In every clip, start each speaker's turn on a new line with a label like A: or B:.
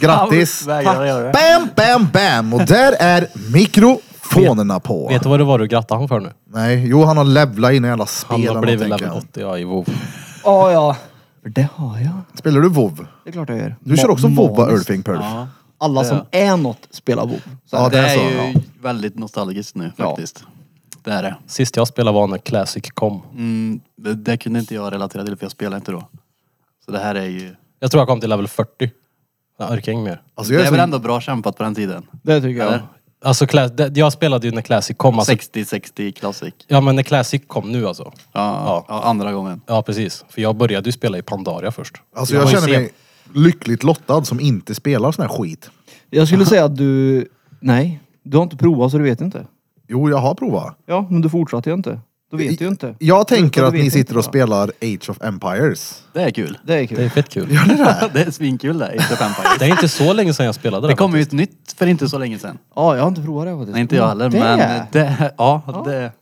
A: Grattis!
B: Vägrar göra det.
A: Bam, bam, bam! Och där är mikrofonerna på.
C: Vet du vad det var du grattade han för nu?
A: Nej, jo han har levlat in i alla spel.
C: Han har
A: eller
C: blivit
A: någonting,
C: level
A: kan jag.
C: 80 ja, i WoW.
B: Ja, ja. För det har jag.
A: Spelar du WoW?
B: Det är klart jag gör.
A: Du kör också
B: Ma-
A: WoW,
B: maniskt.
A: Ulfing Perf.
D: Ja.
B: Alla som är något spelar WoW. Så
A: Ja,
B: här.
D: Det
A: det är så,
D: är
A: ja.
D: ju väldigt nostalgiskt nu
B: Ja.
D: faktiskt. Det är det.
C: Sist jag spelade var när Classic kom.
D: Mm, det. Det kunde inte jag relatera till för jag spelade inte då. Så det här är ju...
C: Jag tror jag kom till level 40. Jag orkar inget mer.
A: Alltså, jag
D: Det
A: är
D: är väl
A: så...
D: ändå bra kämpat på den tiden?
B: Det tycker jag.
D: Eller?
C: Alltså, Cla- det- jag spelade ju när Classic kom. Alltså,
D: 60-60 classic.
C: ja men när Classic kom nu alltså.
D: Ja,
C: Ja.
D: ja. andra gången.
C: Ja precis. För jag började ju spela i Pandaria först.
A: alltså, jag
C: var ju
A: känner
C: sen.
A: mig lyckligt lottad som inte spelar sån här skit.
B: Jag skulle säga att du... Nej. Du har inte provat så du vet inte.
A: Jo, jag har provat.
B: Ja, men du fortsatte ju inte. Du vet ju inte.
A: Jag tänker
B: du
A: att
B: vet
A: ni
B: inte,
A: sitter och
B: va?
A: spelar Age of Empires.
D: Det är kul.
B: Det är kul.
C: Det är fett kul.
D: det är svinkul det, inte fem
C: Det är inte så länge sedan jag spelade
D: Det
C: det.
D: kom ju ett nytt för inte så länge sedan.
B: Ja, jag har inte provat det faktiskt.
D: Nej, inte jag heller,
B: Det-
D: men det... Ja, det...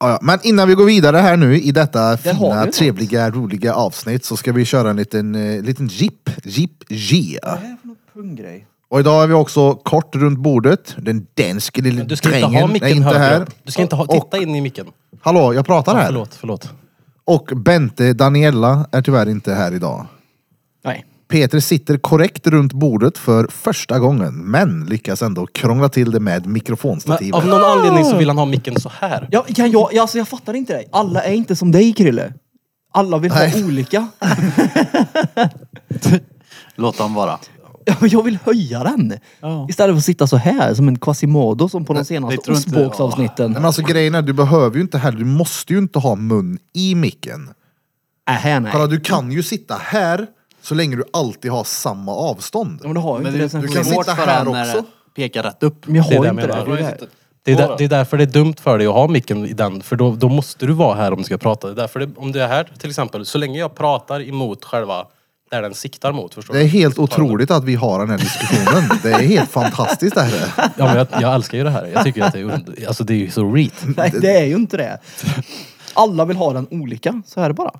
A: Ja, ja. Men innan vi går vidare här nu i detta
B: Där har vi
A: fina,
B: något.
A: trevliga, roliga avsnitt så ska vi köra en liten, eh, liten jip, jip G.
B: Vad är det här för någon punggrej?
A: Och idag är vi också kort runt bordet. Den danske lille
C: Men Du ska inte ha
A: drängen
C: micken
A: är inte
C: högre
A: här.
C: upp. Du ska inte ha,
A: Och-
C: titta in i micken.
A: Hallå, jag pratar
C: Ja,
A: här.
C: förlåt, förlåt.
A: Och Bente Daniella är tyvärr inte här idag.
B: Nej.
A: Peter sitter korrekt runt bordet för första gången, men lyckas ändå krångla till det med
C: Men
A: mikrofonstativet.
C: av någon anledning
A: Ah!
C: så vill han ha micken så här.
B: Ja, kan jag, alltså jag fattar inte dig. Alla är inte som dig Krille. Alla vill
A: Nej.
B: ha olika.
D: Låt dem vara.
B: Ja, men Jag vill höja den.
D: Ja.
B: Istället för att sitta så här som en Quasimodo som på de
D: jag
B: senaste
D: tror inte-
B: ostbågsavsnitten.
A: Men alltså grejen är, du behöver ju inte heller, du måste ju inte ha mun i micken.
B: Äh, här nej.
A: Kolla, du kan ju sitta här så länge du alltid har samma avstånd.
B: Ja, Men du har ju
D: Men
B: inte
D: det
B: det
D: är
B: sen
A: du
D: ju
A: kan
B: förut.
D: svårt
A: sitta
D: för
A: här
D: en när
A: också.
D: den pekar rätt upp.
B: Men jag har
C: Det är
B: ju
C: det
B: inte
C: jag
B: det.
C: menar.
B: det. är det.
C: Det är, där, det är därför det är dumt för dig att ha micken i den, för då, då måste du vara här om du ska prata. Det är därför det, om du är här till exempel, så länge jag pratar emot själva där den siktar mot, förstår
A: Det
C: du?
A: är helt otroligt att vi har den här diskussionen. Det är helt fantastiskt det här. är.
C: Ja, men jag, jag älskar ju det här. Jag tycker att det är, und- alltså, det är ju så reet.
B: Nej, det är ju inte det. Alla vill ha den olika, så är Mm. det bara.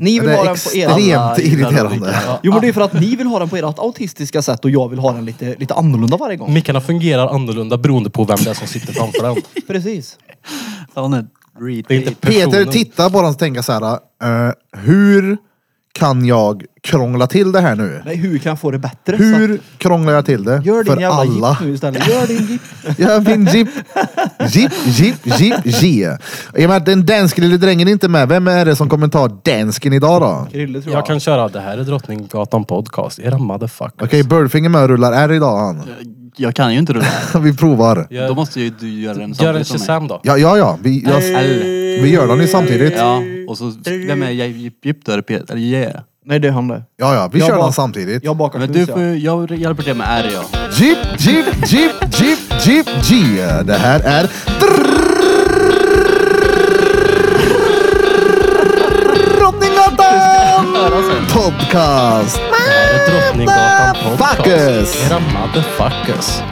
B: Ni vill
A: Det
B: ha
A: är
B: den på era...
A: extremt irriterande.
D: Ja.
B: Jo men det är för att ni vill ha den på ert autistiska sätt och jag vill ha den lite, lite annorlunda varje gång.
C: Mickarna fungerar annorlunda beroende på vem det är som sitter framför den.
B: Precis.
D: Fan, en
C: Det är
D: retweet.
C: inte personen.
A: Peter tittar på den och tänker så här. eh, hur kan jag krångla till det här nu?
B: Nej, hur kan jag få det bättre? Så
A: Hur krånglar jag till det?
B: att- Gör din
A: För
B: jävla
A: alla.
B: jipp nu istället. Gör din jipp.
A: Gör min jeep. Jeep, jeep, jeep, je. I och med att den danske lille drängen är inte med, vem är det som kommer ta dansken idag då?
B: Krille tror jag.
C: Jag kan köra, det här är Drottninggatan podcast. Era motherfuckers.
A: Okej, Birdfinger med och rullar R idag han.
D: Jag kan ju inte rulla.
A: Vi provar.
C: Gör-
D: Då måste ju du göra den
C: Gör en
D: samtidigt som mig.
C: Shazam då.
A: Ja, ja, ja. Vi, jag,
B: Äh.
A: vi gör dem ju samtidigt. Ja,
D: Ja, och så... Vem är jag? Jipp, jipp, där Peter. Eller yeah.
B: Nej det är han det.
A: ja, vi
B: Jag
A: kör
B: bara-
A: dem samtidigt.
B: Jag bakar
D: Men
B: snus
D: du
B: ja.
D: får ju... Jag hjälper till med R ja.
A: Jeep, jeep, jeep, jeep, jeep, je. Det här är... Drottninggatan podcast!
C: Det här är Drottninggatan podcast.
A: Motherfuckers!
C: Era motherfuckers.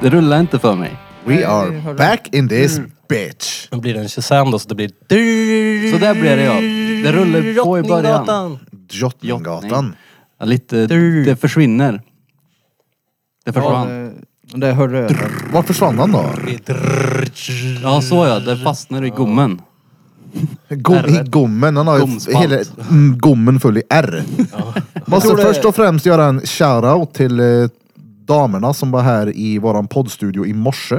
D: Det rullar inte för mig.
A: We are back in this bitch.
C: Nu blir det en Shazam då, så det blir...
D: Så där blir det ja. Det rullar på i början.
C: Drottninggatan.
A: Drottninggatan.
D: Ja, lite... Det försvinner. Det
B: Ja,
D: försvann.
B: det, det hörde jag.
A: Vart försvann han då?
D: Ja, så ja. Det fastnar i gommen.
A: Gom, I gommen. Han har ju
D: Gomspalt.
A: hela mm, gommen full i R. Måste
B: Jag tror det-
A: först och främst göra en shoutout till eh, damerna som var här i våran poddstudio i morse.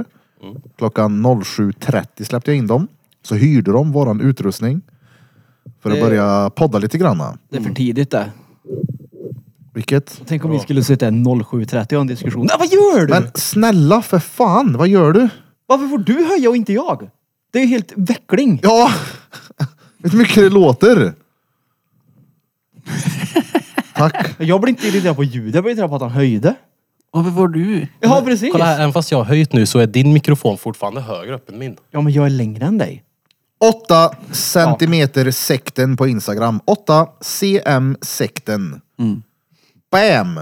A: Klockan 07.30 släppte jag in dem. Så hyrde de våran utrustning. För att
B: Det-
A: börja podda lite granna.
B: Det är för tidigt det.
A: Vilket?
B: Tänk om vi skulle sitta här 07.30 och ha en diskussion. Nej, vad gör du?
A: Men snälla för fan, vad gör du?
B: Varför får du höja och inte jag? Det är ju helt veckling.
A: Ja! Vet du hur mycket det låter? Tack.
B: Jag blir inte irriterad på ljudet, jag blir irriterad på att han höjde.
D: Varför var du?
B: Ja precis.
C: Kolla här, även fast jag har höjt nu så är din mikrofon fortfarande högre upp än min.
B: Ja men jag är längre än dig.
A: 8
D: Mm.
A: centimeter sekten på Instagram. 8 cm sekten. Bam!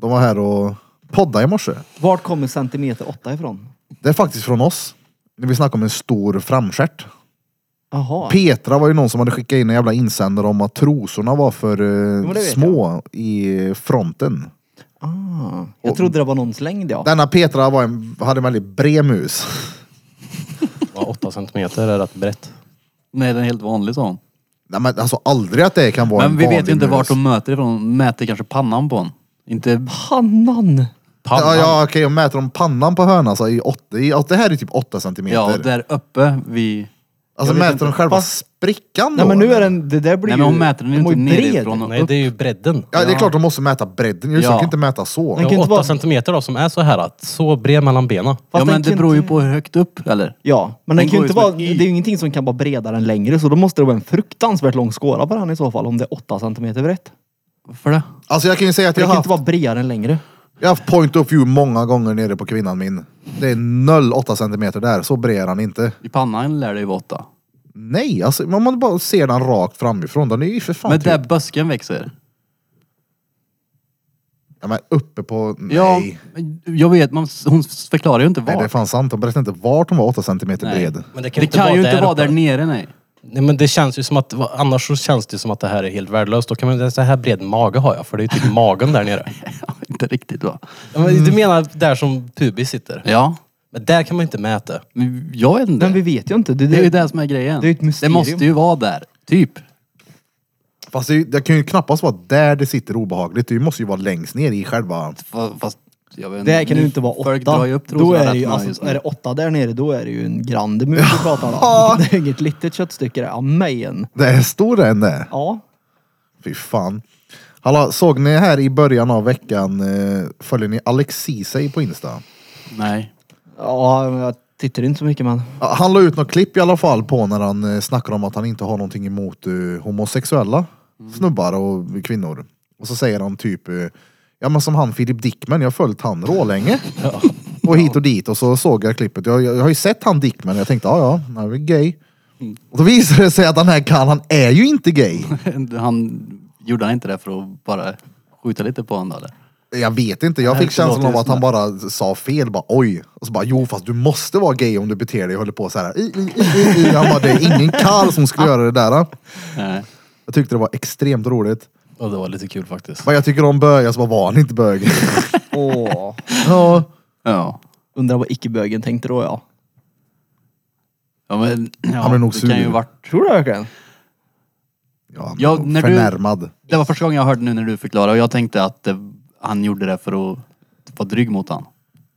A: De var här och poddade i morse.
B: Vart kommer centimeter åtta ifrån?
A: Det är faktiskt från oss. När vi snackade om en stor framstjärt.
B: Jaha.
A: Petra var ju någon som hade skickat in en jävla insändare om att trosorna var för eh,
B: men det vet
A: små i fronten.
B: Ah, jag trodde det var någons längd ja.
A: Denna Petra var en, hade en väldigt bred mus.
C: Ja, åtta centimeter är rätt brett.
D: Nej, den är helt vanlig sa hon.
A: Nej men alltså aldrig att det kan vara
D: Men
A: en
D: vi
A: vanlig
D: vet ju inte
A: mus.
D: vart de möter ifrån. De mäter kanske pannan på hon. Inte...
B: Pannan!
C: Pannan.
A: Ja, ja okej, jag mäter om pannan på hönan så i åtta, i, åtta, det här är typ 8 centimeter.
D: Ja, där uppe vid...
A: alltså
D: jag vet
A: mäter de själva sprickan
B: Nej
A: då?
B: men nu är
A: eller?
B: den, det där blir
D: Nej men hon
B: ju-
D: mäter den ju
B: var
D: inte
B: ju bred.
D: nerifrån och
C: Nej,
D: upp.
C: det är ju bredden.
A: Ja det är klart de måste mäta bredden, just
D: Ja.
A: de kan inte mäta så.
B: Den kan
C: Ja,
B: inte
C: åtta
B: vara-
C: centimeter då, som är så här, att så bred mellan benen.
D: Ja
B: Fast den
D: men det
B: kan
D: beror ju
B: inte-
D: på hur högt upp eller?
B: Ja, men
D: Den
B: den kan
D: går ju
B: ju inte
D: som
B: vara,
D: ett
B: det
D: i.
B: är ju ingenting som kan vara bredare än längre så då måste det vara en fruktansvärt lång skåra på den i så fall om det är 8 centimeter brett.
D: Varför det?
A: Alltså jag kan ju säga att
B: Det
A: jag
B: kan
A: har
B: inte
A: haft,
B: vara bredare än längre.
A: jag har haft point of view många gånger nere på kvinnan min. Det är 0,8 centimeter där, så bred är han inte.
D: I pannan lär det ju vara åtta.
A: Nej, alltså om man bara ser den rakt framifrån, den är ju för fan
D: Men
A: typ,
D: där busken växer.
A: ja, men uppe på... Nej.
D: Ja, jag vet. Man, hon förklarar ju inte
A: Nej, det är
D: vart.
A: fan sant. De berättade inte vart hon var 8 centimeter
D: Nej.
A: bred.
C: Men
D: Det kan ju inte vara där
C: uppe.
D: nere nej.
C: Nej, men det känns ju som att, va- annars så känns det som att det här är helt värdelöst. Då kan man, så här bred mage har jag, för det är ju typ magen där nere.
D: Ja, inte riktigt va?
C: Ja, men Du menar där som pubis sitter?
D: Ja.
C: Men där kan man inte mäta.
D: men Jag vet inte.
B: Men vi vet ju inte. Det,
D: Det är ju
B: det,
D: det som är grejen.
B: Det är ju ett mysterium.
D: Det måste ju vara där. Typ.
A: Fast det, är ju- det kan ju knappast vara där det sitter obehagligt. Det måste ju vara längst ner i själva...
D: Fa- Fast jag vet
B: det här kan ju inte vara
D: Folk
B: åtta.
D: drar ju upp
B: Då
D: trosorna
B: är det
D: rätt
B: ju,
D: många
B: alltså,
D: just nu.
B: är det åtta där nere då är det ju en grand mus vi pratar om. Det är inget litet köttstycke det. Amen.
A: Det är stor än det.
B: Ja.
A: Fy fan. Hallå, såg ni här i början av veckan, eh, följer ni Alexisej på Insta?
D: Nej.
B: Ja, men jag tittar inte så mycket men.
A: Ja, Han la ut något klipp i alla fall på när han eh, snackar om att han inte har någonting emot eh, homosexuella snubbar och kvinnor. Och så säger han typ, eh, ja men som han Filip Dickman, jag har följt han rålänge. Och hit och dit och så såg jag klippet. Jag, jag, jag har ju sett han Dickman och jag tänkte, ja ja, han är väl gay. Och då visade det sig att den här kan, han är ju inte gay.
D: Han gjorde han inte det för att bara skjuta lite på honom eller?
A: Jag vet inte, jag
D: Nej,
A: fick
D: det
A: känslan
D: låter
A: av
D: ju
A: att
D: som
A: han bara sa fel, bara oj. Och så bara, jo fast du måste vara gay om du beter dig och håller på så här. I, i, i, i. Han bara, det är ingen karl som skulle göra det där.
D: Nej.
A: Jag tyckte det var extremt roligt.
C: Och det var lite kul faktiskt.
A: Vad jag tycker om bögar så bara, var han inte bög?
B: Åh.
A: ja.
D: Ja.
B: Undrar vad icke-bögen tänkte då ja.
D: Ja men... Ja,
A: Han blir nog
D: det
A: sur.
D: kan ju varit...
B: Tror du verkligen?
A: ja, han
D: Ja,
A: var
D: när du-
A: förnärmad.
D: Det var första gången jag hörde nu när du förklarade och jag tänkte att det, han gjorde det för att vara dryg mot han.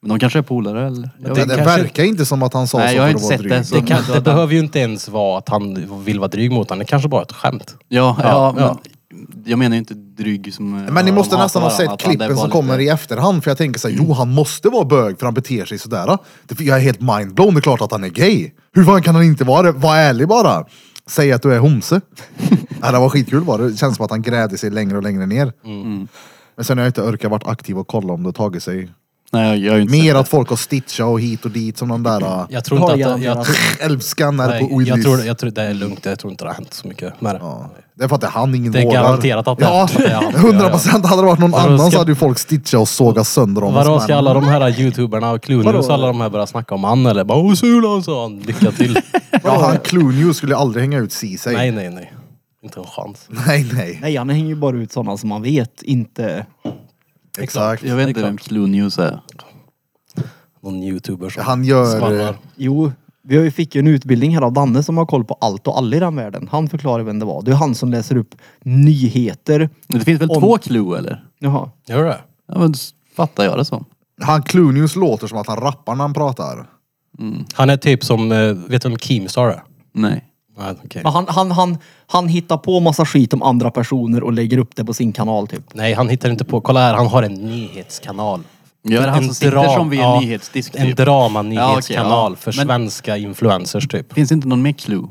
D: Men de kanske är polare eller?
A: Det,
D: Jag vet.
A: det
C: kanske-
A: verkar inte som att han sa
D: Nej,
A: så
D: jag har
A: för
D: inte
A: att vara
D: sett
A: dryg.
D: det, så-
C: Det, kan, det behöver ju inte ens vara att han vill vara dryg mot honom. Det kanske bara är ett skämt.
D: Ja, ja,
C: Ja,
D: men
C: ja.
D: jag menar ju inte dryg som...
A: Men ni
D: de
A: måste
D: hatar
A: nästan ha
D: varandra,
A: sett
D: att han- det
A: klippen
D: var
A: som
D: lite-
A: kommer i efterhand för jag tänker såhär, jo han måste vara bög för han beter sig sådär. Det- Jag är helt mindblown, det är klart att han är gay. Hur fan kan han inte vara det? Var ärlig bara. Säg att du är homse. ja, det var skitkul var det. Det känns som att han grävde sig längre och längre ner.
D: Mm.
A: Men sen har jag inte orkat varit aktiv och kolla om det har tagit sig.
D: Nej, jag gör ju inte
A: Mer
D: så.
A: att folk har stitchat och hit och dit som de där äh,
C: Jag tror inte
B: Har
C: att... Jag,
B: garanterat.
C: jag,
A: älvskan är på
C: nej, jag,
A: Willys.
C: tror, jag tror det är lugnt. Jag tror inte det har hänt så mycket med det.
A: Ja. Det är för att det är han, ingen
C: Det är
A: vårdar.
C: garanterat att det
A: Ja,
C: är- ja, ja, ja.
A: 100 procent. Hade det varit någon
C: Vadå,
A: annan så
C: ska-
A: hade ju folk stitchat och sågat sönder honom.
C: Vadå,
A: som
C: ska
A: en-
C: alla de här youtuberna och Clunius alla de här börja snacka om han eller bara Åh, sula han sa han. Lycka till.
A: Ja, han Clooney skulle aldrig hänga ut Ceesay.
C: nej,
A: Nej.
C: nej, nej. Inte en chans.
A: nej, nej.
B: Nej, han hänger ju bara ut sådana som man vet inte.
A: Exakt.
D: Jag vet inte vem Clunius är.
C: Någon youtuber som
A: Han gör, eh,
C: skvallrar.
B: Jo, vi har ju fick ju en utbildning här av Danne som har koll på allt och alla i den världen. Han förklarar vem det var. Det är han som läser upp nyheter.
D: Men Det finns väl
B: Om-
D: två Clue eller?
B: Jaha.
C: Gör det?
D: Ja men s- fattar jag det som.
A: Han Clooney låter som att han rappar när han pratar.
C: Han är typ som, eh, vet du vem Keemstar är?
D: Nej.
C: Nej, okej.
D: Ah.
B: Men han, han, han, han hittar på massa skit om andra personer och lägger upp det på sin kanal typ.
C: Nej, han hittar inte på. Kolla här, han har en nyhetskanal.
D: Ja, det är han
C: En
D: som sitter som vid en nyhetsdisk,
C: En
D: typ.
C: drama-nyhetskanal
D: Ja, okej, ja.
C: för
D: Men-
C: svenska influencers typ.
D: Finns inte någon med Clue?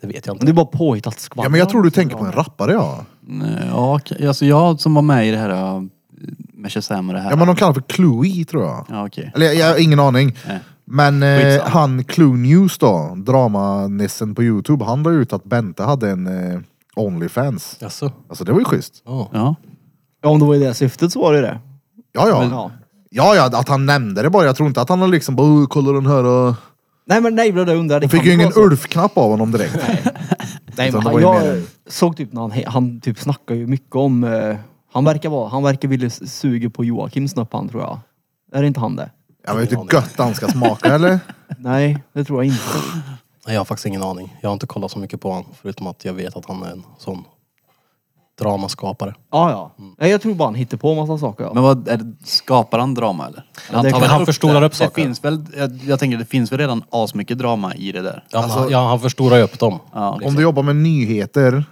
C: Det vet jag
B: Men det
C: inte.
B: är bara påhittat skvaller.
A: Ja, men jag tror du tänker på en rappare ja.
D: Nej, Ja, okej. alltså jag som var med i det här eh, med Shazam och det här.
A: Ja men de kallar för Clooney tror jag.
D: Ja, okej.
A: Eller jag har ingen aning.
D: Nej.
A: Men eh,
D: Skitsamma.
A: han Cloonews då, dramanissen på Youtube, han la ut att Bente hade en eh, Onlyfans.
C: Jaså?
A: Alltså det var ju schysst.
C: Ja.
D: Ja.
B: Ja, om det var i det syftet så var det ju det.
A: Ja, ja.
B: Men,
A: ja.
B: ja.
A: Ja, att han nämnde det bara. Jag tror inte att han har liksom bara, "Åh, kolla den här. Uh.
B: Nej men nej, det var det jag undrar. Det
A: Fick
B: kan
A: ju
B: inte
A: ingen
B: vara så.
A: Ulf-knapp av honom direkt.
B: Nej, men
A: Utan det
B: han,
A: var ju
B: jag
A: mer-
B: såg typ när han, han typ snackar ju mycket om... eh, han verkar vara, han verkar vilja s- suga på Joakim snappan tror jag. Är det inte han det?
A: Jag vet inte hur gött han ska smaka eller?
B: Nej, det tror jag inte.
C: Nej, jag har faktiskt ingen aning. Jag har inte kollat så mycket på honom. Förutom att jag vet att han är en sån dramaskapare.
B: Ja, Ah, ja. Nej, jag tror bara han hittar på en massa saker. Ja.
D: Men vad, är det, skapar han drama eller?
B: det kan-
D: väl
C: han
D: upp
C: förstorar
D: det.
C: upp saker.
D: Det finns väl, jag, jag tänker det finns väl redan asmycket drama i det där.
C: Ja, han, ja, han förstorar ju upp dem.
D: Ja.
A: Om du jobbar med nyheter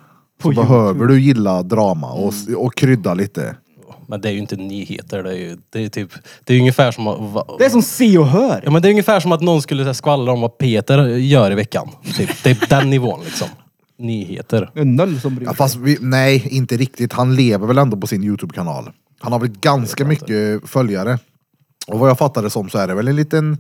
A: så
B: På
A: behöver du gilla drama och, och krydda lite.
C: Men det är ju inte nyheter. Det är ju, det är typ, det är ju ungefär som att... va-
B: Det är som se och hör.
C: Ja, men det är ungefär som att någon skulle så här, skvallra om vad Peter gör i veckan. Typ. Det är den nivån liksom. Nyheter.
B: Det är noll som bryr
A: Ja,
B: sig.
A: fast vi, nej, inte riktigt. Han lever väl ändå på sin Youtube-kanal. Han har väl ganska mycket följare. Och vad jag fattar det som så är det väl en liten,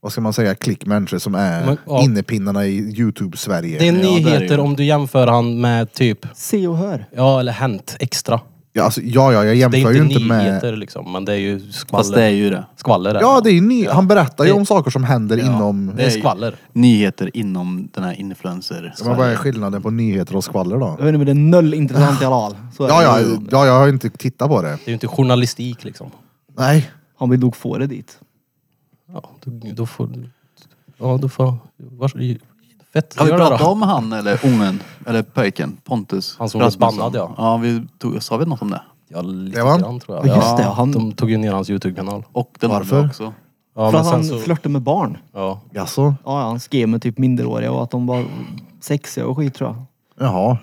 A: vad ska man säga, klick människor som är
C: Men, ja.
A: innepinnarna i Youtube-Sverige.
C: Det är
D: det är
C: nyheter
D: ju-
C: om du jämför han med typ,
B: Se och hör.
C: ja eller Hänt Extra.
A: Ja, alltså, ja, ja, jag
C: Det
A: jämför
C: är
A: ju
C: inte
A: inte
C: nyheter
A: med...
C: liksom, men det är ju
D: Fast det är
C: skvaller.
D: ju det.
C: Skvaller är
A: Ja, det är ju ny... han berättar ju
C: Det-
A: om saker som händer inom...
C: det är
D: ju-
C: skvaller.
D: Nyheter inom den här influencer
A: Men vad är skillnaden på nyheter och skvaller då?
B: Jag vet inte men det är noll intressant i alla fall. Så är
A: Ja,
B: det.
A: ja, ja, jag har inte tittat på det.
C: Det är ju inte journalistik liksom.
A: Nej.
B: Han vill nog få det dit.
C: Ja, då, då får du... Ja, då får... Vars, fett,
D: Har vi
C: gör det
D: pratat
C: då.
D: om han eller ungen? Eller pöjken? Pontus?
C: Han som blev
D: Rasmusson?
C: bannad, ja.
D: Ja, vi tog, sa vi något om det?
C: Ja, lite
A: Det var han?
C: grann tror jag.
B: Ja, just det,
C: Ja,
B: han-
C: De tog ju ner hans Youtube-kanal.
D: Och den
A: Varför?
D: andra också.
C: Ja,
B: För
C: men
B: att han
C: sen så...
B: flörtar med barn.
C: Ja.
A: Jaså?
B: Ja, ja, han skrev med typ minderåriga och att de var sexiga och skit tror jag.
A: Jaha.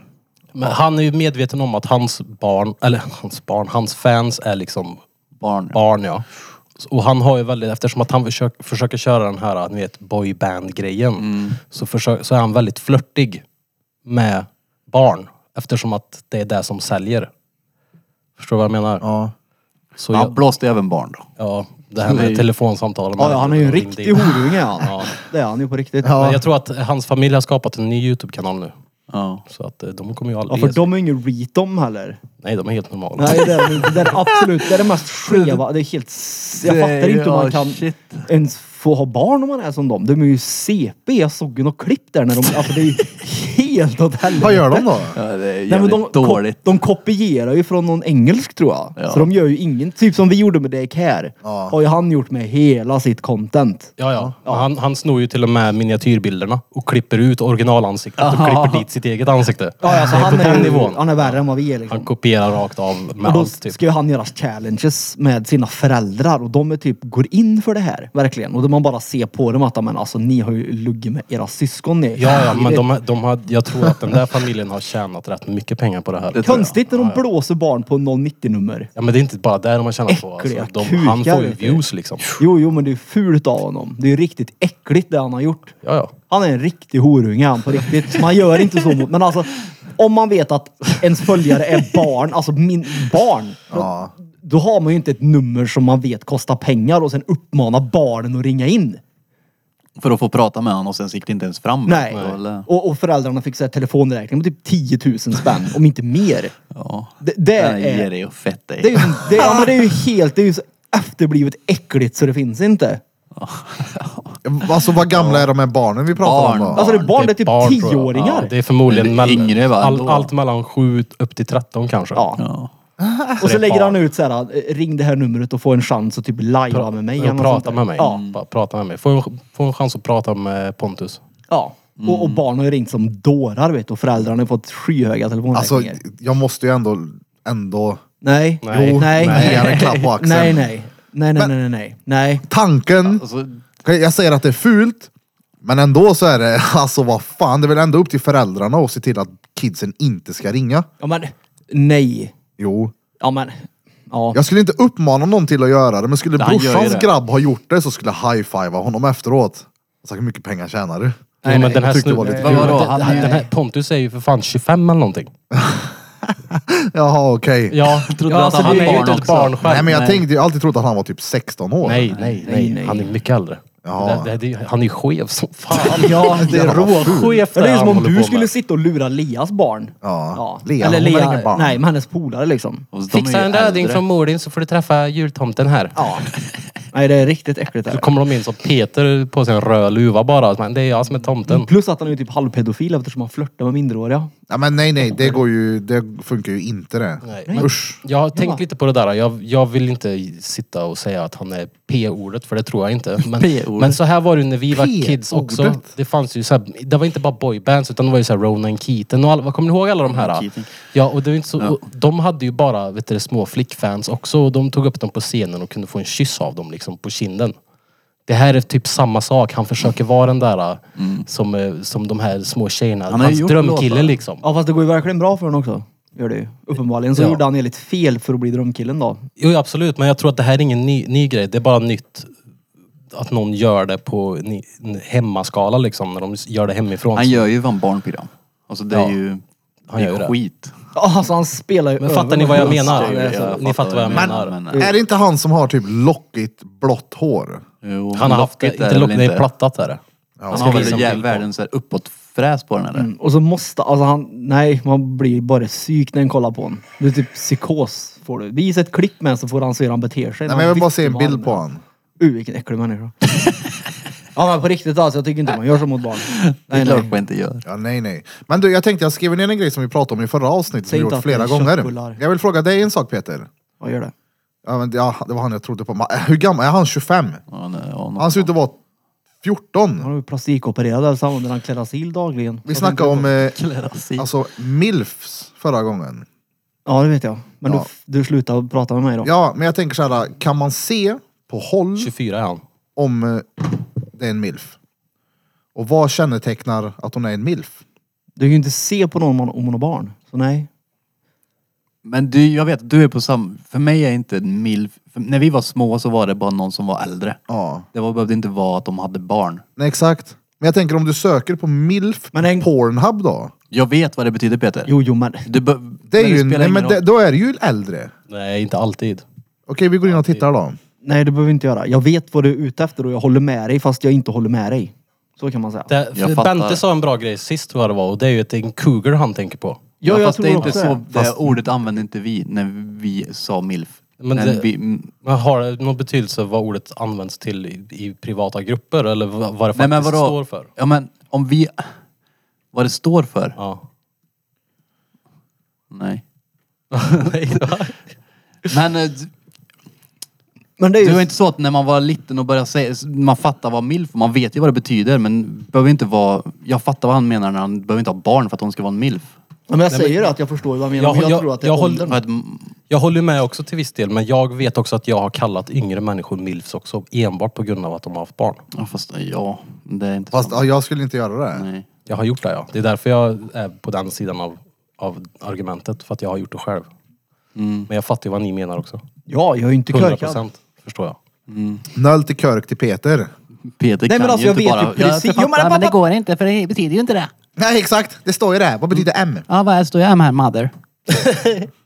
C: Men han är ju medveten om att hans barn, eller hans barn, hans fans är liksom
D: Barn.
C: barn ja. Och han har ju väldigt, eftersom att han försöker, försöker köra den här, ni vet, boyband-grejen.
D: Mm.
C: Så, försö- så är han väldigt flörtig med barn. Eftersom att det är det som säljer. Förstår du vad jag menar?
A: Ja.
C: Så
D: Han
C: jag,
D: blåste även barn då.
C: ja, det här med telefonsamtalen.
B: Ja, ja han är ju en riktig horunge är han.
C: Ja.
B: Det är han ju på riktigt.
A: Ja.
C: Men jag tror att hans familj har skapat en ny Youtube-kanal nu.
D: Ja.
C: Så att eh, de kommer ju
B: Ja,
C: aldrig...
B: för de är ju ingen reat de heller.
C: Nej, de är helt normala.
B: alltså- Nej det är de inte. Det är absolut, det är det mest skeva. Det är helt... s- Jag
D: Det är
B: fattar inte hur
D: ju-
B: man
D: ja,
B: kan
D: shit.
B: ens få ha barn om man är som dem. De är ju CP. Jag såg ju något klipp där när de... Alltså det är ju helt åt helvete.
A: Vad gör de då?
D: Ja, det är
B: Nej, men
D: jävligt
B: de, ko-
D: dåligt.
B: de kopierar ju från någon engelsk tror jag.
D: Ja.
B: Så de gör ju ingen, typ som vi gjorde med Dick här.
A: Ja.
B: Har ju han gjort med hela sitt content.
C: Ja, ja. Han, han snor ju till och med miniatyrbilderna och klipper ut originalansiktet och klipper dit sitt eget ansikte.
B: Ja, alltså,
C: det är
B: han,
C: på den
B: är,
C: nivån.
B: han är värre än vad vi är liksom.
C: Han kopierar rakt av med
B: Och då
C: allt typ.
B: ska ju han göra challenges med sina föräldrar och de är typ, går in för det här. Verkligen. Och då man bara ser på dem att men alltså ni har ju luggit med era syskon ni.
C: Ja, ja, men de, de har, jag tror att den där familjen har tjänat rätt mycket pengar på det här.
D: Det-
B: Konstigt när de blåser barn på 090-nummer.
C: Ja, men det är inte bara där de har tjänat på. Alltså,
B: Äckliga
C: de, han
B: kukar,
C: får ju
B: vet du.
C: views liksom.
B: Jo, jo, men det är fult av honom. Det är ju riktigt äckligt det han har gjort.
C: Ja, ja.
B: Han är en riktig horunge han på riktigt. Man gör inte så mot... Men alltså, om man vet att ens följare är barn, alltså min barn. Då,
A: Ja.
B: då har man ju inte ett nummer som man vet kostar pengar och sen uppmanar barnen att ringa in.
D: För att få prata med honom och sen så gick det inte ens fram.
B: Nej.
D: Då, eller?
B: Och, och föräldrarna fick så här telefonräkning på typ 10 000 spänn, om inte mer.
D: Ja.
B: Det, det,
D: Den ger
B: är,
D: dig och fett dig.
B: det, är, ju som- det, ja, men det är ju helt... Det är ju så efterblivet äckligt så det finns inte.
A: Alltså vad gamla är de här barnen vi pratar om
D: Barn.
A: då?
B: Alltså det är barn, det är typ
C: barn, tror jag.
B: tioåringar.
C: Ja, det är förmodligen
D: Men det är yngre, va,
C: all,
D: ändå?
C: allt mellan 7 upp till 13 kanske.
B: Ja.
D: Ja.
B: Och så
C: det är
B: lägger
C: barn.
B: han ut så här, eh, ring det här numret och få en chans att typ lajva med mig. eller
C: Och
B: något
C: prata
B: sånt
C: med
B: där.
C: mig.
B: Ja.
C: Bara Prata med mig. Få en, få en chans att prata med Pontus.
B: ja.
C: Mm.
B: Och, och barn har ju ringt som dårar vet du och föräldrarna har fått skyhöga
A: Alltså
B: telefonräkningar.
A: jag måste ju ändå, ändå
B: nej.
C: Nej.
B: Jo, nej.
A: Nej. Ge en klapp på axeln.
B: Nej, nej. Nej, nej, nej, nej, nej. Nej.
A: Tanken,
D: Alltså,
A: jag säger att det är fult, men ändå så är det, alltså vad fan, det är väl ändå upp till föräldrarna att se till att kidsen inte ska ringa.
B: Ja men, nej.
A: Jo.
B: Ja men, ja.
A: Jag skulle inte uppmana någon till att göra det, men skulle
D: Han gör ju
A: brorsans
D: det.
A: grabb ha gjort det så skulle jag high-fivea honom efteråt. Alltså hur mycket pengar tjänar du?
C: Nej, men den här
A: tyckte det var
C: snu-
A: lite
C: Nej,
D: kul.
C: vadå?
D: Han-
C: Den- den här Pontus är ju för fan 25 eller någonting.
A: Jaha okej.
C: Ja,
D: trodde att han
C: det
D: var
C: är ju
D: barn
C: inte ett
D: också.
C: barn själv.
A: Nej men jag tänkte, jag har alltid trott att han var typ 16 år.
C: Nej, nej, nej.
B: nej.
C: Han är mycket äldre.
A: Ja.
C: Det, det, det, han är ju skev som fan.
B: Ja, det är
C: råskevt
B: Det är
C: han
B: som om
C: håller
B: du
C: på
B: skulle
C: med.
B: sitta och lura Leas barn.
A: Ja. Lea,
B: Eller
A: hon har
B: Lea,
A: ingen barn.
B: nej men hennes polare liksom.
D: Och de är
C: Fixa
D: ju
C: en
D: äldre.
C: röding från mor din så får du träffa jultomten här.
B: Ja. Nej det är riktigt äckligt
C: Så
B: där.
C: kommer de in som Peter på sin röd luva bara. Men det är jag som är tomten.
B: Plus att han är typ halvpedofil eftersom han flörtar med minderåriga.
A: Ja, men nej, nej, det, går ju, det funkar ju inte det.
C: Nej.
A: Usch.
C: Jag har tänkt
B: Ja.
C: lite på det där. Jag, jag vill inte sitta och säga att han är P-ordet, för det tror jag inte. Men,
D: P-ordet.
C: men så här var det ju när vi var
A: P-ordet.
C: kids också. Det fanns ju så här, det var inte bara boybands, utan det var ju så här Ronan Keaton och alla, vad kommer ni ihåg alla de här?
D: Ronan Keating.
C: Ja, och det var inte så,
D: Ja.
C: och de hade ju bara vet du, små flickfans också och de tog upp dem på scenen och kunde få en kyss av dem liksom på kinden. Det här är typ samma sak. Han försöker vara den där som, eh, som de här små tjejerna.
D: Mm. Han har ju
C: Hans
D: gjort
C: drömkille
D: låtar.
C: liksom.
B: Ja fast det går ju verkligen bra för honom också. Gör det ju. Uppenbarligen så
C: Ja.
B: gjorde han enligt fel för att bli drömkillen då.
C: Jo absolut, men jag tror att det här är ingen ny, ny grej. Det är bara nytt att någon gör det på ni, en hemmaskala liksom. När de gör det hemifrån.
D: Han gör ju van barnprogram. Alltså det är
C: Ja.
D: ju...
C: Han
D: det
C: gör det.
D: är skit.
B: Ja, Alltså han spelar ju
C: Men
B: över
C: fattar ni vad jag
B: någon.
C: menar? alltså,
B: Ja, det är så.
C: Ni fattar vad jag menar.
A: Är det inte han som har typ lockigt blått hår?
D: jo,
C: han har haft,
D: locket är
C: inte
D: väl
C: lock, det är
D: inte-
C: plattat är det.
D: Han har
C: ska liksom-
D: väl
C: visa en
D: jä-
C: bild på.
D: världens så här uppåtfräs på den eller?
B: Mm, Och så måste, alltså han, nej man blir bara psyk när en kollar på honom. Det är typ psykos får du. Visa ett klipp med en så får han se hur han beter sig.
A: Nej, men jag vill bara se en
B: Man-
A: bild på honom.
B: Uh, vilken äcklig människa. ja men på riktigt alltså, jag tycker inte man gör så mot barn.
D: Det är
B: Nej,
D: klart
B: nej.
D: man inte gör.
A: Ja, nej, nej. Men du, jag tänkte jag skrev ner en grej som vi pratade om i förra avsnittet som
B: Säg
A: vi
B: inte
A: gjort
B: att det är
A: flera gånger.
B: köttbullar.
A: Jag vill fråga dig en sak Peter.
B: Jag gör det.
A: Ja, men, ja, det var han jag trodde på. Ma- Hur gammal är han? 25?
D: Ja, nej, ja, något
A: Han
C: Alltså,
A: ser ut att vara 14.
B: Han är ju plastikopererad alltså, använder han klerasil dagligen.
A: Vi
B: Så
A: snackade om
B: tänkte
A: eh,
D: Klerasil.
A: alltså, milfs förra gången.
B: jag- Ja det vet jag. Men
A: Ja.
B: du, du slutar prata med mig då.
A: Ja, men jag tänker så här, kan man se på håll
C: 24 är han.
A: om eh, det är en milf? Och vad kännetecknar att hon är en milf?
B: Du kan ju inte se på någon om man- om man har barn. Så nej.
D: Men du, jag vet, du är på samma... För mig är inte en milf... För när vi var små så var det bara någon som var äldre.
A: Ja,
D: Det var, behövde inte vara att de hade barn.
A: nej exakt. Men jag tänker om du söker på milf
B: Men en-
A: på Pornhub då?
D: Jag vet vad det betyder Peter.
B: Jo jo men.
D: Du be-
A: Det är
D: men
A: ju,
D: spelar
A: nej,
D: ingen
A: men
D: roll.
A: det, då är det ju äldre.
C: Nej, inte alltid.
A: Okej, vi går in och tittar då.
B: Nej det behöver vi inte göra. Jag vet vad du är ute efter och jag håller med dig fast jag inte håller med dig. Så kan man säga.
C: Det, för
D: Jag fattar.
C: Bente sa en bra grej sist tror jag det var och det är ju att det är en cougar han tänker på.
D: Ja, fast det är inte
B: också
D: så, det
A: Fast-
D: ordet använde inte vi när vi sa milf.
C: Men
D: när
C: det-
D: vi, mm,
C: Men har det någon betydelse vad ordet används till i, i privata grupper eller vad, vad det
D: nej
C: faktiskt
D: men vadå?
C: står för?
D: Ja men om vi... Vad det står för?
C: Ja.
D: Nej.
C: Nej, va?
D: Men eh, d-
B: Men det är
D: det var
B: ju...
D: inte så att när man var liten och började säga, man fattar vad milf, man vet ju vad det betyder men behöver inte vara, jag fattar vad han menar när han behöver inte ha barn för att hon ska vara en milf.
B: Ja, men jag säger att jag förstår vad han menar.
C: Jag-
B: men jag,
C: jag-
B: tror att det
C: jag
B: är
C: håller-
B: åldern.
D: För att, mm,
C: Jag håller ju med också till viss del men jag vet också att jag har kallat yngre människor milfs också enbart på grund av att de har haft barn.
D: ja fast eh, ja, det är inte
A: Fast
D: sant.
A: ja, jag skulle inte göra det.
D: Nej.
C: Jag har gjort det ja. Det är därför jag är på den sidan av, av argumentet. För att jag har gjort det själv. Men jag fattar ju vad ni menar också.
B: Ja, Mm. jag är ju inte
C: 100
B: körkad.
C: procent förstår jag.
A: Noll till körk till Peter.
D: Peter
B: Nej, men
D: kan
B: alltså,
D: ju
B: jag
D: inte
B: vet
D: bara...
B: ju precis- Jo, men pappa-
D: går inte för det betyder ju inte det.
A: Nej exakt, det står ju det. Vad betyder M?
D: Ja, vad är det står jag här, mother?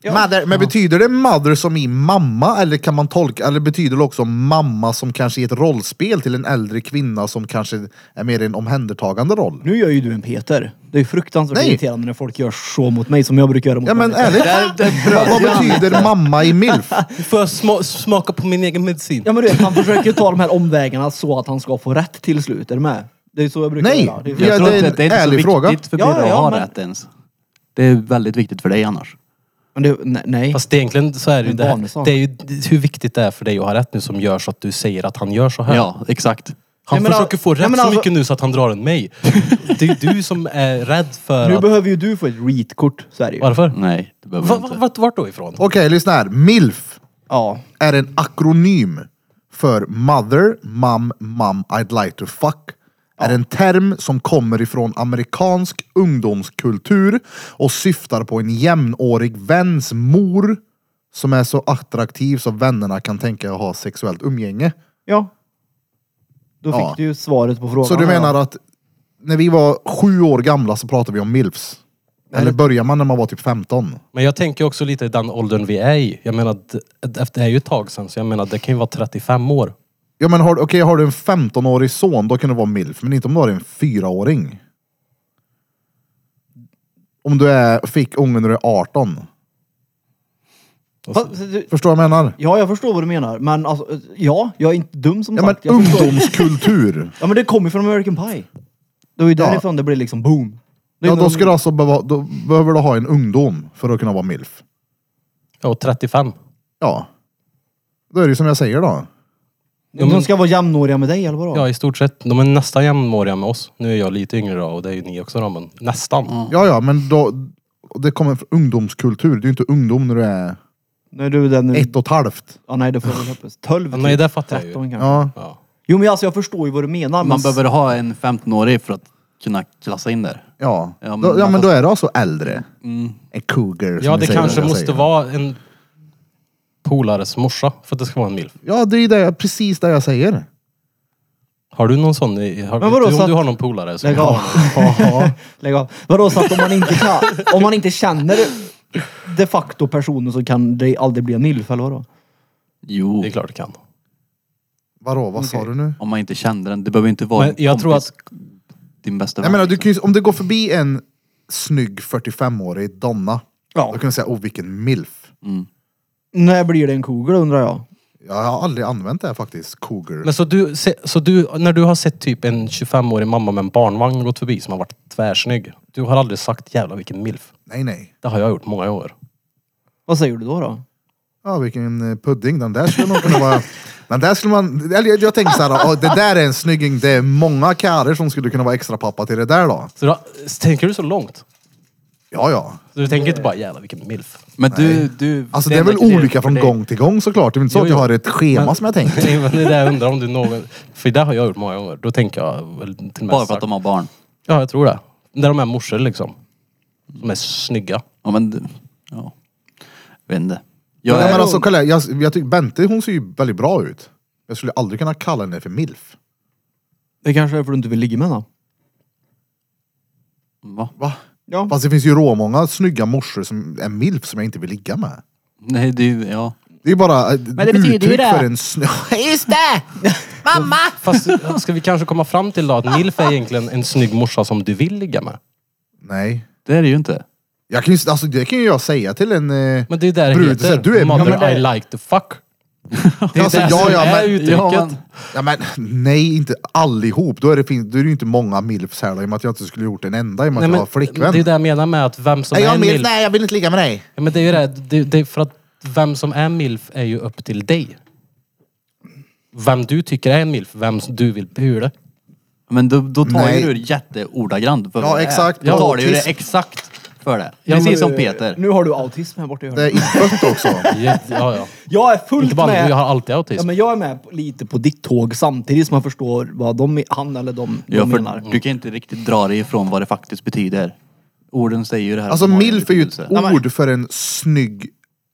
A: Mother. Men betyder det mother som i mamma eller kan man tolka, eller betyder det också mamma som kanske i ett rollspel till en äldre kvinna som kanske är mer i en omhändertagande roll?
B: Nu gör ju du en Peter. Det är ju fruktansvärt
A: Nej.
B: irriterande när folk gör så mot mig som jag brukar göra mot
A: Ja men
B: människor.
A: ärligt, vad vad betyder mamma i milf?
C: Får jag smaka på min egen medicin?
B: Ja men du vet, han försöker ju ta de här omvägarna så att han ska få rätt till slut. Är du med? Det är ju så jag brukar
A: Nej.
B: göra. Det är
A: Ja,
D: Jag
B: fel.
D: tror
A: det är
D: inte
A: en
D: att det är inte så
A: ärlig
D: viktigt
A: fråga.
D: för
B: Ja,
D: Peter att
B: ja,
D: ha
B: men-
D: rätt ens. Det är väldigt viktigt för dig annars.
B: Men det, nej, nej.
C: Fast det är egentligen så är det ju
B: En
C: det, här,
B: vanesak.
C: det är ju hur viktigt det är för dig att ha rätt nu som gör så att du säger att han gör så här.
D: Ja, exakt.
C: Han
B: Nej, men
C: försöker
B: al-
C: få rätt
B: nej, men
C: så
B: alltså-
C: mycket nu så att han drar en mig. Det är ju du som är rädd för
B: nu
C: att...
B: behöver Mm. ju du få ett reat-kort, så är det ju.
C: Varför?
D: Nej, det behöver
C: Va,
D: du
C: va,
D: inte.
C: vart- vart då ifrån?
A: Okej, lyssna här. Milf
B: Ja.
A: är en akronym för mother, mom, mom, I'd like to fuck. Är en term som kommer ifrån amerikansk ungdomskultur och syftar på en jämnårig väns mor som är så attraktiv så vännerna kan tänka att ha sexuellt umgänge.
B: Ja. Då fick
A: Ja.
B: du ju svaret på frågan.
A: Så du menar att när vi var sju år gamla så pratade vi om milfs? Eller börjar man när man var typ 15?
C: Men jag tänker också lite i den åldern vi är i. Jag menar, d- efter- det är ju ett tag sedan så jag menar det kan ju vara 35 år.
A: Ja men har, okej, har du en 15-årig son då kan du vara milf, men inte om du har en 4-åring. Om du är, fick ungen när du är 18.
B: Fast, du-
A: Förstår vad jag menar?
B: Ja, jag förstår vad du menar. Men alltså, ja, jag är inte dum som
A: Ja men
B: sagt. jag förstår.
A: ungdomskultur.
B: Ja, men det kommer ju från American Pie. Det var ju därifrån det blev liksom boom. Det är
A: Ja, då,
B: någon-
A: ska du alltså behöva, då behöver du ha en ungdom för att kunna vara milf.
C: Ja, och 35.
A: Ja. Då är det ju som jag säger då.
B: De ska vara jämnåriga med dig, eller vadå?
C: Ja, i stort sett. De är nästan jämnåriga med oss. Nu är jag lite yngre då och det är ju ni också då, men nästan.
A: Ja ja, men då, det kommer från ungdomskultur. Du är ju inte ungdom när du är
B: Nej, du, den...
A: ett och ett halvt.
B: Ja, nej, det får jag väl hoppas. 12,
C: Ja, nej, det fattar jag ju.
B: 13 kanske.
A: Ja.
C: Ja.
B: Jo, men alltså jag förstår ju vad du menar.
D: Man
B: men-
D: behöver ha en 15-årig för att kunna klassa in där.
A: Ja,
D: Ja, men-
A: men, då, ja, men då är det alltså äldre. En cougar. som
C: Ja,
A: vi
C: det
A: säger,
C: kanske
A: jag
C: måste
A: säger.
C: vara en polares morsa för att det ska vara en milf.
A: Ja, det är det, jag- precis det jag säger.
C: Har du någon sån? i- Har, men
B: Men
C: vadå,
B: vadå, så
C: om
B: att-
C: du har någon polare som...
B: Lägg av. Lägg av. Vadå, så att om man inte kan... Om man inte känner de facto personen så kan det aldrig bli en milf, eller vadå?
D: Jo.
C: Det är klart du kan.
A: Vadå, vad sa du nu?
D: Om man inte kände den. Det behöver inte vara
C: Men jag tror att...
D: din bästa
A: Jag
D: vän.
A: menar, du kan ju, om det går förbi en snygg 45-årig donna,
B: Ja.
A: då kan du säga oh vilken milf.
B: När blir det en kugel, undrar jag?
A: Jag har aldrig använt det här faktiskt, cougar.
C: Men så du, se- så du, när du har sett typ en 25-årig mamma med en barnvagn gått förbi som har varit tvärsnygg. Du har aldrig sagt jävlar vilken milf.
A: Nej, nej.
C: Det har jag gjort många år.
B: Vad säger du då? då?
A: Ja, vilken eh, pudding. Den där skulle nog kunna vara... Den där skulle man... Eller jag, jag tänker så här, oh, det där är en snygging. Det är många karlar som skulle kunna vara extra pappa till det där då.
C: Så då, tänker du så långt?
A: Ja, ja.
C: Så du tänker inte bara jävlar vilken milf?
D: Men du, du...
A: Alltså det, är
D: enda
A: väl
D: kriteriet
A: olika
D: för
A: från
D: dig-
A: gång till gång såklart. Det är väl inte så
C: Jo,
A: att jag
C: jo.
A: har ett schema
C: Men-
A: som jag tänker.
C: Nej, men det är det jag undrar om du någon... För det har jag gjort många gånger. Då tänker jag väl till och med
D: Bara för att
C: sagt-
D: de har barn.
C: Ja, jag tror det. När de är morsor liksom. De är snygga.
D: Ja men... du- Ja. Jag vet inte.
A: Ja,
D: Jag är...
A: men alltså, kolla, här, jag, jag tycker Bente hon ser ju väldigt bra ut. Jag skulle aldrig kunna kalla henne för milf.
B: Det kanske är för att du inte vill ligga med henne.
D: Va?
A: Va?
B: Ja.
A: Fast det finns ju råmånga snygga morsor som är milf som jag inte vill ligga med.
D: Nej du, ja.
A: Det är bara ett
E: det betyder ju
A: uttryck
E: det.
A: för en snö...
E: Just det! Mamma!
C: Fast eh, ska vi kanske komma fram till då att Milf är egentligen en snygg morsa som du vill ligga med?
A: Nej.
D: Det är det ju inte.
A: Jag kan ju, alltså, det kan ju jag säga till en... eh,
C: Men det är ju där det
A: Brud,
C: heter.
A: så här, du är-
C: Mother
A: Ja, men det-
C: I like to fuck. Det är
A: Alltså,
C: det
A: ja,
C: som
A: ja,
C: är
A: men-
C: uttrycket.
D: Ja, men-
A: Ja, men, nej, inte allihop. Då är det, fin- då är det ju inte många milfs här då, i och med att jag inte skulle gjort en enda i och med att
C: Nej,
A: jag
C: men,
A: har flickvän.
C: det är ju det jag menar med att vem som
A: är
C: är
A: jag
C: en
A: milf?
C: milf.
A: Nej, jag vill inte ligga med dig.
C: Ja, men det är ju det. det, det är för att vem som är milf är ju upp till dig. Vem du tycker är en milf, vem som du vill pula.
D: Men då, då tar
A: Nej.
D: ju du jätteordagrant för
A: Ja,
D: vad det är.
A: exakt.
D: Då tar du ju det
A: Autism.
D: exakt för det.
C: Ja,
D: Precis
C: men-
D: som Peter.
B: Nu har du autism här borta i
A: Det är
B: hörnet.
A: infött också.
C: Ja, ja.
B: Jag är fullt
C: Inte bara
B: med.
C: du, jag har alltid
B: Ja,
C: autism.
B: men jag är med på, lite på ditt tåg samtidigt som jag förstår vad de, han eller de, de
D: Ja,
B: menar.
D: för du kan inte riktigt dra dig ifrån vad det faktiskt betyder. Orden säger ju det här.
A: Alltså
D: som har
A: milf är ju ett
D: betydelse.
A: ord för en snygg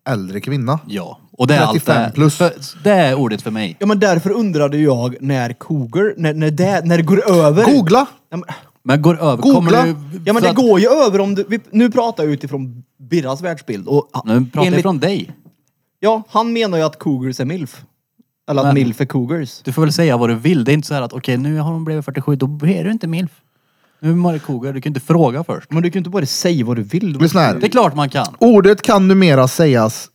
A: äldre kvinna.
D: Ja, och det är allt
A: 35
D: det.
A: plus.
D: För, det är ordet för mig.
B: Ja men därför undrade jag när cougar, när, när, det, när det går över.
A: Googla!
B: Ja, men,
D: Men går över.
A: Googla.
D: Kommer du,
B: ja, men
D: så
B: det
D: att-
B: går ju över om du, vi, nu pratar jag utifrån Birras världsbild och ah,
D: Nu pratar jag
B: enligt-
D: från dig.
B: Ja, han menar ju att cougars är milf. Eller att
D: Men-
B: milf är cougars.
D: Du får väl säga vad du vill. Det är inte så här att okej nu har hon blivit 47, då är du inte milf. Nu är Marie Kogar, du kan inte fråga först.
B: Men du kan ju inte bara säga vad du vill.
A: Lyssna
D: Det är
A: här.
D: klart man kan.
A: Ordet kan numera sägas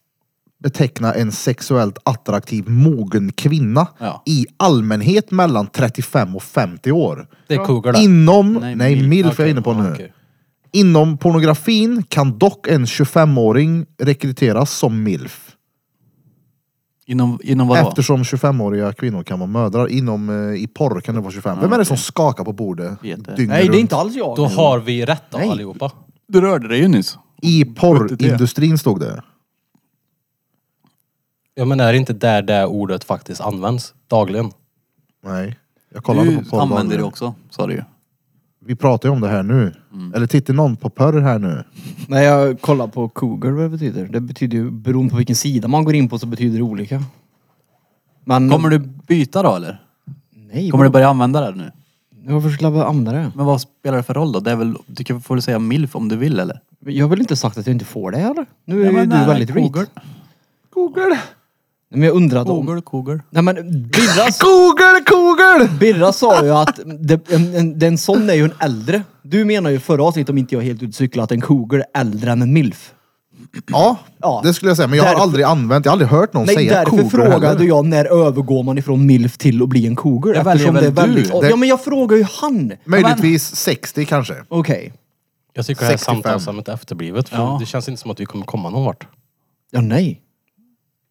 A: beteckna en sexuellt attraktiv mogen kvinna
D: Ja.
A: i allmänhet mellan 35 och 50 år.
C: Det är cougar där.
A: Inom,
D: Nej,
A: nej,
D: milf.
A: milf, är jag inne på nu. Inom pornografin kan dock en 25-åring rekryteras som milf.
D: Inom, inom vadå?
A: Eftersom 25-åriga kvinnor kan vara mödrar. Inom, eh, I porr kan det vara 25. Vem är det som skakar på bordet?
D: Vet det.
A: dygnet
B: Nej, det är
A: runt?
B: inte alls jag.
C: Då har vi rätt då,
A: Nej.
C: allihopa.
D: Du rörde dig ju nyss.
A: I porrindustrin stod det.
C: Ja men är det inte där det ordet faktiskt används dagligen?
A: Nej. Jag kollade
D: Du
A: på porr.
D: använder det
A: dagligen.
D: också, sa du ju.
A: Vi pratar ju om det här nu.
B: Mm.
A: Eller tittar någon på porr här nu?
B: Nej, jag kollar på cougar vad det betyder. Det betyder ju, beroende på vilken sida man går in på så betyder det olika. Men...
D: Kommer du byta då eller?
B: Nej,
D: Kommer du
B: vadå?
D: börja använda det nu?
B: Varför skulle jag börja använda det?
D: Men vad spelar det för roll då? Det är väl, du kan, får du säga milf om du vill eller?
B: Jag har väl inte sagt att jag inte får det eller? Nu är
D: Ja,
B: ju
D: men
B: du
D: nej,
B: väldigt
D: Cougar.
B: reet. Google. Men jag undrade om...
D: Kogel, kogel.
B: Nej men Birra,
A: Kogel, kogel!
B: Birra sa ju att det, en, en, den sån är ju en äldre. Du menar ju förra avsnittet om inte jag är helt utcyklad att en cougar är äldre än en milf.
A: Ja,
B: Ja.
A: det skulle jag säga. Men jag har
B: Därför-
A: aldrig använt, jag har aldrig hört någon
B: Nej,
A: säga
B: därför
A: kogel
B: frågade
A: heller.
B: jag när övergår man ifrån milf till att bli en cougar?
D: Det väljer väl du?
A: Det-
B: Ja men jag frågar ju han.
A: Möjligtvis 60 kanske.
B: Okej.
C: Jag tycker det här
A: 65.
C: samtalsämnet är efterblivet. För
D: Ja.
C: Det känns inte som att vi kommer komma någon vart.
B: Ja nej.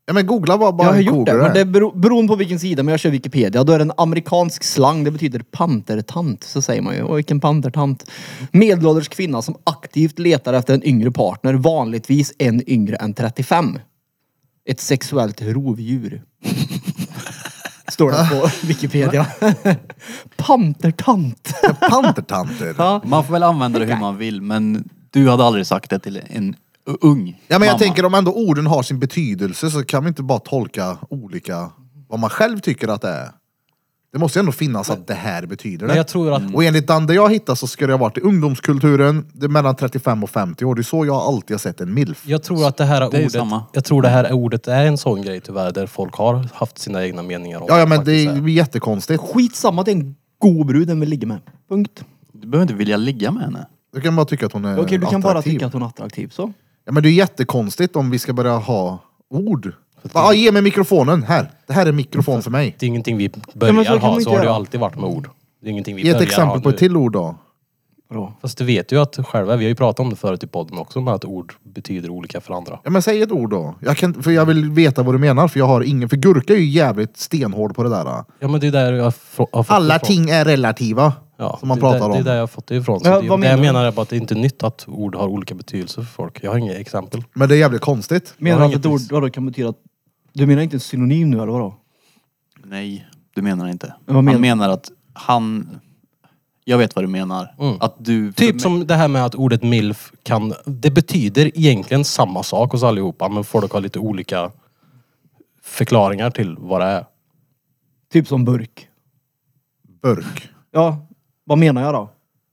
A: Ja men googla vad bara
B: jag har
A: en
B: gjort
A: kogel
B: det. Men det
A: är.
B: beror, beroende på vilken sida, men jag kör Wikipedia. Då är det en amerikansk slang, det betyder pantertant. Så säger man ju. Åh, vilken pantertant. Medelålders kvinna som aktivt letar efter en yngre partner, vanligtvis en yngre än 35. Ett sexuellt rovdjur. Står det på Wikipedia. pantertant.
A: Pantertanter.
B: Ja.
D: Man får väl använda det hur man vill men du hade aldrig sagt det till en ung
A: Ja men jag
D: mamma.
A: tänker om ändå orden har sin betydelse så kan vi inte bara tolka olika vad man själv tycker att det är. Det måste ju ändå finnas att det här betyder
C: Men
A: det.
C: jag tror att
A: Och enligt den där jag hittade så skulle jag ha varit i ungdomskulturen, det är mellan 35 och 50 år. Det är så jag alltid har sett en milf.
C: Jag tror att det här
D: Det är ju
C: ordet,
D: samma.
C: jag tror det här ordet är en sån grej tyvärr där folk har haft sina egna meningar om
A: Ja, ja
C: vad
A: men
C: man
A: det
C: kan
A: är
C: säga.
A: ju jättekonstigt.
B: Skitsamma, det är en god brud den vill ligga med. Punkt.
D: Du behöver inte vilja ligga med henne.
A: Du kan bara tycka att hon är
C: Eh,
B: Okej, du kan bara
A: attraktiv.
B: tycka att hon är attraktiv. Så.
A: Ja, men det är jättekonstigt om vi ska börja ha ord. Bara, ah, ge mig mikrofonen, här. Det här är mikrofon för mig.
C: Det är ingenting vi
B: Ja, men så
C: börjar
B: kan man
C: ha,
B: inte
C: så har det ju
B: göra.
C: alltid varit med ord. Det är ingenting vi
A: Ge ett
C: börjar
A: exempel
C: ha
A: på
C: nu.
A: ett till ord då.
B: Bra.
C: Fast du vet ju att själva, vi har ju pratat om det förut i podden också, med att ord betyder olika för andra.
A: Ja men säg ett ord då. Jag kan, för jag vill veta vad du menar för jag har ingen, för gurka är ju jävligt stenhård på det där. då.
C: Ja men det är där jag fro- har fått
A: Alla
C: ifrån.
A: ting är relativa.
C: ja,
A: som man
C: det är
A: pratar
C: där, Det är
A: om.
C: där jag har fått det ifrån. Så
B: Ja,
C: det,
B: vad
C: det jag
B: menar du?
C: menar är bara att det är inte nytt att ord har olika betydelse för folk. Jag har inga exempel.
A: Men det är jävligt konstigt.
B: Menar
C: Jag har
B: du att ett ord
C: inget-
B: vadå, kan betyda att... Du menar inte en synonym nu eller vadå?
D: Nej, du menar inte.
B: Vad menar-
D: Han menar att han... Jag vet vad du menar.
C: Mm.
D: Att du... för
C: Typ
D: mig-
C: som det här med att ordet milf kan, det betyder egentligen samma sak hos allihopa men folk har lite olika förklaringar till vad det är.
B: Typ som burk.
A: Burk.
B: Ja, vad menar jag då?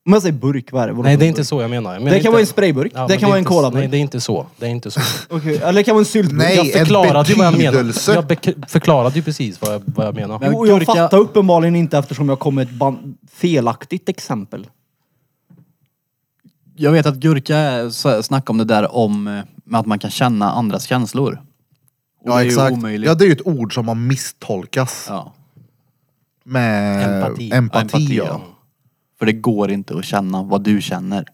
B: Om jag säger burk, vad är det? Vadå
C: Nej
B: för
C: det är
B: burk?
C: inte så jag menar. Jag menar
B: Det
C: inte-
B: kan vara en sprayburk,
C: Ja, men
B: det kan
C: är
B: vara en
C: inte- Nej
B: colaburk.
C: det är inte så. Det är inte så.
B: Okej, Eller det kan vara en syltburk.
A: Nej,
C: Jag
A: en
C: förklarade ju vad jag menar.
A: betydelse.
C: Jag bek- förklarade ju precis vad jag, vad jag menar.
D: Men-
B: Jo, jag
D: gurka-
B: fattar uppenbarligen inte eftersom jag kom med ett ban- felaktigt exempel.
D: Jag vet att Gurka är- så- snackade om det där om eh, med att man kan känna andras känslor. Och
A: Ja
D: det är
A: exakt.
D: Ju omöjligt.
A: Ja det är ju ett ord som har misstolkas.
D: Ja.
A: Med
C: Empati.
A: empati,
D: Empati,
A: ja.
D: ja. För det går inte att känna vad du känner.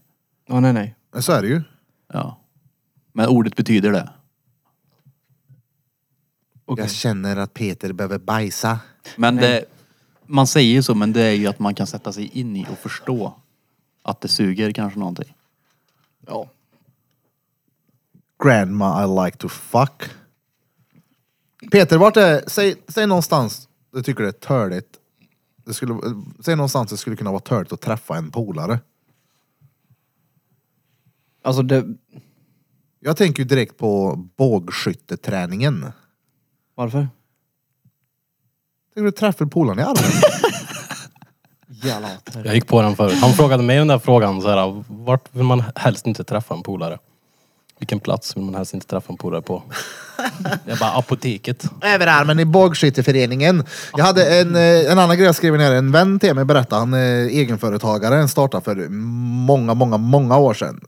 B: Ja, nej, nej.
A: Så är det ju.
D: Ja. Men ordet betyder det.
B: Okej.
A: Jag känner att Peter behöver bajsa.
D: Men det... Man säger ju så, men det är ju att man kan sätta sig in i och förstå att det suger kanske någonting.
B: Ja.
A: Grandma I like to fuck. Peter, vart är... Säg, säg någonstans du tycker det är törligt. Det skulle, säg någonstans det skulle kunna vara törligt att träffa en polare.
B: Alltså det...
A: Jag tänker ju direkt på bågskytteträningen.
B: Varför?
A: Tänker du träffar polaren i armen?
B: Jävla hat.
C: Jag gick på den förut. Han frågade mig den där frågan så här, vart vill man helst inte träffa en polare? Vilken plats vill man helst inte träffa en polare på? Jag bara, apoteket.
A: Överarmen i bågskytteföreningen. Jag hade en, eh, en annan grej jag skrev ner. En vän till mig berättade, han är egenföretagare. Han startade för många, många, många år sedan.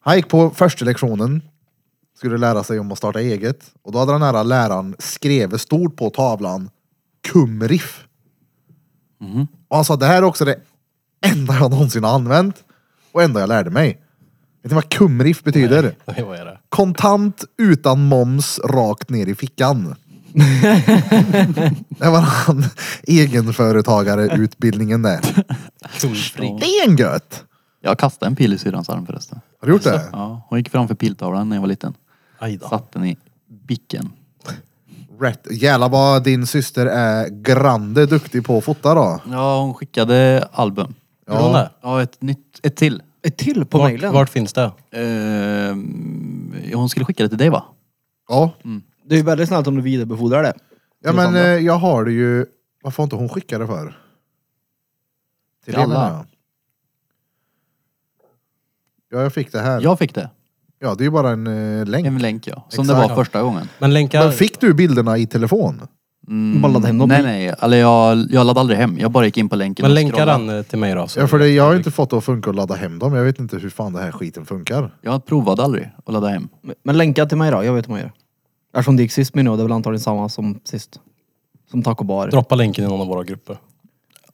A: Han gick på första lektionen. Skulle lära sig om att starta eget. Och då hade den här läraren skrivit stort på tavlan. Kumriff. Och han sa det här är också det enda jag någonsin har använt. Och enda jag lärde mig. Vet ni vad kumriff betyder?
C: Nej, vad är det?
A: Kontant utan moms rakt ner i fickan. det var han egenföretagare-utbildningen där.
C: Kumfri.
A: Stengött! Jag
D: Jag kastade en pil i syrrans arm förresten.
A: Har du gjort det?
D: Ja, hon gick framför piltavlan när jag var liten.
C: Aj då.
D: Satt den i bicken.
A: Rätt. Jävlar vad din syster är grande duktig på att fota då.
D: Ja, hon skickade album.
C: Gjorde hon det?
D: Ja, ett nytt, ett till.
B: Ett till på
C: Vart,
B: mejlen.
C: vart finns det?
D: Ehm, hon skulle skicka det till dig va?
A: Ja.
B: Det är ju väldigt snällt om du vidarebefordrar det.
A: Ja men eh, jag har det ju. Varför har inte hon skickat det för?
D: Till alla.
A: er, menar jag. Ja jag fick det här.
D: Jag fick det.
A: Ja, det är ju bara en eh, länk.
D: En länk ja. Som det
A: Exakt.
D: var första gången.
C: Men länkar...
A: Men fick du bilderna i telefon?
B: Bara ladda hem dem.
D: Mm. Nej nej, eller jag, jag laddade aldrig hem. Jag bara gick in på länken
C: men
D: och
C: länkar
D: scrollade.
C: den eh, till mig då? så-
A: Ja, för det, jag har ju inte fått det att funka att ladda hem dem. Jag vet inte hur fan den här skiten funkar.
D: Jag provade aldrig att ladda hem.
B: Men länka till mig då, jag vet hur man gör. Eftersom det gick sist med nu, det är väl antagligen samma som sist. Som taco bar.
C: Droppa länken i någon av våra grupper.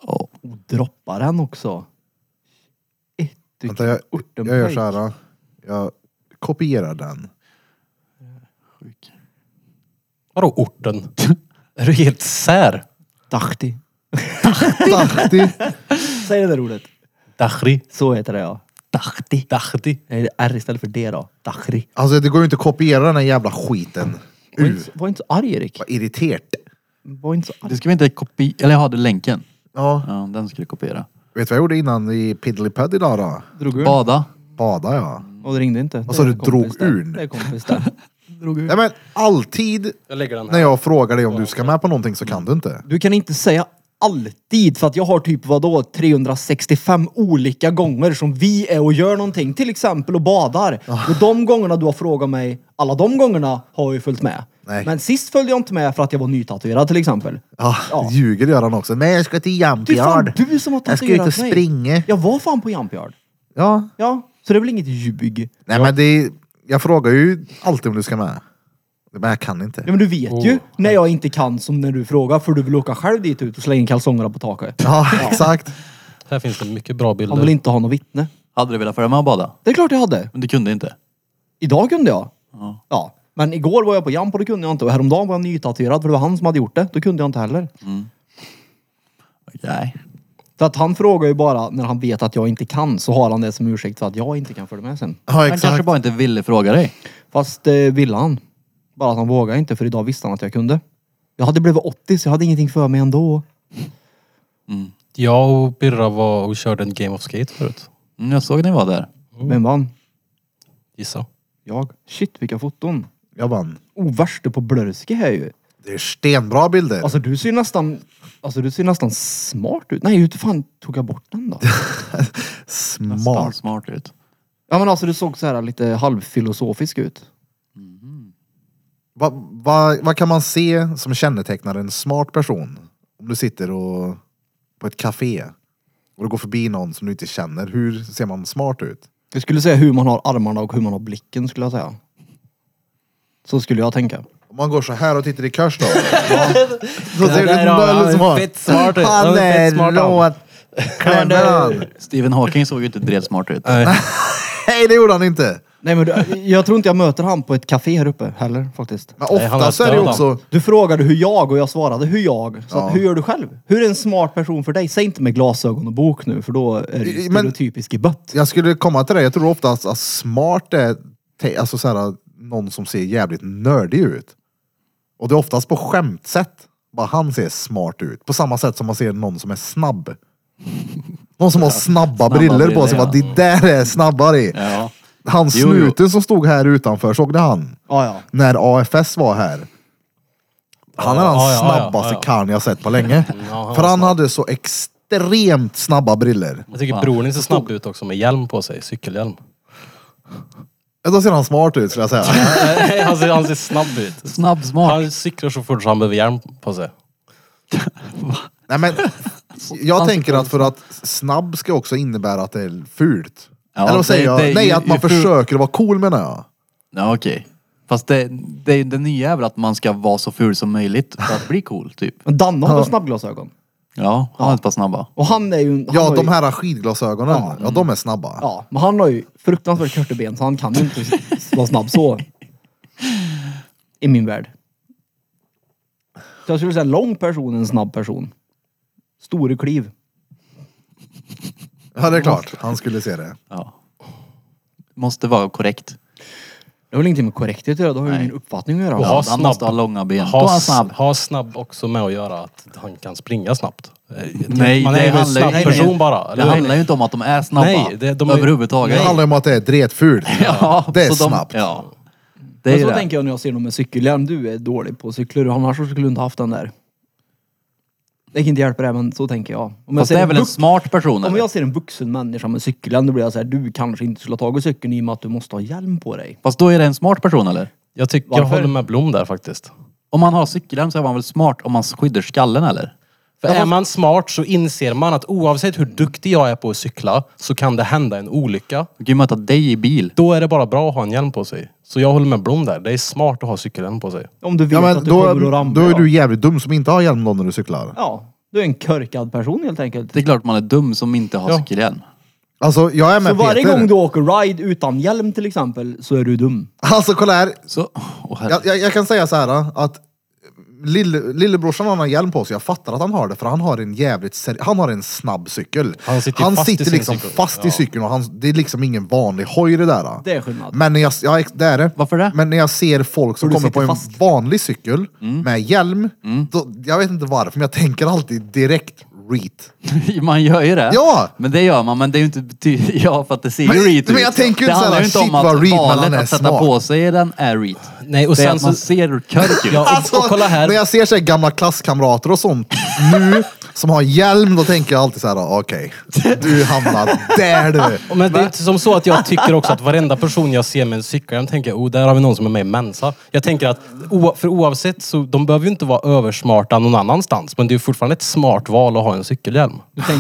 D: Ja.
B: Och droppa den också. Ett, du-
A: Vänta, jag, jag gör
B: Örtenpöjk.
A: så här. eh, Jag kopierar den.
D: Sjuk.
C: Vadå orten? är du helt sär?
B: Dachti.
A: Dachti.
B: Säg det där ordet.
C: Dachri.
B: Så heter det ja.
C: Dachti. Dachti.
B: Nej, det är R istället för D då. Dachri.
A: Alltså det går ju inte att kopiera den här jävla skiten.
B: Var
A: Uh,
B: inte, var inte så arg Erik.
A: vad irriterat.
B: Var inte så arg.
D: Det ska vi inte kopiera, eller jag hade länken.
A: Ja.
D: Ja, den skulle jag kopiera.
A: Vet du vad jag gjorde innan i Piddlypad idag då?
B: Drog ur.
D: Bada.
A: Bada ja.
B: Och det ringde inte. Vad
A: sa Alltså, du, drog ur?
B: Det är kompis där. drog ur.
A: Nej men alltid
C: Jag lägger den här.
A: när jag frågar dig om du ska med på någonting så kan du inte.
B: Du kan inte säga alltid för att jag har typ vadå 365 olika gånger som vi är och gör någonting. Till exempel och badar.
A: Ah.
B: Och de gångerna du har frågat mig, alla de gångerna har jag ju följt med.
A: Nej.
B: Men sist följde jag inte med för att jag var nytatuerad till exempel.
A: Ja,
B: Ja.
A: ljuger gör han också. Nej jag ska till
B: Det är fan
A: Jampiard.
B: du som har
A: Jag ska ut
B: tatuerat
A: och
B: mig.
A: springa.
B: Jag var fan på Jumpyard.
A: Ja.
B: Ja, så det är väl inget ljug.
A: Nej men det är, jag frågar ju alltid om du ska med. Men jag kan inte.
B: Ja, men du vet ju när jag inte kan som när du frågar för du vill åka själv dit ut och slänga in kalsongerna på taket.
A: Ja exakt.
C: Här finns det mycket bra
B: Han
C: bilder.
B: vill inte ha något vittne.
D: Hade du velat följa med och bada?
B: Det är klart jag hade.
D: Men du kunde inte.
B: Idag kunde jag.
D: Ja.
B: Ja. Men igår var jag på Jamp och det kunde jag inte. Och häromdagen var jag nytatuerad för det var han som hade gjort det. Då kunde jag inte heller.
D: Nej.
B: För att han frågar ju bara när han vet att jag inte kan så har han det som ursäkt för att jag inte kan följa med sen.
A: Ja
D: Han kanske
A: exakt.
D: bara inte ville fråga dig.
B: Fast eh, ville han. Bara att han vågade inte för idag visste han att jag kunde. Jag hade blivit 80 så jag hade ingenting för mig ändå.
C: Jag och Birra var och körde en Game of Skate förut.
D: Mm, jag såg ni var där.
B: Vem vann?
C: Gissa.
B: Jag. Shit vilka foton.
A: Jag vann.
B: Oh, värste på Blöske här ju.
A: Det är stenbra bilder.
B: Alltså du ser ju nästan, alltså, du ser nästan smart ut. Nej, hur fan tog jag bort den då?
C: alltså,
D: Nästan
A: Smart.
D: smart ut.
B: Ja men alltså du såg så här lite halvfilosofisk ut.
A: Vad va, vad kan man se som kännetecknar en smart person? Om du sitter och, på ett café och du går förbi någon som du inte känner. Hur ser man smart ut?
B: Jag skulle säga hur man har armarna och hur man har blicken skulle jag säga. Så skulle jag tänka.
A: Om man går så här och tittar i kors då? Ja. Så ser
C: där har han. Han är
A: du smart.
C: fett smart ut. Han
A: Han
C: är fett
A: är
C: smart han.
A: råklämmer han.
D: Stephen Hawking såg ju inte drevsmart ut.
A: Nej det gjorde han inte.
B: Nej men du, jag tror inte jag möter han på ett café här uppe heller faktiskt.
A: Men
C: Nej, han har
A: oftast är det ju
C: död
A: också...
B: Du frågade hur jag och jag svarade hur jag. Så hur gör du själv? Hur är en smart person för dig? Säg inte med glasögon och bok nu för då är du
A: Men-
B: stereotypisk i bött.
A: Jag skulle komma till det, jag tror oftast att smart är te- alltså så här, någon som ser jävligt nördig ut. Och det är oftast på skämtsätt. Bara han ser smart ut. På samma sätt som man ser någon som är snabb. Någon som har snabba, briller, på
D: briller,
A: sig.
D: ja.
A: Bara, det där är snabbare i.
D: Ja.
A: Han
D: Jo, jo.
A: snuten som stod här utanför, såg ni han?
B: Ja, ja.
A: När AFS var här. Han är den
C: Ja, ja, ja, ja,
A: snabbaste
C: ja.
A: karln jag sett på länge.
C: Ja, han
A: För
C: var
A: han hade så extremt snabba briller.
C: Jag tycker brodern ser snabb ut också med hjälm på sig. Cykelhjälm.
A: Då ser han smart ut skulle jag säga.
C: han, ser, han ser snabb ut.
D: Snabb smart.
C: Han cyklar så fort så han behöver hjälm på sig.
A: Nej men, jag tänker att för att snabb ska också innebära att det är fult.
D: Ja,
A: Eller vad säger
D: det-
A: jag?
D: det är ju-
A: Nej, att man
D: ju ful-
A: försöker vara cool menar jag.
D: Ja okej. Fast det, det, det nya är väl att man ska vara så ful som möjligt för att bli cool typ.
B: Men Danne har väl snabbglasögon?
D: Ja, han har ett par snabba.
B: Och han är ju... Han har
A: Ja,
B: ju-
A: de här skidglasögonen, ja, de är snabba.
B: Ja, men han har ju fruktansvärt korta ben så han kan ju inte s- vara snabb så. I min värld. Så jag skulle säga en lång person är en snabb person. Store kliv.
A: Ja, det är klart. Han skulle se det.
D: Ja. Måste vara korrekt.
B: Det har väl ingenting med korrekthet att göra, det har ju
D: Nej.
B: ingen uppfattning att göra.
C: Och ha
D: han måste ha långa ben. Då är
C: Ha,
D: han
C: s-
D: snabb.
C: ha snabb också med att göra att han kan springa snabbt. Eh, typ.
D: Nej,
C: man är
D: det
C: ju en
D: handlar,
C: snabb
D: nej, nej.
C: person bara.
D: Det
C: eller hur?
D: handlar ju inte om att de är snabba.
C: Nej, det- de är-
A: Det
D: Överhuvudtaget.
A: handlar om att det är dretfult.
D: Ja,
A: det är
D: så de-
A: snabbt.
D: Ja. Det är
B: Men
D: ju
B: så
D: det.
B: tänker jag när jag ser någon med cykelhjälm. Du är dålig på cykler, annars så skulle du inte haft den där. Det kan inte hjälpa det, men så tänker jag. Om jag,
D: Fast
B: ser
D: det är
B: en
D: väl en
B: vux-
D: smart person
B: om
D: eller?
B: jag ser en vuxen människa med cykeln, då blir jag så här, du kanske inte skulle ha tagit cykeln i och med att du måste ha hjälm på dig.
D: Fast då är det en smart person eller?
C: Jag tycker jag
B: Varför?
C: håller med Blom där faktiskt.
D: Om man har cykelhjälm så är man väl smart om man skyddar skallen eller?
C: För är man smart så inser man att oavsett hur duktig jag är på att cykla så kan det hända en olycka.
D: Du kan ju möta dig i bil.
C: Då är det bara bra att ha en hjälm på sig. Så jag håller med Blom där. Det är smart att ha cykelhjälm på sig.
B: Om du vet
A: Ja,
B: att
A: men
B: du
A: då,
B: kommer att ramla.
A: då är
B: ja.
A: du jävligt dum som inte har hjälm då när du cyklar.
B: Ja, du är en körkad person helt enkelt.
D: Det är klart man är dum som inte har
C: Ja.
D: cykelhjälm.
A: Alltså jag är med
B: Så varje
A: Peter.
B: gång du åker ride utan hjälm till exempel, så är du dum.
A: Alltså kolla här.
D: Så, åh, herre.
A: Jag, jag, jag kan säga så här att lille, lillebrorsan han har hjälm på sig. Jag fattar att han har det för han har en jävligt seri- han har en snabb cykel.
C: Han sitter fast i sin
A: liksom
C: cykel.
A: fast i
C: Ja.
A: cykeln och han, det är liksom ingen vanlig hoj det där.
B: Det är skillnad.
A: Men när jag, ja, ex- det är det.
D: Varför det?
A: Men när jag ser folk som
B: För du
A: kommer på en
B: sitter fast.
A: vanlig cykel med hjälm, då, jag vet inte varför men jag tänker alltid direkt reet.
D: man gör ju det.
A: Ja!
D: Men det gör man, men det är ju inte bety- Ja, för att det ser
A: Men-
D: ju reet
A: men
D: ut.
A: jag tänker ju inte
D: det handlar
A: såhär,
D: ju inte
A: shit,
D: om att
A: vad reet, men
D: valet
A: han är
D: att sätta
A: smart.
D: på sig den är reet.
C: Nej, och
D: det är
C: sen
D: att man
C: så-
D: ser körk ut.
C: Ja, och,
A: Alltså,
C: och kolla här.
A: När jag ser så här gamla klasskamrater och sånt nu, som har hjälm, då tänker jag alltid så här: "Ah, okej, du hamnar där du.
C: Ja, Men det är inte som så att jag tycker också att varenda person jag ser med en cykelhjälm tänker jag, oh, där har vi någon som är med i Mensa. Jag tänker att, oa- för oavsett så, de behöver ju inte vara översmarta någon annanstans. Men det är ju fortfarande ett smart val att ha en cykelhjälm.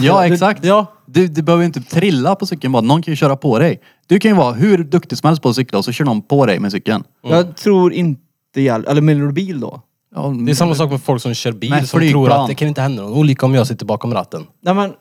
D: Ja, exakt. Ja. Du, du behöver ju inte trilla på cykeln bara. Någon kan ju köra på dig. Du kan ju vara hur duktig som helst på att cykla och så kör någon på dig med cykeln.
B: Jag tror inte hjälm. Eller menar du bil då?
D: Ja,
C: Det är samma sak med folk som kör bil
D: Nej,
C: som
D: flygplan.
C: tror att det kan inte hända någon olycka om jag sitter bakom ratten.
B: Nej men,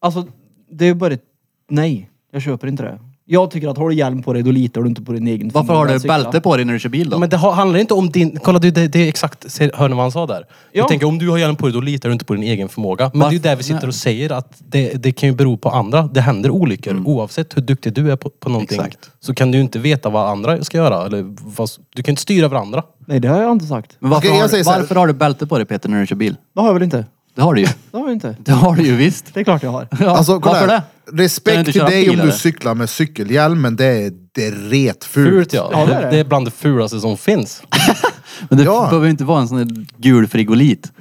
B: alltså det är ju bara ett nej. Jag köper inte det. Jag tycker att har du hjälm på dig, då litar du inte på din egen
D: Varför
B: förmåga
D: har
B: att
D: du
B: cykla.
D: bälte på dig när du kör bil då?
C: Men det har- handlar inte om din... Kolla, det, det, det är exakt... ser- Hör ni vad han sa där? Jag
B: Ja.
C: tänker, om du har hjälm på dig, då litar du inte på din egen förmåga. Men det är ju där vi sitter och säger att det, det kan ju bero på andra. Det händer olyckor.
B: Mm.
C: Oavsett hur duktig du är på, på någonting
D: Exakt.
C: så kan du ju inte veta vad andra ska göra. Eller vad, du kan inte styra varandra.
B: Nej det har jag inte sagt.
D: Men varför,
A: Okej, jag
D: har, du-
A: säger så här.
D: varför har du bälte på dig Peter när du kör bil?
B: Det har jag väl inte?
D: Det har du ju.
B: Det har jag inte.
D: Det har du ju visst.
B: Det är klart jag har.
D: Ja,
A: Alltså, kolla
D: varför
A: här.
D: det? Kan du
A: Respekt
D: inte
A: till
D: köra
A: dig
D: bil,
A: om du
D: eller?
A: cyklar med cykelhjälm, men det är dretfult.
C: Fult ja.
B: Ja, det
C: det,
B: är
C: det.
B: det.
C: är bland det fulaste som finns.
D: Men det
A: Ja.
D: behöver ju inte vara en sån där gul frigolit.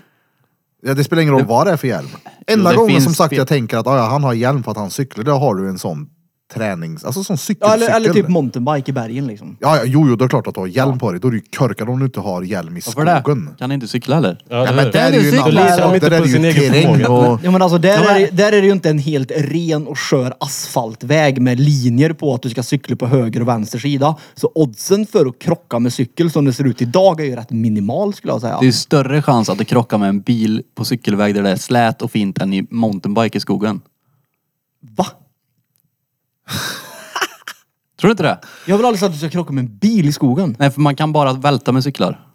A: Ja, det spelar ingen roll vad det är för hjälm. Enda
D: det
A: gången
D: finns
A: som sagt
D: spel-
A: jag tänker att ah, ja, han har hjälm för att han cyklar, då har du en sån tränings... Alltså sån
B: Ja,
A: cykelcykel.
B: eller, eller typ mountainbike i bergen liksom.
A: Ja, ja, jo, jo, det är klart att du har hjälm på dig. Då är du ju körkad om du inte har hjälm i
D: Varför det?
A: skogen.
D: Kan du inte cykla heller?
C: det
A: Ja,
C: är
A: men
C: det.
A: där är
D: Kan
A: ju
D: du
A: en
D: cykla?
A: annan sak.
C: Litar
A: Det där
C: inte
A: är
C: på sin
A: ju
C: egen
A: terräng
C: förmåga.
A: och...
B: Ja men alltså där,
D: Ja, men-
B: Är, det- där är det ju inte en helt ren och skör asfaltväg med linjer på att du ska cykla på höger och vänster sida. Så oddsen för att krocka med cykel som det ser ut idag är ju rätt minimal skulle jag säga.
D: Det är ju större chans att du krockar med en bil på cykelväg där det är slät och fint än i mountainbike i skogen.
B: Va?
D: Tror du inte det?
B: Jag vill aldrig säga att du ska krocka med en bil i skogen.
D: Nej, för man kan bara välta med cyklar.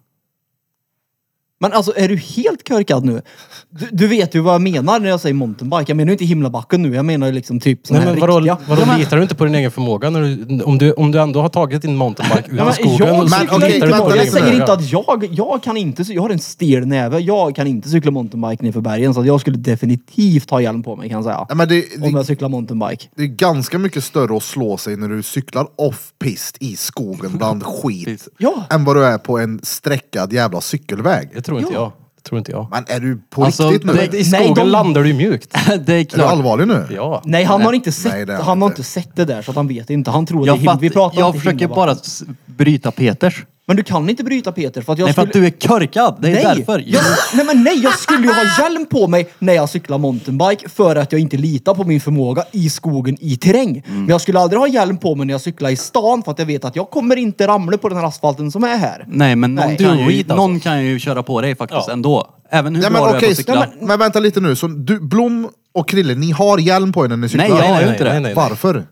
B: Men alltså är du helt körkad nu? Du, du vet ju vad jag menar när jag säger mountainbike. Jag menar ju inte himlabacken nu. Jag menar ju liksom typ sån
C: Nej,
B: här
C: men vadå,
B: riktiga.
C: vadå litar du inte på din egen förmåga? När du, om, du, om du ändå har tagit din mountainbike ut
B: Ja,
C: i
B: men
C: skogen
B: jag
C: så
A: Men
B: cyklar
A: okej,
B: inte
C: litar du på
A: vänta,
C: din
B: jag
A: lite
C: egen
A: nu.
B: säger
C: förmåga.
B: inte att jag, jag kan inte, cy- jag har en stel näve. Jag kan inte cykla mountainbike nerför bergen så att jag skulle definitivt ha hjälm på mig kan jag säga.
A: Ja, men det, det,
B: Om jag cyklar mountainbike.
A: det är ganska mycket större att slå sig när du cyklar off-pist i skogen bland skit.
B: Ja.
A: Än vad du är på en sträckad jävla cykelväg.
C: Det tror inte
B: Ja.
C: jag. Det tror inte jag.
A: Men är du på
D: Alltså,
A: riktigt nu?
D: det-
A: är
C: I
B: Nej,
C: skogen
B: de-
C: landar du ju mjukt.
D: det är
A: du
D: klart.
A: allvarlig nu?
C: Ja.
B: Nej han har inte sett,
A: Nej, det har
B: han har
A: inte.
B: inte sett det där så att han vet inte. Han tror
D: Jag,
B: att det är him-
D: fatt,
B: Vi pratar
D: jag
B: inte
D: försöker
B: himlabacken.
D: bara s- bryta Peters.
B: Men du kan inte bryta Peter för att jag
D: Nej, för
B: skulle...
D: att du är körkad. Det är
B: nej.
D: därför.
B: Jag, nej men nej, jag skulle ju ha hjälm på mig när jag cyklar mountainbike för att jag inte litar på min förmåga i skogen i terräng. Men jag skulle aldrig ha hjälm på mig när jag cyklar i stan för att jag vet att jag kommer inte ramla på den här asfalten som är här.
D: Nej, men någon,
B: Nej.
D: Kan, ju,
C: Duo-it alltså.
D: någon kan ju köra på dig faktiskt
C: Ja.
D: ändå. Även hur
A: Nej,
D: bra
A: men
D: du är på
A: okej,
D: att cykla.
A: nej, men, men vänta lite nu. Så du, Blom och Krille, ni har hjälm på er när ni cyklar?
D: Nej, jag har
C: nej,
D: ju
C: nej,
D: inte
C: nej,
D: det.
C: nej.
A: Varför?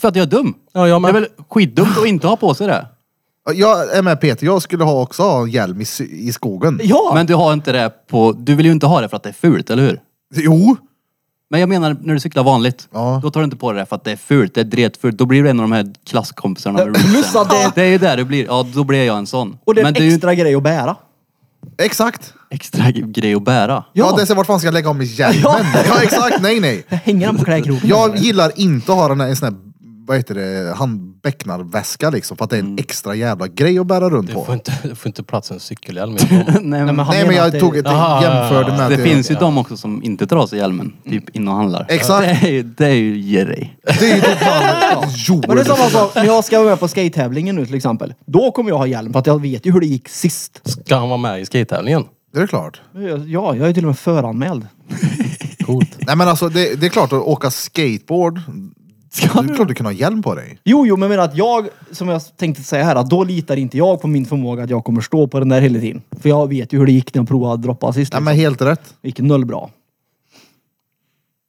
D: För att jag är dum.
C: Ja, jag
D: det
C: med.
D: är väl skitdumt att inte ha på sig det.
A: Jag är med Peter, jag skulle ha också ha hjälm i, sy- i skogen.
B: Ja!
D: Men du har inte det på... Du vill ju inte ha det för att det är fult, eller hur?
A: Jo!
D: Men jag menar när du cyklar vanligt.
A: Ja.
D: Då tar du inte på det för att det är fult. Det är dretfult. Då blir du en av de här klasskompisarna. med
B: Plus
D: rootsen.
B: att det-
D: det är ju där du blir. Ja, då blir jag en sån.
B: och det är
D: men
B: en
D: det är ju
B: extra grej att bära.
A: Exakt!
D: extra grej att bära.
A: Ja,
B: Ja.
A: det är så vart fan ska jag lägga av mig hjälmen? Ja. exakt, nej nej.
B: Hänger den på klädkroken?
A: Jag gillar inte att ha den här, en sån här, vad vad heter det, handbäcknarväska liksom. För att det är en extra jävla grej att bära runt
C: Du
A: på.
C: får inte, du får inte plats i en cykelhjälm. i dem.
D: Nej, men,
B: men han
A: Nej men
B: menar
A: jag
B: att det-
A: tog ett
C: Aha,
A: jämförde med
D: det
A: att jag-
D: finns ju de också som inte drar sig hjälmen. Typ in och handlar.
A: Exakt.
D: Det är ju, det är ju ge dig.
A: Det är ju typ han
B: Men det är
A: Joel.
B: samma sak, när jag ska vara med på skate-tävlingen nu till exempel. Då kommer jag ha hjälm för att jag vet ju hur det gick sist.
C: Ska han vara med i skatetävlingen?
A: Det är klart.
B: Ja, jag är till och med föranmäld.
C: Coolt.
A: Nej men alltså det, det är klart att åka skateboard. Det är klart du kan ha hjälm på dig.
B: Jo, jo, men jag menar att jag, som jag tänkte säga här, att då litar inte jag på min förmåga att jag kommer stå på den där hela tiden. För jag vet ju hur det gick när jag provade att droppa sist.
A: Nej
B: Liksom.
A: men helt rätt.
B: Det gick noll bra.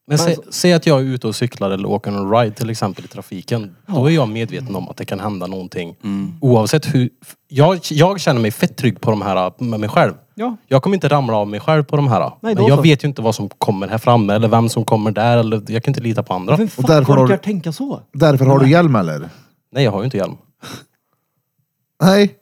C: Men se, se att jag är ute och cyklar eller åker en ride till exempel i trafiken. Då är jag medveten om att det kan hända någonting. Oavsett hur... Jag, jag känner mig fett trygg på de här äh, med mig själv.
B: Ja.
C: Jag kommer inte ramla av mig själv på de här. äh.
B: Nej,
C: men
B: då
C: jag
B: så.
C: vet ju inte vad som kommer här framme eller vem som kommer där. Eller, jag kan inte lita på andra.
B: Vem fan
A: därför
B: orkar
A: har du-
B: tänka så?
A: Därför har du hjälm eller?
C: Nej, jag har ju inte hjälm.
A: Nej.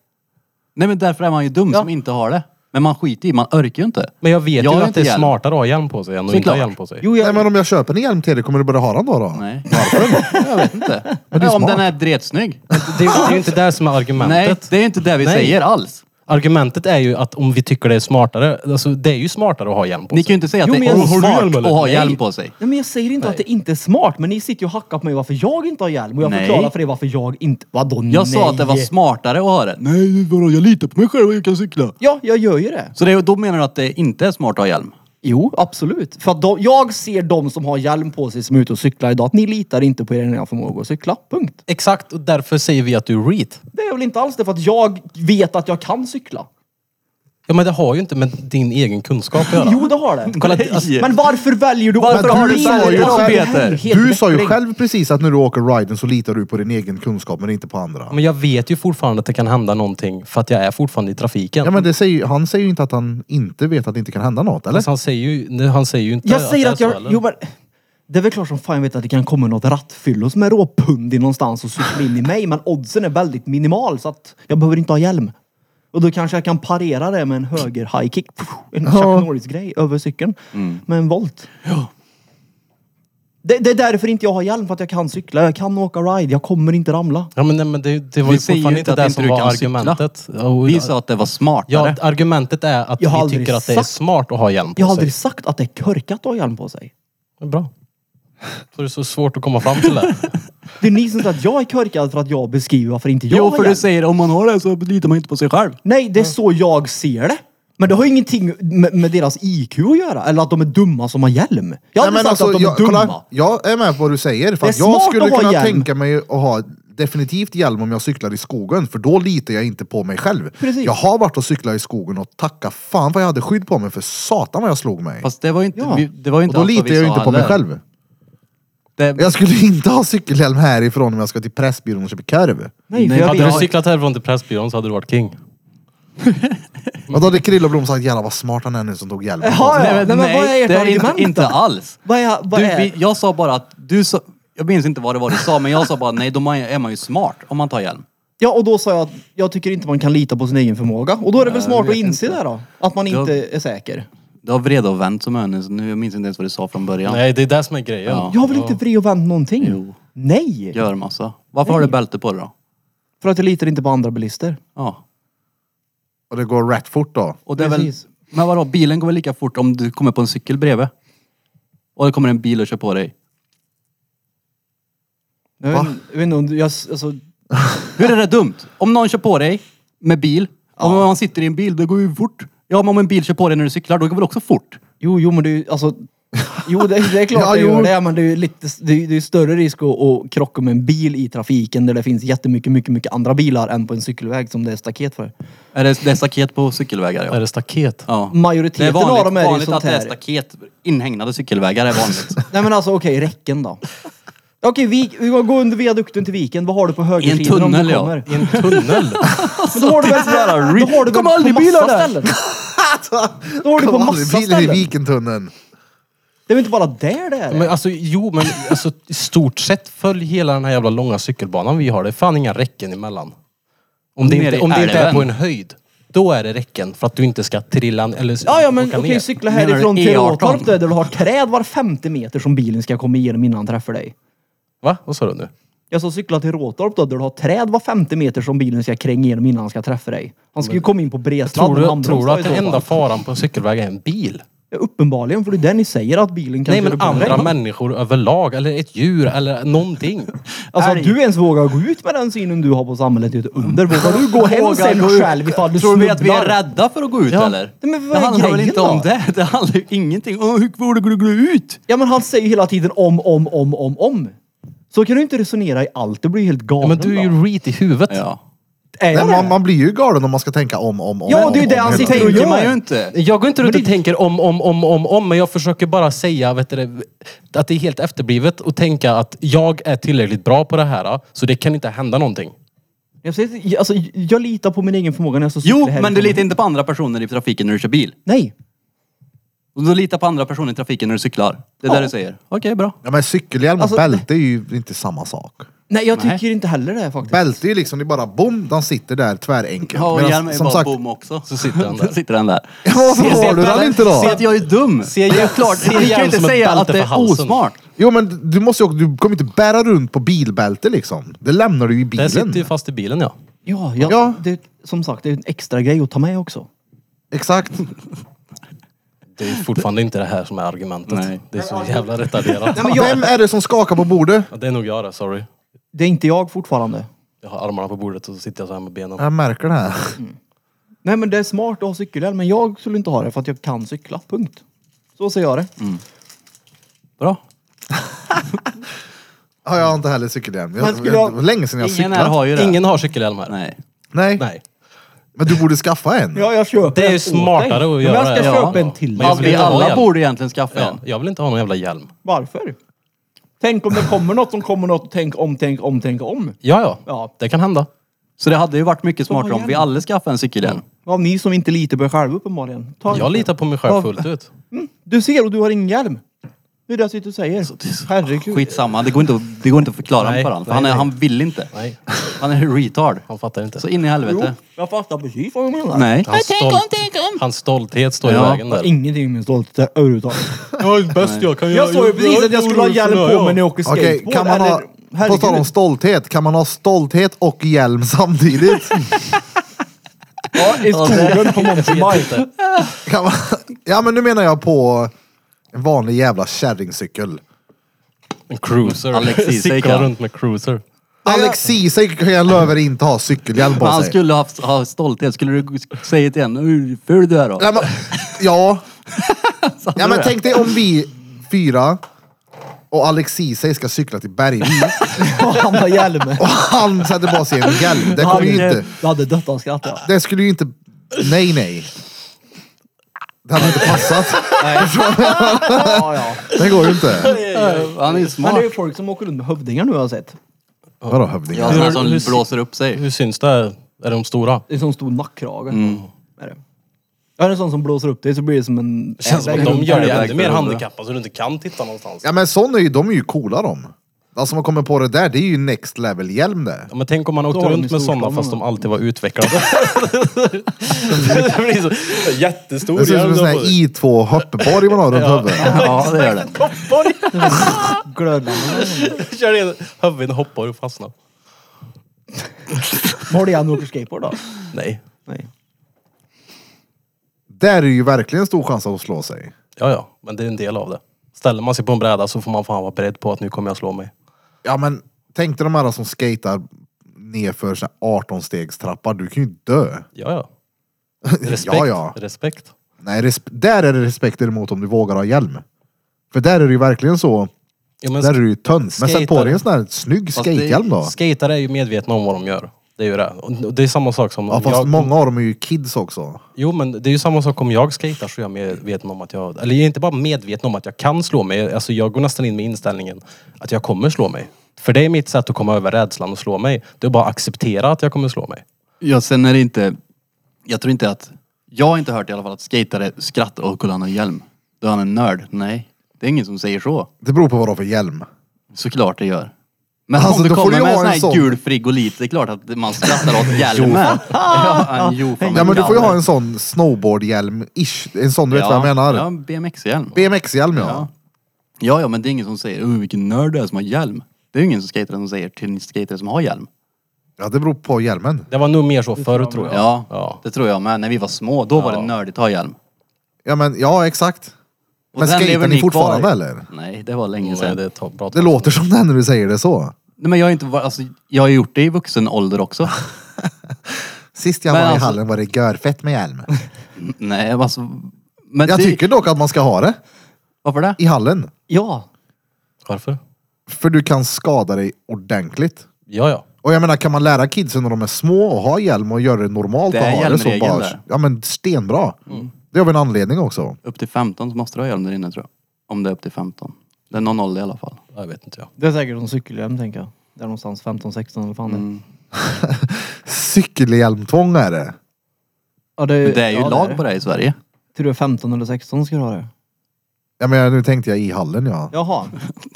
D: Nej men därför är man ju dum som inte har det. Men man skiter i, man orkar ju inte.
C: Men jag vet
D: Jag har
C: ju
D: ju
C: att
D: inte
C: det är
D: hjälm.
C: smartare att ha hjälm på sig än att inte ha
D: Såklart.
C: hjälm på sig.
B: Jo,
A: Nej
B: jag,
A: men om jag köper en hjälm till dig, kommer du börja ha den då? då?
D: Nej. Varför? jag vet inte.
A: det är
D: Ja, om
A: smart.
D: den är dretsnygg.
C: Det, det är ju inte det som är
D: Nej,
C: argumentet.
D: det är ju inte det vi
C: Nej.
D: säger alls.
C: Argumentet är ju att om vi tycker det är smartare, alltså det är ju smartare att ha hjälm på
D: Ni
C: sig.
D: kan ju inte säga att
B: Jo,
D: det
B: men
D: är
B: jag-
C: Har du hjälm
D: osmart
C: eller?
D: att ha
C: Nej.
D: hjälm på sig.
B: Nej, men jag säger inte att det inte är smart, men ni sitter ju och hackar på mig varför jag inte har hjälm. Och jag
D: Nej.
B: förklarar för er varför jag inte... Vadå nej?
D: Jag sa att det var smartare att ha det. Nej, vadå, jag litar på mig själv och jag kan cykla.
B: Ja, jag gör ju det.
D: Så det, då menar du att det inte är smart att ha hjälm?
B: Jo, absolut. För att de, jag ser de som har hjälm på sig som är ute och cyklar idag, att ni litar inte på er egna förmåga att cykla. Punkt.
C: Exakt, och därför säger vi att du är reet.
B: Det är väl inte alls det, för att jag vet att jag kan cykla.
C: Ja men det har ju inte med din egen kunskap att göra.
B: Jo, det har det.
C: Kolla,
D: Nej.
C: alltså,
B: Men varför väljer du...
D: Varför
B: Men
D: har du
B: min-
D: samma
B: Ja,
D: yrke,
B: det här
D: Peter?
B: är helt
A: Du sa ju
B: väckling.
A: själv precis att när du åker riden så litar du på din egen kunskap men inte på andra.
C: men jag vet ju fortfarande att det kan hända någonting för att jag är fortfarande i trafiken.
A: Ja men det säger, ju- han säger ju inte att han inte vet att det inte kan hända något eller?
D: Alltså,
C: Fast han, säger ju, nej, han säger ju inte
B: Jag säger
C: det är
B: att
C: så,
B: jag...
C: eller?
B: Jo, men, det är väl klart som fan jag vet att det kan komma något rattfyllo som är råpundig någonstans och cykla in i mig. Men oddsen är väldigt minimal så att jag behöver inte ha hjälm. Och då kanske jag kan parera det med en höger high kick. Pff, En Chuck Norris-grej över cykeln. Med en volt. Det, det är därför inte jag har hjälm. För att jag kan cykla, jag kan åka ride, jag kommer inte ramla.
C: Ja men, nej, men det, det var
D: Vi
C: ju
D: säger ju
C: fortfarande
D: inte
C: inte
D: att
C: det
D: inte
C: som
D: du
C: var
D: kan cykla.
C: argumentet. Och-
D: Vi sa att det var
C: Ja,
D: smartare.
C: argumentet är att vi
B: Jag har aldrig
C: tycker att det är
B: sagt-
C: smart att ha hjälm på
B: Jag har aldrig
C: sig.
B: sagt att det är korkat att ha hjälm på sig.
C: Det är Bra. Så det är så svårt att komma fram till det.
B: Det är ni som säger att jag är korkad för att jag beskriver varför inte jag
D: Jo,
B: har
D: för
B: hjälm.
D: du säger om man har det så litar man inte på sig själv.
B: Nej, det är så jag ser det. Men det har ju ingenting med, med deras IQ att göra. Eller att de är dumma som har hjälm. Jag har aldrig
A: men
D: alltså,
B: sagt att de
A: jag,
B: är dumma.
A: kolla, jag är med på vad du säger. För
B: Det är
A: att jag
B: smart
A: skulle
B: att ha
A: kunna
B: hjälm.
A: tänka mig att ha definitivt hjälm om jag cyklar i skogen. För då litar jag inte på mig själv.
B: Precis.
A: Jag har varit och cyklat i skogen och tacka fan vad jag hade skydd på mig för satan vad jag slog mig.
D: Fast det var ju inte,
B: Ja.
D: vi, det var ju
A: och
D: inte
A: då
D: alls vad
A: litar
D: vi
A: jag ju
D: sa
A: inte på mig
D: heller.
A: själv.
D: Det,
A: Jag skulle inte ha cykelhjälm härifrån om jag ska till Pressbyrån och köpa korv.
B: Nej, för
D: Nej,
B: jag
D: men
B: vet.
C: Hade
D: det
C: du
D: har-
C: cyklat härifrån till Pressbyrån så hade du varit king.
A: Och då hade Krill och Blom sagt jävlar vad smart han är nu som tog hjälmen.
B: Jaha, ja.
D: nej,
B: Nej,
D: men,
B: men vad är
D: nej,
B: ert
D: det är
B: argument
D: inte, inte
B: då?
D: alls.
B: Vad är... Vad
D: Du,
B: är...
D: vi, jag sa bara att du sa, jag minns inte vad det var du sa, men jag sa bara nej, då man- är man ju smart om man tar hjälm.
B: Ja, och då sa jag att jag tycker inte man kan lita på sin egen förmåga. Och då är det väl
D: Nej,
B: smart
D: jag
B: att
D: vet
B: inse
D: inte.
B: det då. Att man
D: Jag-
B: inte är säker.
D: Du har vred och vänt som ön, så nu jag minns inte ens vad du sa från början.
C: Nej, det är det som är grejen.
D: Ja.
B: Jag har väl inte vrid och vänt någonting?
D: Jo.
B: Nej!
D: Gör massa. Varför har du bälte på dig då?
B: För att jag litar inte på andra bilister.
D: Ja.
A: Och det går rätt fort då.
D: Och det är väl,
B: Precis.
D: men vadå, bilen går väl lika fort om du kommer på en cykel bredvid? Och det kommer en bil och kör på dig.
B: Jag vet, jag vet inte om du... Jag, alltså,
D: Hur är det dumt? Om någon kör på dig med bil, om man sitter i en bil, det går ju fort. Ja, men om en bil kör på dig när du cyklar, då går det väl också fort?
B: Jo, jo men det är ju- alltså... Jo, det, det är klart
A: Ja,
B: det
A: jo.
B: gör det, men det är ju lite, det är, det är större risk att, att krocka med en bil i trafiken där det finns jättemycket, mycket, mycket andra bilar än på en cykelväg som det är staket för.
D: Är det, det är staket på cykelvägar,
C: Är
D: ja.
C: det staket?
D: ja. Det
B: Majoriteten
D: är vanligt,
B: av dem är ju
D: vanligt att
B: sånt
D: det är
B: här.
D: staket. Inhägnade cykelvägar är vanligt.
B: Nej men alltså okej, räcken då. Okej, vi, vi går under viadukten till viken. Vad har du på
D: I en
B: högersidan om
D: tunnel,
B: du
D: ja.
B: kommer?
C: I en tunnel?
B: Men då har du väl, då har du väl
D: Kom
B: på
D: aldrig bilar
B: massa
D: där.
B: ställen? Då har du på
A: Kom aldrig,
B: massa
A: bilen i
B: ställen.
A: Vikentunneln.
B: Det är väl inte bara där det är?
C: Men alltså, jo men alltså, i stort sett följ hela den här jävla långa cykelbanan vi har. Det är fan inga räcken emellan. Om det
D: Nere
C: inte,
D: i
C: om det inte är
D: älven.
C: på en höjd, då är det räcken för att du inte ska trilla eller
B: Ja, ja men
C: åka
B: okej,
C: ner.
B: cykla
D: Menar du E
B: härifrån till
D: E18?
B: Råtorp där du har träd var femte meter som bilen ska komma igenom innan han träffar dig.
C: Va? Vad sa du nu?
B: Jag som cyklar till Råtorp då, där du har träd var 50 meter som bilen ska kränga igenom innan han ska träffa dig. Han ska ju komma in på bredsladden.
C: Tror du,
B: han
C: tror du
B: bromsar
C: att den
B: i så fall.
C: enda faran på en cykelväg är en bil?
B: Ja, Uppenbarligen, för det är där ni säger att bilen kan
C: Nej
B: köra
C: men
B: på en
C: andra
B: väg.
C: människor överlag, eller ett djur, eller någonting.
B: Alltså att du ens vågar gå ut med den synen du har på samhället är ju ett under. Vågar du gå hem
D: Vågar
B: sen
D: gå ut?
B: själv ifall du
D: Tror
B: snubblar?
D: vi att vi är rädda för att gå ut eller?
B: Nej, men vad
D: det
B: är
D: handlar väl
B: grejen
D: inte
B: då?
D: om det? Det handlar ju ingenting om hur borde du gå ut?
B: Ja men han säger ju hela tiden om, om, om, om, om. Så kan du inte resonera i allt, det blir ju helt
C: Ja,
B: galen
C: men du är
B: då.
C: ju reet i huvudet.
D: Ja.
B: Är
A: Nej,
B: jag
A: man,
B: det?
A: man blir ju galen om man ska tänka om, om, om.
B: Ja,
A: om,
B: det är ju det
A: om
B: han
A: hela
B: sitter
A: tiden.
B: och
D: Tänker man
B: gör.
D: ju inte.
C: Jag går inte runt och tänker om, om, om, om, om, men jag försöker bara säga vet du, det, att det är helt efterblivet och tänka att jag är tillräckligt bra på det här så det kan inte hända någonting.
B: Jag, säger, alltså, jag litar på min egen förmåga när jag så cyklar
D: Jo, men
B: härifrån.
D: du litar inte på andra personer i trafiken när du kör bil.
B: Nej.
D: Och du litar på andra personer i trafiken när du cyklar. Det är
B: Ja.
D: det du säger. Okej, bra.
A: Ja, men cykelhjälm och
B: Alltså-
A: bälte är ju inte samma sak.
B: Nej, jag
D: Nej.
B: tycker inte heller det faktiskt.
A: Bälte är ju liksom, det är bara bom, den sitter där tvärenkelt.
D: Ja, och
A: Medan,
D: hjälm är bara bom också. Så
C: sitter den där.
D: sitter den där.
A: Ja, Varför har du den inte då?
D: Se att jag är dum.
C: Se
D: det är
C: hjälm-
D: klart.
C: se
D: Vi kan
C: hjälm
D: ju inte
C: som ett
D: säga
C: bälte
D: att det
C: för
D: är
C: halsen.
D: osmart.
A: Jo men du måste ju, du kommer inte bära runt på bilbälte liksom. Det lämnar du ju i
C: Där
A: bilen.
C: sitter ju fast i bilen ja.
B: Ja, jag,
A: Ja.
B: Det, som sagt, det är en extra grej att ta med också.
A: Exakt.
C: Det är ju fortfarande inte det här som är argumentet.
D: Nej.
C: Det är så jävla retarderat.
A: Vem är det som skakar på bordet?
C: Ja, det är nog jag det, sorry.
B: Det är inte jag fortfarande.
C: Jag har armarna på bordet och så sitter jag så här med benen.
A: Jag märker det här.
B: Nej men det är smart att ha cykelhjälm, men jag skulle inte ha det för att jag kan cykla. Punkt. Så ser jag det.
D: Bra.
A: Ja, jag har inte heller cykelhjälm. Jag,
B: Men skulle jag-
A: det var länge sedan jag
D: Ingen här
A: cyklade.
D: har ju det.
C: Ingen har cykelhjälm här.
D: Nej.
A: Nej.
C: Nej.
A: men du borde skaffa en.
B: Ja, jag
C: Det
B: köper
C: är ju
B: en åt
C: smartare
B: dig.
C: att
B: Men
C: göra
B: Jag ska
C: det, ja.
B: köpa en till
C: Men
D: Ja,
C: jag
B: dig.
C: vill
D: vi
C: inte ha
D: alla
C: hjälm.
D: borde egentligen skaffa
C: Ja,
D: en.
C: jag vill inte ha någon jävla hjälm.
B: Varför? Tänk om det kommer något som kommer något. Tänk om, tänk om, tänk om.
C: Ja, ja.
B: Ja.
C: Det kan hända.
D: Så det hade ju varit mycket
B: har
D: smartare om vi
B: hjälm.
D: alla skaffade en cykelhjälm.
B: Av ni som inte litar på er själva uppenbarligen. Ta
C: Jag litar på mig själv fullt ut.
B: Du ser och du har ingen hjälm. Det är det jag sitter och säger. Herregud.
D: Skitsamma, det går inte att, det går inte att förklara
C: Nej,
D: för honom. För
C: nej,
D: han, är,
C: nej.
D: han vill inte.
C: Nej,
D: Han är retard.
C: han fattar inte.
D: Så in i
B: Jo,
D: helvete.
B: jag fattar precis vad du menar.
D: Nej.
C: Hans, stolt, hans stolthet står i
D: Ja.
C: vägen där.
B: Ingenting med min stolthet överhuvudtaget.
C: Jag är bäst jag kan
B: Jag sa ju precis att jag skulle ha hjälm på mig när jag åker skateboard.
A: Okej, kan man ha...
B: eller-
A: På tal om
B: Herregud.
A: stolthet, kan man ha stolthet och hjälm samtidigt?
B: Ja, i skogen på Monty Mike.
A: Kan man... Ja men nu menar jag på en vanlig jävla kärringcykel.
C: En cruiser.
D: Alex Isak,
C: Cykla
D: ja.
C: runt med cruiser.
A: Alex Ceesay kan jag löver inte ha cykelhjälm på
D: Men han
A: sig.
D: skulle ha, ha stolthet. Skulle du säga till henne, hur ful du är då?
A: Ja, men, ja. ja men
D: det.
A: tänk dig om vi fyra och Alex Ceesay ska cykla till Bergvik
B: Och han har hjälm.
A: och han sätter på sig en hjälm. Det kommer ju inte...
B: Jag hade dött av skratt ja.
A: Det skulle ju inte... Nej nej. Det hade inte passat.
B: ja, ja.
A: Det går ju inte.
D: Han är ju
B: Men
D: smart.
B: det är ju folk som åker runt med hövdingar nu har jag sett.
A: Vadå hövdingen?
D: Ja, sån här
C: Hur-
D: som
C: hur-
D: blåser upp sig.
C: Hur syns det? Är det de stora?
B: Det är en sån stor nackkrage.
D: Mm.
B: Är det. Ja, det är en sån som blåser upp dig så blir det som en...
C: Det känns som att
B: airbag
C: de
B: runt
C: gör dig
B: airbag.
C: ännu mer handikappad så du inte kan titta någonstans.
A: Ja men sån är ju, de är ju coola de. Alltså man kommer på det där, det är ju next level hjälm det.
C: Ja, men tänk om man
B: har
C: åkte
B: de
C: runt
B: ju
C: med sådana
B: storkameror.
C: fast de alltid var utvecklade. det blir så jättestor
A: Det ser ut som en sån här
C: på dig.
A: I2 hoppborg man har runt huvudet.
D: Ja, det gör det.
C: Hoppborg!
B: Glödlampor.
C: Kör in huvudet, hoppar och fastnar.
B: Var det han åker skateboard då?
C: Nej.
B: Nej.
A: Där är ju verkligen stor chans att slå sig.
C: Ja, ja. Men det är en del av det. Ställer man sig på en bräda så får man fan vara beredd på att nu kommer jag slå mig.
A: Ja men tänk dig de här som skatar nerför sån här 18 stegstrappa. Du kan ju dö.
C: Ja, ja. Respekt.
A: Ja, ja.
C: Respekt.
A: Nej, resp- där är det respekt emot om du vågar ha hjälm. För där är det ju verkligen så.
C: Ja, men
A: Där är du ju tönt. Men sätt på
C: Skatare.
A: dig en sån här snygg
D: det-
A: skatehjälm då.
C: Skatare är ju medvetna om vad de gör. Det är ju det. Och det är samma sak som...
A: Ja
C: om
A: fast
C: jag,
A: många av dem är ju kids också.
C: Jo men det är ju samma sak om jag skater så är jag medveten om att jag... Eller jag är inte bara medveten om att jag kan slå mig. Alltså jag går nästan in med inställningen att jag kommer slå mig. För det är mitt sätt att komma över rädslan och slå mig. Det är bara att acceptera att jag kommer slå mig.
D: Ja, sen är det inte... Jag tror inte att... Jag har inte hört i alla fall att skatare skrattar och kolla han har hjälm. Då är han en nörd. Nej, det är ingen som säger så.
A: Det beror på vad du har för hjälm.
D: Såklart det gör. Men
A: Alltså,
D: om du
A: då får
D: kommer
A: du
D: med
A: ha
D: en sån
A: en
D: här
A: sån.
D: gul frigolit, det är klart att man skrattar åt hjälmen. ja, en jo, fan,
A: Ja men du får ju ha
D: galler.
A: en sån snowboardhjälm-ish. En sån, du vet vad jag menar?
D: Ja, en BMX-hjälm.
A: BMX-hjälm ja.
D: Ja. ja, ja, men det är ingen som säger "Oj, vilken nörd du är som har hjälm. Det är ju ingen som skater som säger till en skater som har hjälm.
A: Ja, det beror på hjälmen.
C: Det var nog mer så förr tror jag.
D: Ja,
C: ja.
D: det tror jag med. När vi var små, då var det nördigt att ha hjälm.
A: Ja, men ja, exakt.
D: Och
A: Men
D: sen lever
A: skatern är
D: ni kvar.
A: fortfarande eller?
D: Nej, det var länge
C: Nej,
D: sedan.
C: det, tar bra
A: Det låter som det när du säger det så.
D: Nej, men jag, har inte, var- alltså, jag har ju gjort det i vuxen ålder också.
A: Sist jag
D: Men
A: var i
D: alltså-
A: hallen var det görfett med hjälm.
D: Nej, alltså, men
A: Jag
D: det,
A: tycker dock att man ska ha det
D: Varför det?
A: i hallen.
B: Ja.
C: Varför?
A: För du kan skada dig ordentligt.
C: Ja, ja.
A: Och jag menar, kan man lära kidsen när de är små att ha hjälm och göra det normalt
D: Det
A: att
D: är
A: ha det så
D: hjälmregeln
A: bara...
D: där. Mm.
A: Ja men stenbra. Det är av en anledning också.
D: Upp till 15 så måste du ha hjälm där inne tror jag. Om det är upp till 15. Det är någon ålder i alla fall.
C: Jag vet inte jag.
B: Det är säkert en cykelhjälm tänker jag. Där någonstans 15-16 eller fan det är.
D: Mm.
A: Cykelhjälmtvång är det.
B: ja,
D: Men det är ju
B: ja,
D: lag på det i Sverige.
B: Tror du 15 eller 16 ska du ha det?
A: Ja men nu tänkte jag i hallen ja.
B: Jaha.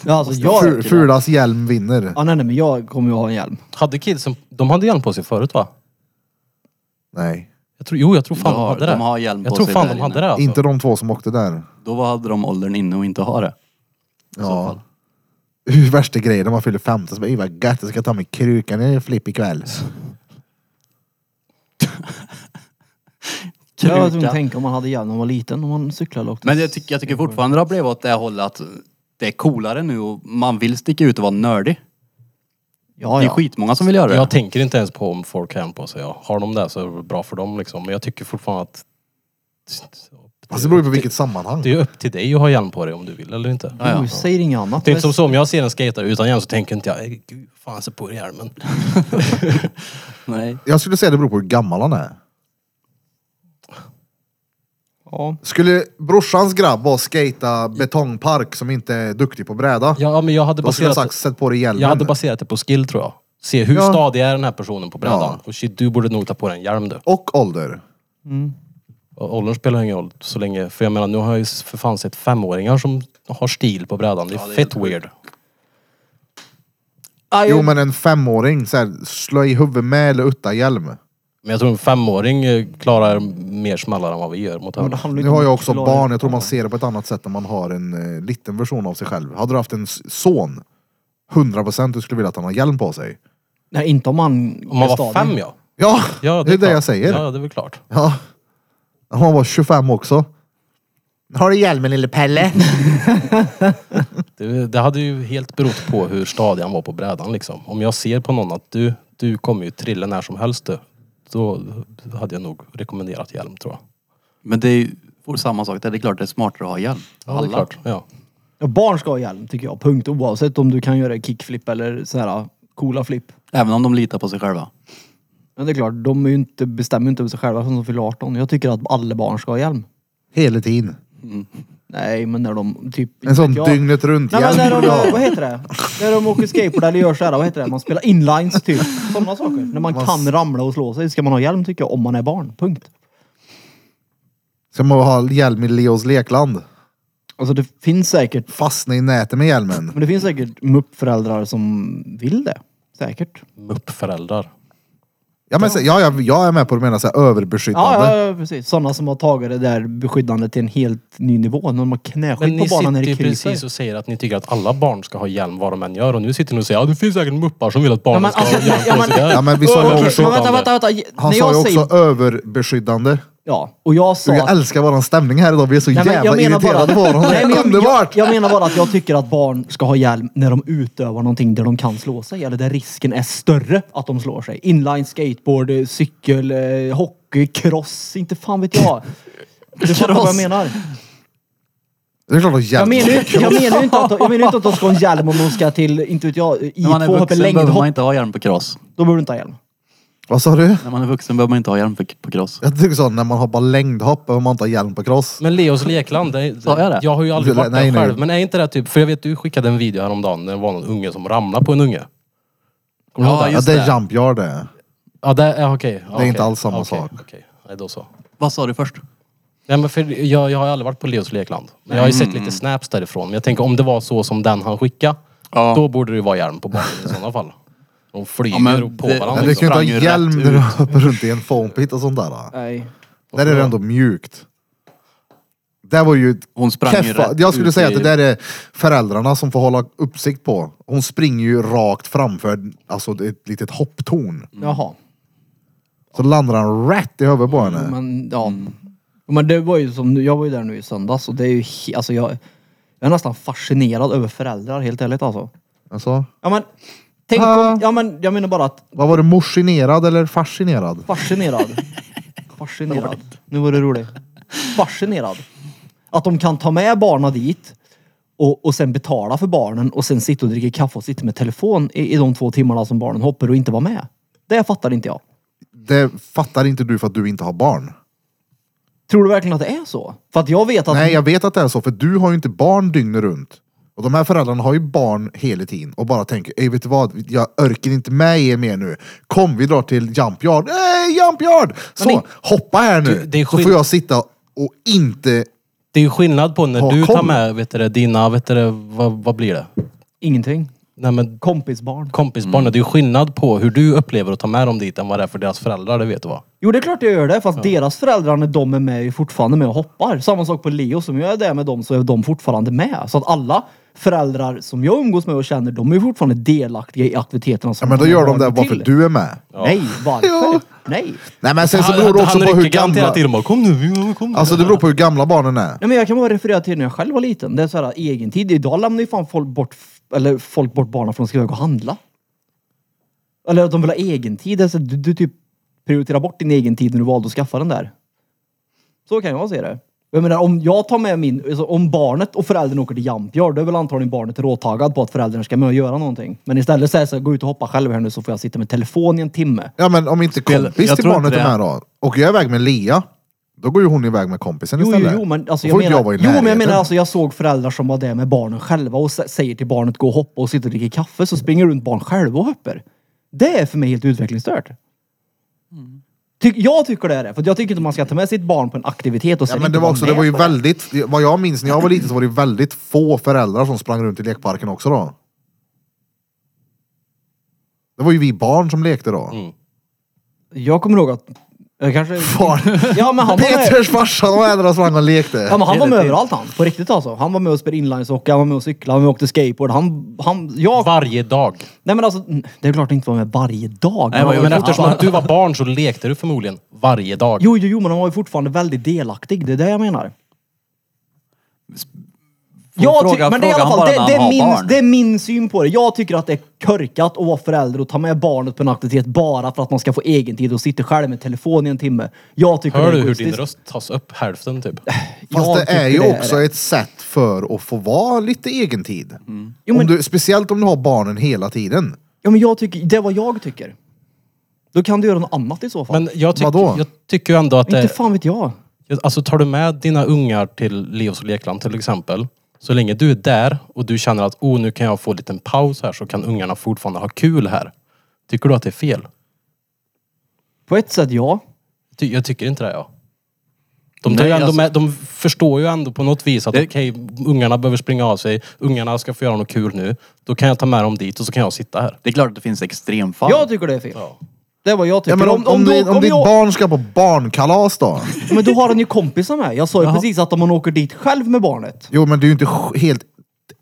B: Ja, alltså
A: Fu-
B: jag...
A: Fulas hjälm vinner.
B: Ja, nej, nej, men jag kommer ju ha en hjälm.
C: Hade kidsen, de hade hjälm på sig förut va?
A: Nej.
C: Jag tror, jo, jag tror
D: De
C: fan de
D: har-
C: hade det.
D: de har hjälm
C: jag
D: på
C: tror
D: sig
C: fan
D: där
C: de hade
D: inne.
C: det alltså.
A: Inte de två som åkte där.
D: Då hade de åldern inne och inte ha det.
A: Ja. Värsta grejen när man fyller 15 så bara, "Ey, vad gött, jag ska ta mig krukan i flipp ikväll.
B: Jag var tvungen
D: Kruka.
B: att tänka om man hade hjälm när man var liten. Om man cyklade eller åkte.
D: Men jag, tycker jag tycker fortfarande det har blivit åt det hållet att det är coolare nu och man vill sticka ut och vara nördig.
B: ja,
D: Det är
B: ja.
D: skitmånga som vill göra det.
C: Jag tänker inte ens på om folk har hjälm på sig. Ja. Har de det så är det bra för dem liksom. Men jag tycker fortfarande att
A: Alltså det beror ju på vilket sammanhang.
C: det är upp till dig att ha hjälm på dig om du vill eller inte.
D: Ja, ja.
B: Du säger inget annat.
C: Det är inte som så, om jag ser en skater utan hjälm så tänker inte jag, "Eh, gud fan se på dig hjälmen.
D: Nej.
A: Jag skulle säga det beror på hur gammal han är.
B: Ja.
A: Skulle brorsans grabb bara skata betongpark som inte är duktig på bräda.
C: Ja men jag hade
A: Då skulle jag
C: baserat,
A: sagt sätt på dig hjälmen.
C: jag hade baserat det på skill tror jag. Se hur
A: Ja.
C: stadig är den här personen på brädan.
A: Ja.
C: Och shit, du borde nog ta på dig en hjälm du.
A: Och ålder.
C: Och åldern spelar ingen roll så länge. För jag menar nu har jag ju för fan sett femåringar som har stil på brädan. Det är fett weird.
A: Jo men en femåring, så här, slå i huvudet med eller utan hjälm.
C: Men jag tror en femåring eh, klarar mer smällar än vad vi gör mot
B: Men det
C: öronen.
B: handlar ju
A: Nu
B: inte om
A: har jag
B: att
A: också
B: klara-
A: barn, jag tror man ser det på ett annat sätt när man har en eh, liten version av sig själv. Hade du haft en s- son, 100% du skulle vilja att han har hjälm på sig.
B: Nej, inte om man...
C: Om man
B: är
C: var
B: stadig.
C: fem ja.
A: Ja,
C: ja
A: det är det
C: klart.
A: jag säger.
C: Ja, det är väl klart.
A: Ja. Om han var 25 också.
E: Har du hjälmen lille Pelle?
C: Det, det hade ju helt berott på hur stadig han var på brädan liksom. Om jag ser på någon att du, du kommer ju trilla när som helst du. Då hade jag nog rekommenderat hjälm tror jag.
D: Men det är ju for- samma sak där. Det är klart det är smartare att ha hjälm.
C: Ja, det är klart. Ja.
B: Ja, barn ska ha hjälm tycker jag. Punkt. Oavsett om du kan göra kickflip eller så här ah, coola flip.
D: Även om de litar på sig själva.
B: Men det är klart, de är ju inte, bestämmer ju inte över sig själva som de fyller 18. Jag tycker att alla barn ska ha hjälm.
A: Hela tiden.
B: Nej, men när de typ...
A: En sån
B: vet jag.
A: dygnet runt
B: Nej,
A: hjälm.
B: men när de,
A: Ja.
B: vad heter det? När de åker skateboard eller gör så här, vad heter det? Man spelar inlines typ. Sådana saker. När man
A: Man-
B: kan ramla och slå sig ska man ha hjälm tycker jag, om man är barn. Punkt.
A: Ska man ha hjälm i Leos lekland?
B: Alltså det finns säkert,
A: Fastna i nätet med hjälmen.
B: men det finns säkert muppföräldrar som vill det. Säkert.
C: Muppföräldrar.
A: Ja, men, så- ja, jag, jag är med på det du menar, så här, överbeskyddande.
B: Ja, ja, ja precis. Sådana som har tagit det där beskyddandet till en helt ny nivå. När de har
C: Men
B: knäskydd på
C: ni
B: banan när
C: sitter
B: det
C: ju
B: krisar.
C: precis och säger att ni tycker att alla barn ska ha hjälm vad de än gör. Och nu sitter ni och säger att ja, det finns säkert muppar som vill att barnen
B: men
C: ska ha
B: alltså,
C: hjälm
B: ja,
C: på
B: men-
C: sig.
A: Ja, men vi sa
C: Överbeskyddande.
A: ju också,
B: Men vänta, vänta, vänta.
A: han
B: när
A: sa
B: jag
A: ju också
B: säger...
A: överbeskyddande.
B: Ja, och jag sa...
A: Du,
B: att-
A: jag älskar våran stämning här idag. Vi är så
B: Nej, men
A: jävla irriterade på varandra. Det
B: Nej, men
A: är
B: jag-
A: underbart!
B: Jag, jag menar bara att jag tycker att barn ska ha hjälm när de utövar någonting där de kan slå sig. Eller där risken är större att de slår sig. Inline, skateboard, eh, cykel, eh, hockey, cross. Inte fan vet jag. Du fattar vad jag
D: Cross.
B: menar.
A: Det är klart att hjälm.
B: Jag menar ju jag menar ju inte att, jag menar ju inte att de ska ha en hjälm om de ska till, inte vet jag, i
D: När man är
B: två hopp
D: vuxen
B: eller
D: behöver
B: längdhopp.
D: man inte ha hjälm på cross.
B: Då behöver du inte ha hjälm.
A: Vad sa du?
D: När man är vuxen behöver man inte ha hjälm på, på cross.
A: Jag tycker så, när man hoppar längdhopp behöver man inte ha hjälm på cross.
C: Men Leos lekland, det, det,
D: Sa jag det?
C: har ju aldrig
A: Du-
C: varit
A: nej,
C: där
A: nej.
C: själv. Men är inte det typ, för jag vet du skickade en video häromdagen när det var någon unge som ramlade på en unge. Kommer du
D: Ja,
C: ihåg det?
A: Ja,
D: just
A: det
D: det.
A: är jump yard det.
C: Ja, det, ja, okej. ja,
A: är
C: okej.
A: inte alls samma
C: Okej,
A: sak.
C: Okej, nej då så.
D: Vad sa du först?
C: Nej, men för jag, jag har ju aldrig varit på Leos lekland. Men jag har ju sett lite snaps därifrån. Men jag tänker om det var så som den han skickade,
D: Ja.
C: då borde det ju vara hjälm på barnen i sådana fall. De flyger
D: Ja, men
C: och på
D: det-
A: Men
C: varandra.
A: du
D: liksom
A: kan ju
D: sprang
A: inte ha
D: ju
A: hjälm
D: rätt
A: när du
D: ut.
A: hoppar runt i en foam pit och sånt där.
B: Nej.
A: Där är det ändå mjukt. där var ju ett
D: Hon sprang ju
A: keffa.
D: rätt
A: Jag skulle
D: ut
A: säga
D: i-
A: att det där är föräldrarna som får hålla uppsikt på. Hon springer ju rakt framför, alltså det är ett litet hopptorn.
B: Jaha.
A: Så landar han rätt i huvudet på
D: Mm.
A: henne.
B: Men ja.
A: Mm.
B: Men det var ju som, nu- jag var ju där nu i söndags och det är ju, he- alltså jag, jag är nästan fascinerad över föräldrar helt ärligt alltså.
A: Alltså,
B: Ja men, tänk
A: Ja.
B: om, ja men jag menar bara att
A: vad var det, morsinerad eller fascinerad?
B: fascinerad. Fascinerad. Nu var det roligt. Fascinerad. Att de kan ta med barnen dit och, och sen betala för barnen och sen sitta och dricka kaffe och sitta med telefon i, i de två timmarna som barnen hoppar och inte vara med. Det fattar inte jag.
A: Det fattar inte du för att du inte har barn.
B: Tror du verkligen att det är så? För att jag vet att...
A: Nej, jag vet att det är så, för du har ju inte barn dygnet runt. Och de här föräldrarna har ju barn hela tiden och bara tänker, "Ey, vet du vad, jag orkar inte med er mer nu. Kom, vi drar till Jump Yard. Hey, jump Yard! Så,
C: Men det-
A: hoppa här nu.
C: Du, det är
A: så
C: skill-
A: får jag sitta och inte...
C: Det är ju skillnad på när
A: Ha
C: du tar
A: koll.
C: med vet du, det, dina, vet du, det, vad, vad blir det?
B: Ingenting.
C: Nej, men
B: Kompisbarn.
C: kompisbarnen,
B: Mm.
C: det är ju skillnad på hur du upplever att ta med dem dit än vad det är för deras föräldrar, det vet du va?
B: Jo, det är klart jag gör det. Fast deras föräldrar, när de är med, är ju fortfarande med och hoppar. Samma sak på Leo. Som jag är där med dem så är de fortfarande med. Så att alla föräldrar som jag umgås med och känner, de är ju fortfarande delaktiga i aktiviteterna som
A: Ja, men då
B: man
A: gör
B: har
A: de det
B: barnen
A: varför
B: till.
A: du är med.
B: Nej, varför?
A: Ja.
B: Nej.
A: Nej men sen så beror det också på hur gamla...
C: till dem och, kom nu, vi- kom nu.
A: Alltså det beror på hur gamla barnen är.
B: Nej, men jag kan bara referera till när jag själv var liten. Det är så här egen tid. Idag lämnar ju fan folk bort, eller folk bort barnen för att de ska iväg och handla. Eller att de vill ha egen tid. Alltså, du, du typ prioriterar bort din egen tid när du valde att skaffa den där. Så kan jag se det. Jag menar, om jag tar med min, alltså, om barnet och föräldern åker till Jampiard, då är väl antagligen barnet råtaggad på att föräldrarna ska med och göra någonting. Men istället säger jag så här, gå ut och hoppa själv här nu så får jag sitta med telefon i en timme.
A: Ja men om inte
D: Spel-
A: kompis
D: jag
A: till
D: tror
A: barnet
D: inte
A: är
D: det.
A: med då. Och jag är iväg med Lea. Då går ju hon iväg med kompisen
B: Jo, jo,
A: istället.
B: jo, men alltså,
A: Då
B: jag
A: får inte
B: menar,
A: vara i
B: jo, men jag menar
A: närheten.
B: alltså, jag såg föräldrar som var där med barnen själva och sä- säger till barnet gå och hoppa och sitta och dricka kaffe så springer runt barn själva och hoppar. Det är för mig helt utvecklingsstört. Ty jag tycker det är det, för jag tycker inte man ska ta med sitt barn på en aktivitet och sen
A: Ja, men
B: inte
A: det var
B: vara
A: också,
B: med
A: det var ju
B: på
A: väldigt, vad jag minns när jag var liten så var det väldigt få föräldrar som sprang runt i lekparken också då. Det var ju vi barn som lekte då.
B: Jag kommer ihåg att... Jag kanske...
A: Barn.
B: Ja men han var med,
A: Peters farsa och äldre sprang och
B: ja,
A: lekte.
B: men han var med överallt han. På riktigt alltså. Han var med och spelade inlineshockey, han var med och cyklade, han var med och åkte skateboard. Han... han jag,
C: Varje dag.
B: nej men alltså, det är klart det inte var med varje dag.
D: Nej,
B: han
D: men-
B: var
C: Men
B: ju
C: eftersom att du var barn så lekte du förmodligen varje dag.
B: Jo, jo, jo, men han var ju fortfarande väldigt delaktig. Det är det jag menar. Jag ty-
D: fråga-
B: men det är, i
D: fråga
B: alla
D: han
B: fall,
D: bara när
B: det, det, är
D: han har
B: min,
D: barn.
B: det är min syn på det. Jag tycker att det är körkat att vara förälder och ta med barnet på en aktivitet bara för att man ska få egen tid och sitta själv med telefon i en timme. Jag tycker
C: Hör
B: det
C: du
B: är
C: hur din
B: egoistiskt.
C: röst tas upp hälften typ?
A: Fast
B: Jag
A: det är ju
B: tycker det är
A: också
B: det.
A: ett sätt för att få vara lite egen tid.
B: Jo, men-
A: Om du, speciellt om du har barnen hela tiden.
B: Ja, men jag tycker, det är vad jag tycker. Då kan du göra något annat i så fall.
C: Men jag, tyck,
A: Vadå?
C: jag tycker ju ändå att det...
B: Inte fan vet jag.
C: Alltså tar du med dina ungar till Leos lekland till exempel. Så länge du är där och du känner att oh, nu kan jag få en liten paus här så kan ungarna fortfarande ha kul här. Tycker du att det är fel?
B: På ett sätt ja.
C: Ty- jag tycker inte det ja. De, tar ju
D: Nej,
C: ändå
D: alltså-
C: med, de förstår ju ändå på något vis att
D: Det-
C: okej, ungarna behöver springa av sig. Ungarna ska få göra något kul nu. Då kan jag ta med dem dit och så kan jag sitta här.
D: Det är klart att det finns extremfall.
B: Jag tycker det är fel.
C: Ja.
B: Det är vad jag tycker.
A: Ja, men om, om,
B: du-
A: din, om ditt
B: jag-
A: barn ska på barnkalas då?
B: Ja, Men då har han ju kompisar med. Jag sa ju precis att om man åker dit själv med barnet.
A: Jo men det är ju inte sj- helt...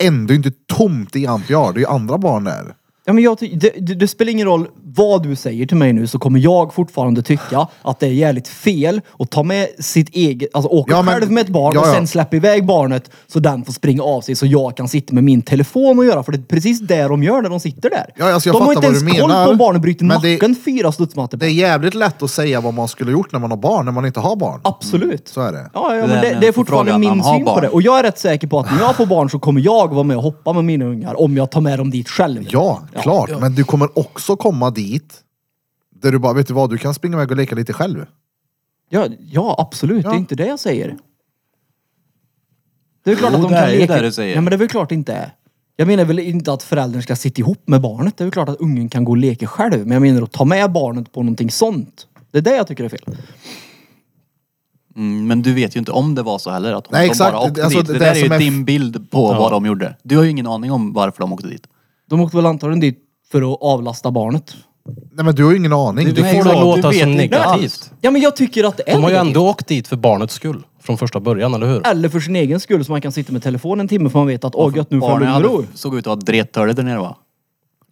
A: Ändå det är ju inte tomt i Antjar, det är ju andra barn där.
B: Ja, men jag ty- det, det, det spelar ingen roll vad du säger till mig nu så kommer jag fortfarande tycka att det är jävligt fel att ta med sitt eget, alltså åka
A: Ja, men-
B: själv med ett barn
A: ja,
B: och
A: ja.
B: sen släppa iväg barnet så den får springa av sig så jag kan sitta med min telefon och göra. För det är precis det de gör när de sitter där.
A: Ja, alltså, jag
B: de har
A: fattar
B: inte ens
A: vad du
B: koll
A: menar,
B: på om barnet bryter
A: men det-
B: nacken fyra studsmattor på.
A: Det är jävligt lätt att säga vad man skulle gjort när man har barn, när man inte har barn.
B: Absolut.
A: Så är det.
B: Ja,
D: Det
B: ja men
D: där
B: det,
D: med
B: det är
D: att få
B: fortfarande
D: frågan när
B: min
D: man har
B: syn på
D: barn.
B: det. Och jag är rätt säker på att när jag får barn så kommer jag vara med och hoppa med mina ungar om jag tar med dem dit själv.
A: Ja, klart. Men du kommer också komma dit där du bara, vet du vad, du kan springa iväg och leka lite själv.
B: Ja, ja absolut. Det
A: Ja.
B: är inte det jag säger. Det är klart
D: Jo,
B: att de
D: det
B: kan
D: är ju
B: leka.
D: det du säger.
B: Nej, men det är väl klart det inte är. Jag menar väl inte att föräldern ska sitta ihop med barnet. Det är väl klart att ungen kan gå och leka själv. Men jag menar att ta med barnet på någonting sånt. Det är det jag tycker är fel.
D: Mm, men du vet ju inte om det var så heller. Att
A: Nej,
D: de
A: exakt.
D: Bara åkte
A: Alltså,
D: dit. Det,
A: det
D: där
A: som
D: är ju
A: är-
D: din bild på vad de gjorde. Du har ju ingen aning om varför de åkte dit.
B: De åkte väl antagligen dit för att avlasta barnet.
A: Nej men du har ju ingen aning.
C: Du får
D: Nej,
C: det
D: exakt.
C: låta
D: Du vet
C: som
D: inte
C: negativt.
D: alls.
B: Ja men jag tycker att det är
C: De har ju
B: negativt.
C: ändå åkt dit för barnets skull. från första början, eller hur?
B: Eller för sin egen skull så man kan sitta med telefonen en timme för man vet att åh gött nu får jag
D: Barnen
B: lugn och ro.
D: hade, såg ut att ha drettörligt där nere va?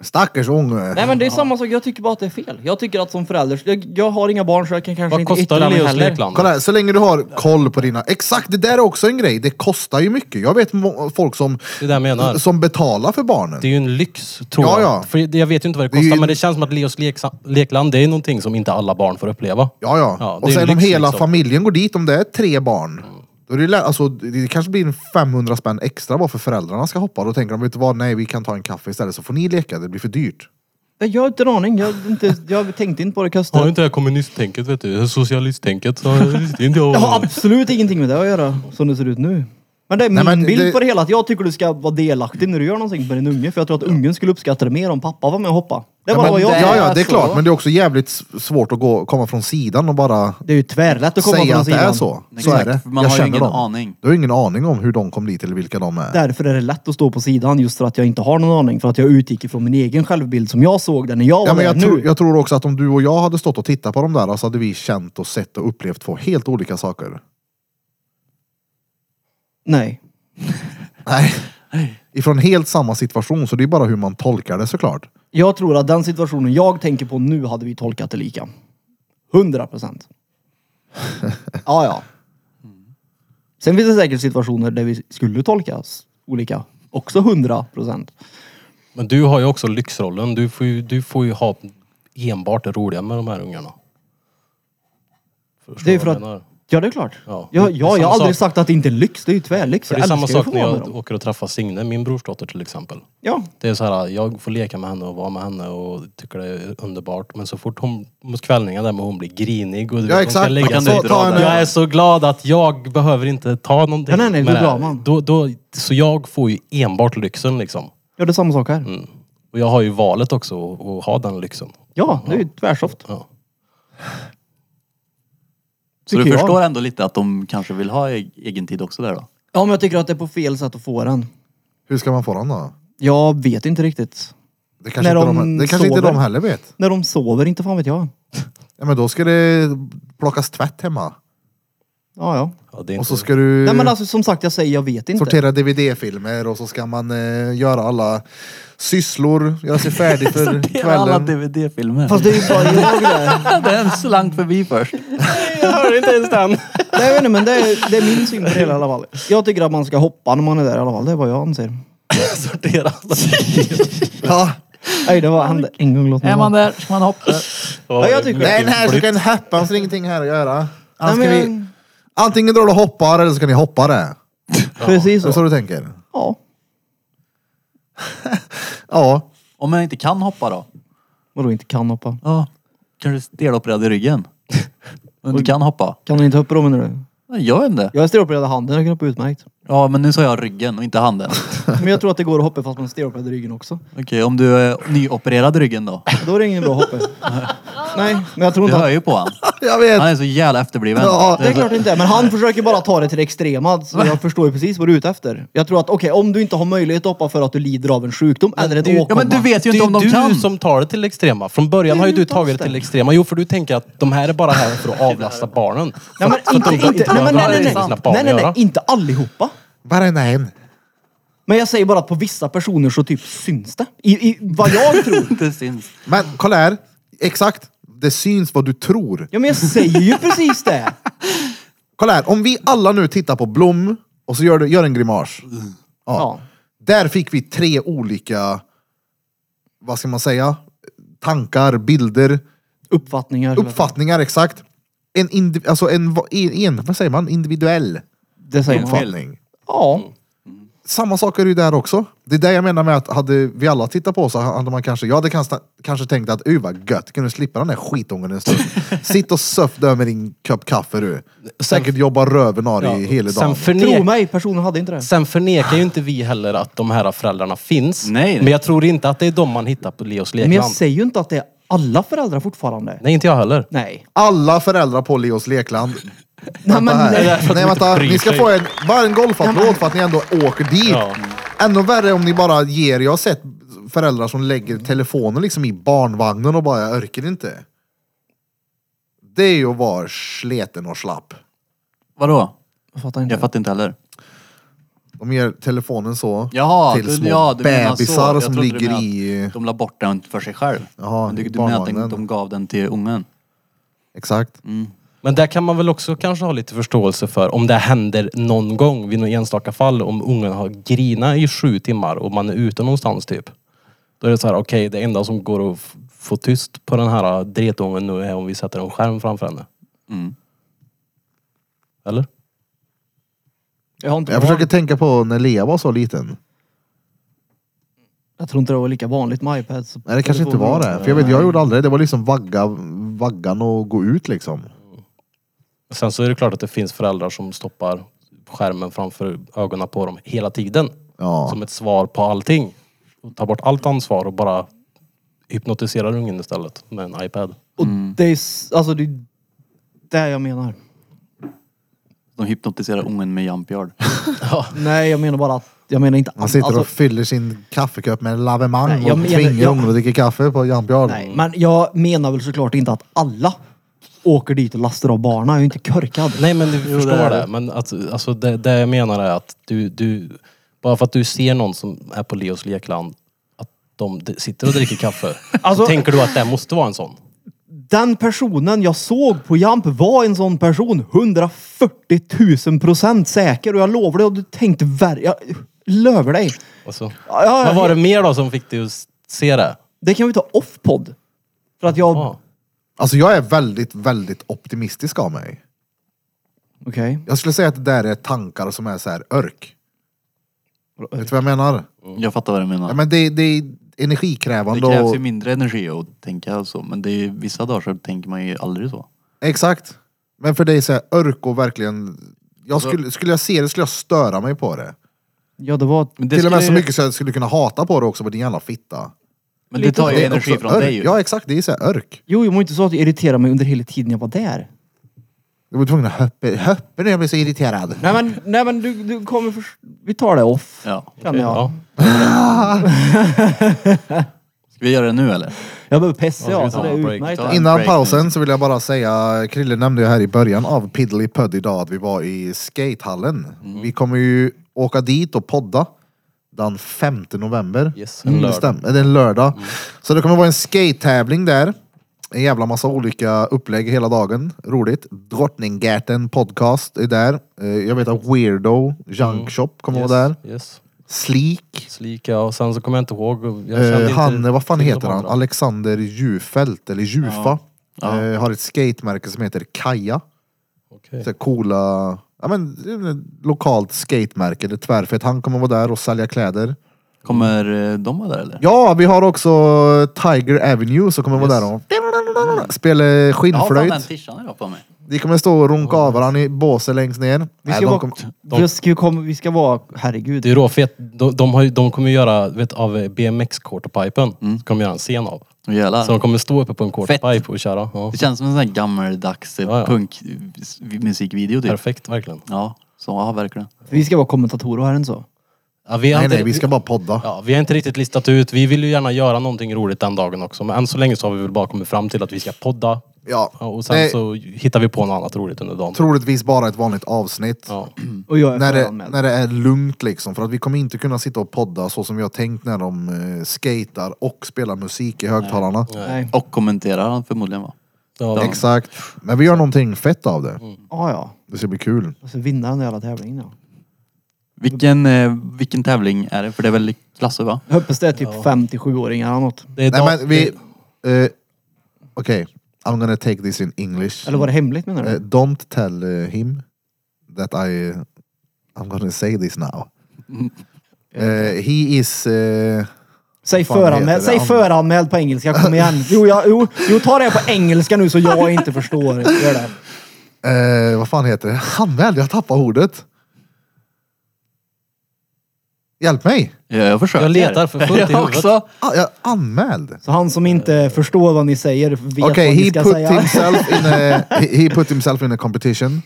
A: Stackars unge.
B: Nej men det är samma sak, jag tycker bara att det är fel. Jag tycker att som förälder, jag, jag har inga barn så jag kan kanske
C: Vad
B: inte
C: kostar
B: yttra mig
C: Leos
B: heller.
C: Lekland?
A: Kolla här, så länge du har koll på dina... Exakt, det där är också en grej. Det kostar ju mycket. Jag vet må- folk som,
C: Det är det jag menar.
A: som betalar för barnen.
C: Det är ju en lyx, tror
A: Ja,
C: jag.
A: ja.
C: För det- jag vet ju inte vad det
A: är
C: kostar,
A: ju-
C: men det känns som att Leos leksa- lekland, det är ju någonting som inte alla barn får uppleva.
A: Ja, ja.
C: Ja, det
A: och
C: är
A: sen
C: lyx,
A: om hela
C: liksom.
A: familjen går dit, om det är tre barn.
D: Mm.
A: Då är det, ju lä- alltså, det kanske blir en 500 spänn extra bara för föräldrarna ska hoppa. Då tänker de, vet du vad, nej vi kan ta en kaffe istället så får ni leka, det blir för dyrt.
B: Nej, Jag har inte en aning, jag, har inte, jag tänkte inte på det kastet.
C: Har inte det här kommunisttänket, vet du? Socialisttänket. Så visste inte jag.
B: Jag har absolut ingenting med det att göra, som det ser ut nu. Men det är min
A: men
B: bild
A: det-
B: på det hela, att jag tycker du ska vara delaktig när du gör någonting med din unge. För jag tror att ungen skulle uppskatta det mer om pappa var med och hoppa. Det var
A: men,
B: vad Alltså-
A: ja,
B: jag
A: ja, det är
D: så.
A: klart. Men det är också jävligt s- svårt att gå, komma från sidan och bara
B: Det är ju tvärlätt att komma
A: säga
B: från
A: att det
B: sidan.
A: är så. Så
D: Exakt,
A: är det.
D: för man
A: jag
D: har ju
A: känner
D: ingen
A: dem.
D: aning.
A: Du har ingen aning om hur de kom dit eller vilka de är.
B: Därför är det lätt att stå på sidan, just för att jag inte har någon aning. För att jag utgick ifrån min egen självbild som jag såg den när jag var
A: Ja, men
B: där
A: jag,
B: nu.
A: tror, jag tror också att om du och jag hade stått och tittat på de där så hade vi känt och sett och upplevt två helt olika saker.
B: Nej.
A: Nej. Ifrån helt samma situation, så det är bara hur man tolkar det såklart.
B: Jag tror att den situationen jag tänker på nu hade vi tolkat det lika. 100 procent. Ja, ja. Sen finns det säkert situationer där vi skulle tolkas olika. Också 100 procent.
C: Men du har ju också lyxrollen. Du får ju, du får ju ha enbart det roliga med de här ungarna. Förstår
B: Det är
C: vad
B: för
C: jag
B: att-
C: menar?
B: Ja, det är klart.
C: Ja,
B: Ja, ja,
C: det är
B: jag
C: samma
B: har aldrig
C: sak.
B: sagt att det inte är lyx. Det är ju tvärlyx.
C: För det
B: Jag
C: är samma
B: älskar ju att
C: sak
B: få
C: när
B: vara med
C: jag
B: dem.
C: åker och träffar Signe, min brorsdotter till exempel.
B: Ja,
C: Det är så här, jag får leka med henne och vara med henne och tycker det är underbart. Men så fort hon, mot kvällningar där, men hon blir grinig och du
A: Ja,
C: vet, hon ska
A: exakt.
C: lägga
A: Man
D: kan
C: sig.
D: inte dra
A: henne-
C: Jag är så glad att jag behöver inte ta någonting.
B: Nej, nej, nej,
C: med
B: då
C: det
B: drar
C: här.
B: man.
C: Då, då, så jag får ju enbart lyxen liksom.
B: ja, det är samma sak här.
C: Mm. Och jag har ju valet också att- att ha den lyxen.
B: Ja, det är ju tvärsoft.
C: Ja.
D: Så du
B: Tycker jag.
D: förstår ändå lite att de kanske vill ha e- egen tid också där då?
B: Ja, men jag tycker att det är på fel sätt att få den.
A: Hur ska man få den då?
B: Jag vet inte riktigt.
A: Det kanske,
B: När
A: inte, de,
B: de
A: det kanske inte
B: sover.
A: de heller vet.
B: När de sover, inte fan vet jag.
A: Ja, men då ska det plockas tvätt hemma.
B: Ja, ja.
C: Ja, det är
A: Och
C: inte...
A: så ska du
B: Nej men alltså som sagt, jag säger jag vet inte.
A: sortera dvd-filmer och så ska man eh, göra alla sysslor, göra sig färdig för
D: alla
A: kvällen.
D: DVD-filmer.
B: Fast det är ju bara jag det.
D: den slank förbi först.
C: Jag hörde inte ens den.
B: Nej, jag vet inte, men det är, det är min syn på det hela i alla fall. Jag tycker att man ska hoppa när man är där i alla fall. Det är vad jag anser.
C: Sortera.
A: Ja.
B: Nej, det var hände en gång låt mig
D: Är
B: vara.
D: man där ska man hoppa.
C: Ja,
B: jag tycker-
A: Den här så kan hoppa, han har ingenting här att göra. Han ska
B: Nej,
A: vi,
B: men,
A: antingen drar du och hoppar eller så kan ni hoppa det.
B: precis
A: Är det
B: så.
A: så du tänker?
B: Ja.
A: Ja.
D: Om man inte kan hoppa då?
B: Vadå inte kan hoppa?
D: Ja. Kan du stelopererad i ryggen? Om du inte kan hoppa?
B: Kan du inte hoppa då menar du?
D: Nej, Jag vet inte.
B: Jag är stelopererad i handen, jag kan hoppa utmärkt.
D: Ja men nu sa jag ryggen och inte handen.
B: Men jag tror att det går att hoppa fast man är stelopererad i ryggen också.
D: Okej om du är nyopererad i ryggen då?
B: Då är det ingen bra hoppe. Nej, men jag tror
D: Du
B: inte
D: hör
B: att...
D: ju på han.
A: Jag vet.
D: Han är så jävla efterbliven.
A: Ja,
B: Det är klart det inte är, men han försöker bara ta det till det extrema. Så jag förstår ju precis vad du är ute efter. Jag tror att okej, om du inte har möjlighet att hoppa för att du lider av en sjukdom eller ett åkomma.
D: Ja men du vet ju inte om de
C: du
D: kan.
C: som tar det till extrema. Från början har ju du tagit det till extrema. Jo, för du tänker att de här är bara här för att avlasta barnen.
B: Nej men inte, inte,
C: inte
B: nej, men,
C: behöver
B: nej, nej,
C: ha
B: nej,
C: sina barn
B: nej, nej,
C: att
B: nej,
C: göra.
B: inte allihopa.
A: Varenda en.
B: Men jag säger bara att på vissa personer så typ syns det. I, i vad jag tror.
D: Det syns.
A: Men kolla här. Exakt. Det syns vad du tror.
B: Ja men jag säger ju precis det.
A: Kolla här. Om vi alla nu tittar på Blom och så gör, du, gör en grimas.
B: Ja.
A: Där fick vi tre olika, vad ska man säga, tankar, bilder,
B: Uppfattningar.
A: uppfattningar exakt. En, indiv- alltså en, va- en, en, vad säger man, individuell
B: Det säger man.
A: uppfattning.
B: Ja.
A: Samma sak är det ju där också. Det är det jag menar med att hade vi alla tittat på så hade man kanske, jag hade kanske, kanske tänkt att uj vad gött, kunde slippa den där skitungen en stund. Sitt och söff där med din kopp kaffe du. Säkert jobba röven av dig hela dagen.
C: Sen,
B: Tro
C: förne-
B: mig, personen hade inte det.
C: sen förnekar ju inte vi heller att de här föräldrarna finns.
D: Nej.
C: Men jag tror inte att det är de man hittar på Leos
B: Men jag
C: lekland.
B: säger ju inte att det är alla föräldrar fortfarande.
C: Nej, inte jag heller.
B: Nej.
A: Alla föräldrar på Leos lekland.
B: Nej, men,
A: Vänta här.
B: nej.
A: Nej vänta,
C: bryr
A: ni ska
C: sig.
A: få en, bara en golfapplåd för att ni ändå åker dit.
C: Ja.
A: Ännu värre om ni bara ger, jag har sett föräldrar som lägger telefonen liksom i barnvagnen och bara jag orkar inte. Det är ju att vara sleten och slapp.
D: Vadå?
B: Jag fattar inte.
D: Jag fattar inte heller.
A: De ger telefonen så
D: Jaha,
A: till
D: du-
A: små
D: ja, du menar så.
A: bebisar
D: Jag
A: som
D: trodde du
A: ligger
D: menade
A: i...
D: att De la bort den för sig själv.
A: Jaha,
D: Men du,
A: i
D: du menar att den,
A: barnvagnen.
D: de gav den till ungen?
A: Exakt.
D: Mm.
C: Men där kan man väl också kanske ha lite förståelse för om det händer någon gång vid något enstaka fall om ungen har grina i sju timmar och man är ute någonstans typ. Då är det så här, okej det enda som går att f- få tyst på den här dretungen nu är om vi sätter en skärm framför henne.
D: Mm.
C: Eller?
B: Jag, har inte
A: Jag
B: barn.
A: försöker tänka på när Lea var så liten.
B: jag tror inte det var lika vanligt med iPads. och
A: Nej det kanske inte
B: telefoner.
A: var det. För jag vet, jag gjorde aldrig det. Det var liksom vagga, vaggan och gå ut liksom.
C: Sen så är det klart att det finns föräldrar som stoppar skärmen framför ögonen på dem hela tiden.
A: Ja.
C: Som ett svar på allting. Och tar bort allt ansvar och bara hypnotiserar ungen istället med en iPad.
B: Och
C: Mm.
B: det är, s- alltså det är det jag menar.
D: De hypnotiserar ungen med jumpyard.
B: Nej, jag menar bara att, jag menar
D: Mm,
B: inte
A: Han sitter
B: alltså-
A: och fyller sin kaffekopp med
B: Nej,
A: lavemang
B: jag
A: och
B: menar-
A: tvingar
B: jag-
A: honom att dricka kaffe på Jumpyard.
B: Nej, men jag menar väl såklart inte att alla åker dit och lastar av barnen. Jag är ju inte korkad.
C: Nej men du förstår
B: det är
C: det.
B: det.
C: Men att, alltså, det, det jag menar är att du, du... Bara för att du ser någon som är på Leos lekland, att de d- sitter och dricker kaffe.
B: Alltså-
C: så tänker du att det måste vara en sån?
B: Den personen jag såg på Jamp var en sån person. 140 000 procent säker. Och jag lovar dig, och du tänkte verkligen... Jag löver dig.
C: Alltså,
B: Ja, ja,
C: vad var det mer då som fick dig att s- se det? Ah,
B: Det kan vi ta off-podd. För att jag...
C: Ja.
A: Alltså jag är väldigt, väldigt optimistisk av mig.
B: Okej.
A: Jag skulle säga att det där är tankar som är så här örk. Vet du vad jag menar?
D: Jag fattar vad du menar.
A: Ja, men det, det är
D: det
A: energikrävande
D: krävs
A: och...
D: ju mindre energi att tänka så. Men det är, ju- vissa dagar så tänker man ju aldrig så.
A: Exakt. Men för dig så här örk och verkligen... Jag
D: Alltså-
A: skulle, skulle jag se det skulle jag störa mig på det.
B: Ja, det var...
D: Men
A: Till och med så
D: skulle ju-
A: mycket så jag skulle kunna hata på det också, på din jävla fitta.
D: Men det tar ju
A: Det är
D: energi
A: också
D: från
A: örk.
D: dig ju.
A: Ja exakt, det är så här örk.
B: Jo, jag var inte så att jag irriterade mig under hela tiden jag var där.
A: Jag var tvungen att höppa, höppa när jag blev så irriterad.
B: Nej men, nej, men du, du kommer först... Vi tar det off.
D: Ja.
B: Kan jag.
C: Ja.
D: Ska vi göra det nu eller?
B: Jag behöver pessa
C: Ja,
B: ja,
C: vi
B: så
C: tar
B: det är
C: en break.
B: utmärkt.
D: Ta en
A: Innan
D: break
A: pausen så vill jag bara säga, Krille nämnde ju här i början av Piddly Puddy idag att vi var i skatehallen.
C: Mm.
A: Vi kommer ju åka dit och podda den 5 november.
C: Yes, en
A: en
C: lördag. Mm.
A: lördag. Det, är en lördag. Så det kommer vara en skate-tävling där. En jävla massa olika upplägg hela dagen. Roligt. Drottninggatan podcast är där. Eh, Jag vet att Weirdo Junk Shop kommer vara där.
C: Mm. Yes.
A: Sleek.
C: Slika och sen så kommer jag inte ihåg. Jag kände
A: Eh,
C: inte
A: han, vad fan
C: till de
A: heter han?
C: andra.
A: Alexander Jufelt, eller Jufa.
D: Ja.
A: Eh, har ett skatemärke som heter Kaja.
C: Okej.
A: Så här coola, ja men eh, lokalt skatemärke. Det är tvärfett. Han kommer vara där och sälja kläder.
D: Kommer eh, de vara där eller?
A: Ja, vi har också Tiger Avenue som kommer vara där och spela
D: Jag har fan den
A: skinnflöjt.
D: tishan jag har på mig.
A: De kommer stå och runka av varandra i båset längst ner.
B: Vi
A: Nej,
B: ska,
A: de
B: vara,
A: kommer-
B: vi, ska ju komma, vi ska vara... Herregud.
C: Det är råfett. De, de, har, ju- de kommer göra, vet, av bmx quarterpipen så kommer göra en scen av.
D: Åh, Jävlar.
C: Så de kommer stå uppe på en quarterpipe och köra. Ja.
D: Det känns som en sån här gammaldags eh,
C: Ja, ja.
D: punkmusikvideo typ.
C: Perfekt verkligen.
D: Ja, så ja, verkligen.
B: Vi ska vara kommentatorer här än så.
C: Ja, vi har
A: nej,
C: inte,
A: nej, vi ska bara podda.
C: ja, vi har inte riktigt listat ut. Vi vill ju gärna göra någonting roligt den dagen också. Men än så länge så har vi väl bara kommit fram till att vi ska podda.
A: Ja.
C: Ja, och sen
A: Nej.
C: så hittar vi på något annat roligt under dagen.
A: Troligtvis bara ett vanligt avsnitt.
C: Ja.
B: Och jag är
A: Mm. När det,
B: föranmäld.
A: när det är lugnt liksom. För att vi kommer inte kunna sitta och podda så som vi har tänkt när de eh, skatar och spelar musik i högtalarna.
B: Nej.
D: Och kommenterar han förmodligen va?
C: Ja.
A: Exakt. Men vi gör någonting fett av det.
B: Ah, ja,
A: Det ska bli kul.
B: Och så vinna den jävla tävlingen ja.
D: Vilken, eh, vilken tävling är det? För det är väl Klasse va?
B: Jag hoppas det är typ 57-åringar eller något.
C: Det är
A: Nej
C: dag-
A: men vi... eh, Okej, I'm gonna take this in English.
B: Eller var det hemligt menar
A: Eh,
B: du?
A: don't tell eh, him that I... I'm gonna say this now. Eh, he is... eh,
B: Säg,
A: fan heter
B: föranmäld,
A: det?
B: säg
A: An-
B: föranmäld på engelska, kom igen. Jo, jag, jo, jo, ta det på engelska nu så jag inte förstår. Gör det.
A: eh, vad fan heter det? Anmäld, jag tappar ordet. Hjälp mig!
D: Jag, jag försöker.
C: Jag letar för fullt i
D: jag
C: huvudet.
D: också.
A: Ah, jag anmäld.
B: Så han som inte förstår vad ni säger vet
A: Okay,
B: vad ni
A: he
B: ska
A: put
B: säga.
A: himself in a he, he put himself in a competition,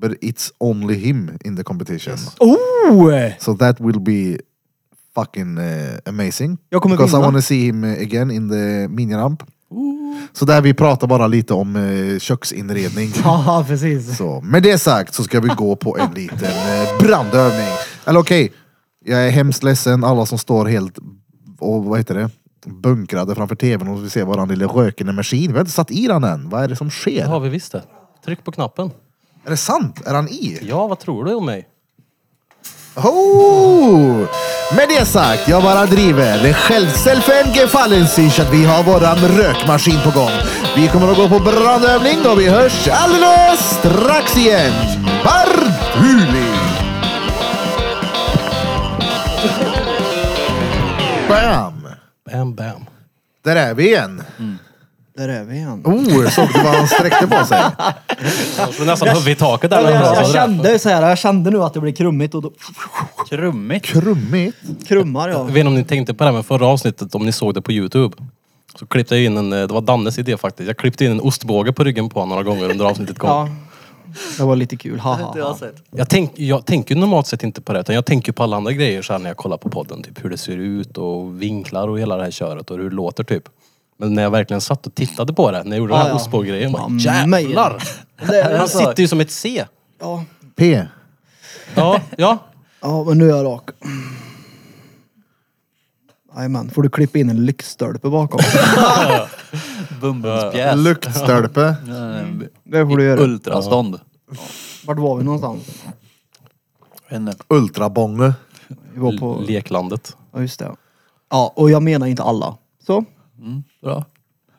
A: but it's only him in the competition.
B: Oh!
A: So that will be fucking uh, amazing.
B: Jag kommer
A: because I
B: vinna.
A: eh, want to see him uh, again in the miniramp. Så där vi pratar bara lite om eh, köksinredning.
B: Ja, precis.
A: Så, med det sagt så ska vi gå på en liten eh, brandövning. Eller okej, jag är hemskt ledsen alla som står helt och vad heter det? bunkrade framför tvn och vi ser varandra lilla rökande maskin. Vi har inte satt i den än. Vad är det som sker?
C: Det har vi visst det. Tryck på knappen.
A: Är det sant? Är han i?
C: Ja, vad tror du om mig?
A: Oh! Med det sagt, jag bara driver. Självselfen gefallen sich att vi har våran rökmaskin på gång. Vi kommer att gå på brandövning och vi hörs alldeles strax igen. Bartuli! Bam!
C: Bam, bam.
A: Där är vi igen.
B: Där är vi igen.
A: Oh, såg du vad han sträckte på sig?
C: Jag tror nästan huvudet i taket där. när han
B: Jag, jag
C: pratade.
B: kände så här, jag kände nu att det blev krummigt och då
D: Krummigt.
A: Krummigt.
B: krummar
C: Jag
B: jag.
C: vet inte om ni tänkte på det här med förra avsnittet, om ni såg det på Youtube. Så klippte jag in en, eh, det var Dannes idé faktiskt, jag klippte in en ostbåge på ryggen på honom några gånger under avsnittet kom.
B: Ja. Det var lite kul, ha, ha,
D: Inte jag har
B: ha.
D: sett.
C: Jag, tänk, jag tänker ju normalt sett inte på det, utan jag tänker på alla andra grejer så här när jag kollar på podden. Typ hur det ser ut och vinklar och hela det här köret och hur det låter typ. Men när jag verkligen satt och tittade på det, när jag gjorde den
B: Ja,
C: här
B: ja.
C: ostbågegrejen, bara
B: Fan,
C: jävlar!
B: Det är
C: Han
B: alltså-
C: sitter ju som ett C.
B: Ja.
A: P.
C: Ja, ja.
B: ja, men nu är jag rak. Jajamän, får du klippa in en lyktstolpe bakom.
D: Bumbumspjäs. eh,
A: Luktstölpe.
B: Det får du göra.
D: Ultrastånd.
B: Vart var vi någonstans?
D: Jag vet inte.
A: Ultrabånge.
B: Vi var på...
C: Leklandet.
B: Ja, just det. Ja, och jag menar inte alla. Så.
C: Bra.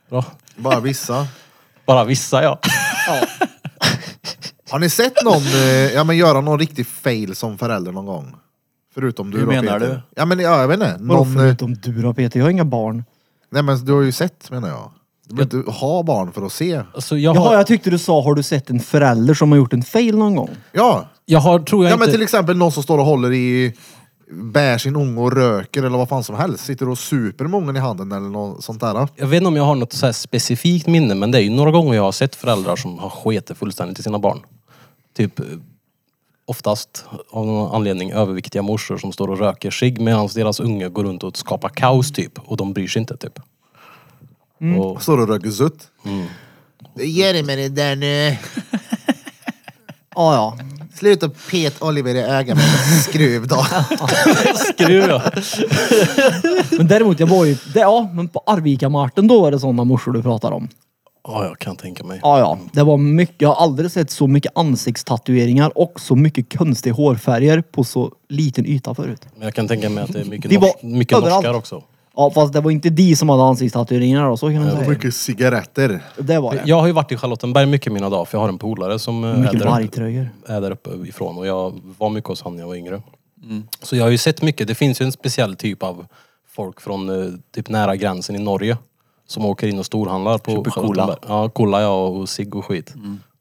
C: Bra.
A: Bara vissa.
C: Bara vissa ja.
A: Har ni sett någon eh, ja, men göra någon riktig fail som förälder någon gång? Förutom du
D: Hur
A: då,
D: menar
A: Peter.
D: du?
A: Ja, men, ja, jag vet inte.
B: Vadå
A: Någon, eh,
B: förutom du då Peter? Jag har inga barn.
A: nej, men du har ju sett menar jag. Du behöver inte ha barn för att se.
C: Alltså, jag,
B: Jaha,
C: har,
B: jag tyckte du sa har du sett en förälder som har gjort en fail någon gång?
A: Ja,
C: jag har, tror jag
A: ja men
C: inte...
A: till exempel någon som står och håller i bär sin unge och röker eller vad fan som helst. Sitter och super med ungen i handen eller något sånt där.
C: Jag vet inte om jag har något så här specifikt minne men det är ju några gånger jag har sett föräldrar som har sketit fullständigt i sina barn. Typ eh, oftast av någon anledning överviktiga morsor som står och röker sig medan deras unge går runt och skapar kaos typ och de bryr sig inte typ. Och,
A: Står och röker sutt.
D: Mm.
E: Ge dig med det där nu.
B: Ja, ja.
E: Sluta pet Oliver i ögat med en skruv då.
C: skruv ja.
B: Men däremot, jag var ju... Det, ja, men på Arvika-marten då var det sådana morsor du pratar om.
C: Ja, jag kan tänka mig.
B: Ja, ja. Det var mycket. Jag har aldrig sett så mycket ansiktstatueringar och så mycket konstiga hårfärger på så liten yta förut.
C: Men jag kan tänka mig att det är mycket,
B: Det var
C: nors- mycket
B: överallt.
C: norskar också.
B: Ja, fast det var inte de som hade ansiktstatueringar då, så kan man
A: Och
B: säga.
A: mycket cigaretter.
B: Det var det.
C: Jag har ju varit i Charlottenberg mycket i mina dagar för jag har en polare som eh, är
B: Mycket
C: där, uppe,
B: vargtröjor.
C: är där uppe ifrån och jag var mycket hos han när jag var yngre. Så jag har ju sett mycket. Det finns ju en speciell typ av folk från eh, typ nära gränsen i Norge som åker in och storhandlar på Charlottenberg. Ja, kolla ja och cigg och skit.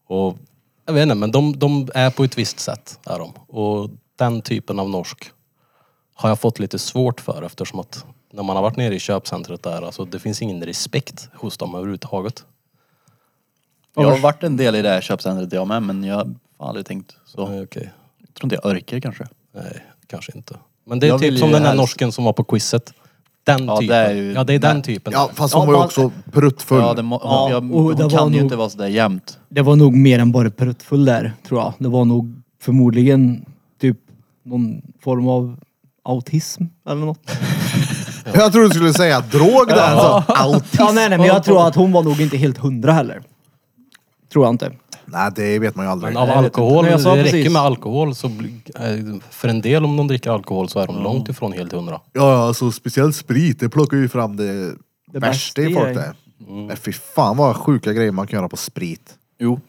C: Och, jag vet inte men de, de är på ett visst sätt. Är de. Och den typen av norsk har jag fått lite svårt för eftersom att när man har varit nere i köpcentret där, alltså det finns ingen respekt hos dem överhuvudtaget.
D: Jag har varit en del i det här köpcentret jag med men jag har aldrig tänkt så.
C: Nej, Okej.
D: Jag tror inte jag orkar kanske.
C: Nej, kanske inte. Men det är
D: Jag vill
C: typ
D: ju
C: som den där
D: helst-
C: norsken som var på quizet. Den
D: Ja, det
C: typen.
D: är ju-
C: Ja, det är den
D: Nej.
C: typen.
A: Ja, fast hon
B: Ja,
A: var ju
B: bara-
A: också pruttfull.
D: Ja, det må,
B: Ja,
D: jag,
B: och
D: hon
B: det var
D: kan ju
B: nog-
D: inte vara sådär jämt.
B: Det var nog mer än bara pruttfull där, tror jag. Det var nog förmodligen typ någon form av autism eller något.
A: Jag trodde du skulle säga drog där. Alltså. Autism.
B: Ja, nej, nej, men jag tror att hon var nog inte helt hundra heller. Tror jag inte.
A: Nej, det vet man ju aldrig.
C: Men av
B: jag vet inte.
C: alkohol,
B: Nej, jag sa
C: det räcker
B: precis.
C: med alkohol så blir- eh, för en del om de dricker alkohol så är de långt ifrån helt hundra.
A: Ja, ja, alltså speciellt sprit, det plockar ju fram det,
B: Det
A: värsta
B: bästa
A: i
B: i
A: folk
B: dig.
A: det. Men fy fan vad sjuka grejer man kan göra på sprit.
D: Jo.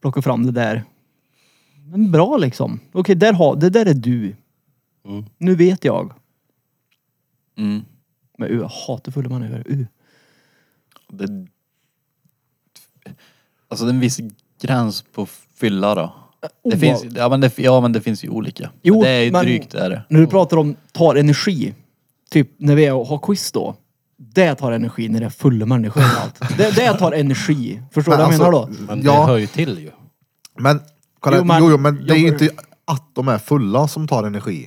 B: Plocka fram det där. Men bra liksom. Okej, där har, det där är du. Nu vet jag.
D: Mm.
B: Men u, jag hatar fulla människor. U.
D: Det, alltså det är en viss gräns på fylla då. Det
B: oav-
D: finns, ja, men det, ja men det finns ju olika.
B: Eh, oh, Jo,
D: det är ju
B: men-
D: drygt är det.
B: När du pratar om tar energi, typ när vi är och har quiz då. Det tar energi när det är fulla människor och allt. Det, det tar energi. Förstår du
A: Men
B: vad jag menar då?
A: alltså,
C: Men det hör
A: Ja,
C: ju till ju.
A: men, kolla, jo,
B: Jo, men-
A: jo, men det är ju
B: jag-
A: inte att de är fulla som tar energi.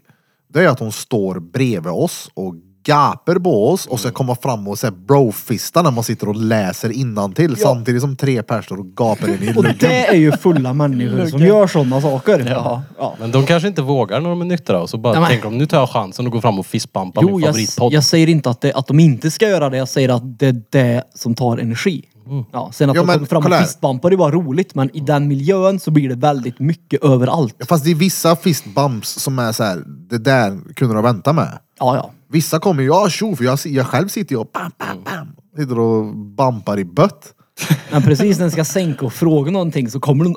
A: Det är att de står bredvid oss och gaper på oss och sen komma fram och så här brofista när man sitter och läser innantill till samtidigt som tre personer och gapar in i
B: Och
A: luggen.
B: det är ju fulla människor som gör sådana saker. Ja.
C: Men de kanske inte vågar när de är nyktra och så bara
B: Nej, men-
C: tänker de nu tar jag chansen och går fram och fistbumpar
B: Jo,
C: min
B: jag,
C: favoritpodd.
B: jag säger inte att, det, att de inte ska göra det. Jag säger att det är det som tar energi.
C: Mm.
B: Ja, sen att
A: Jo,
B: de
A: men
B: kommer fram
A: kolla
B: och
A: här.
B: fistbumpar det är bara roligt. Men i den miljön så blir det väldigt mycket överallt.
A: Fast det är vissa fistbumps som är så här, det där kunde de vänta med.
B: Ja, ja.
A: Vissa kommer ju, ja tjo, för jag, jag själv sitter ju och bam, bam, bam. Sitter och bampar i bött.
B: Men precis när den ska sänka och fråga någonting så kommer den...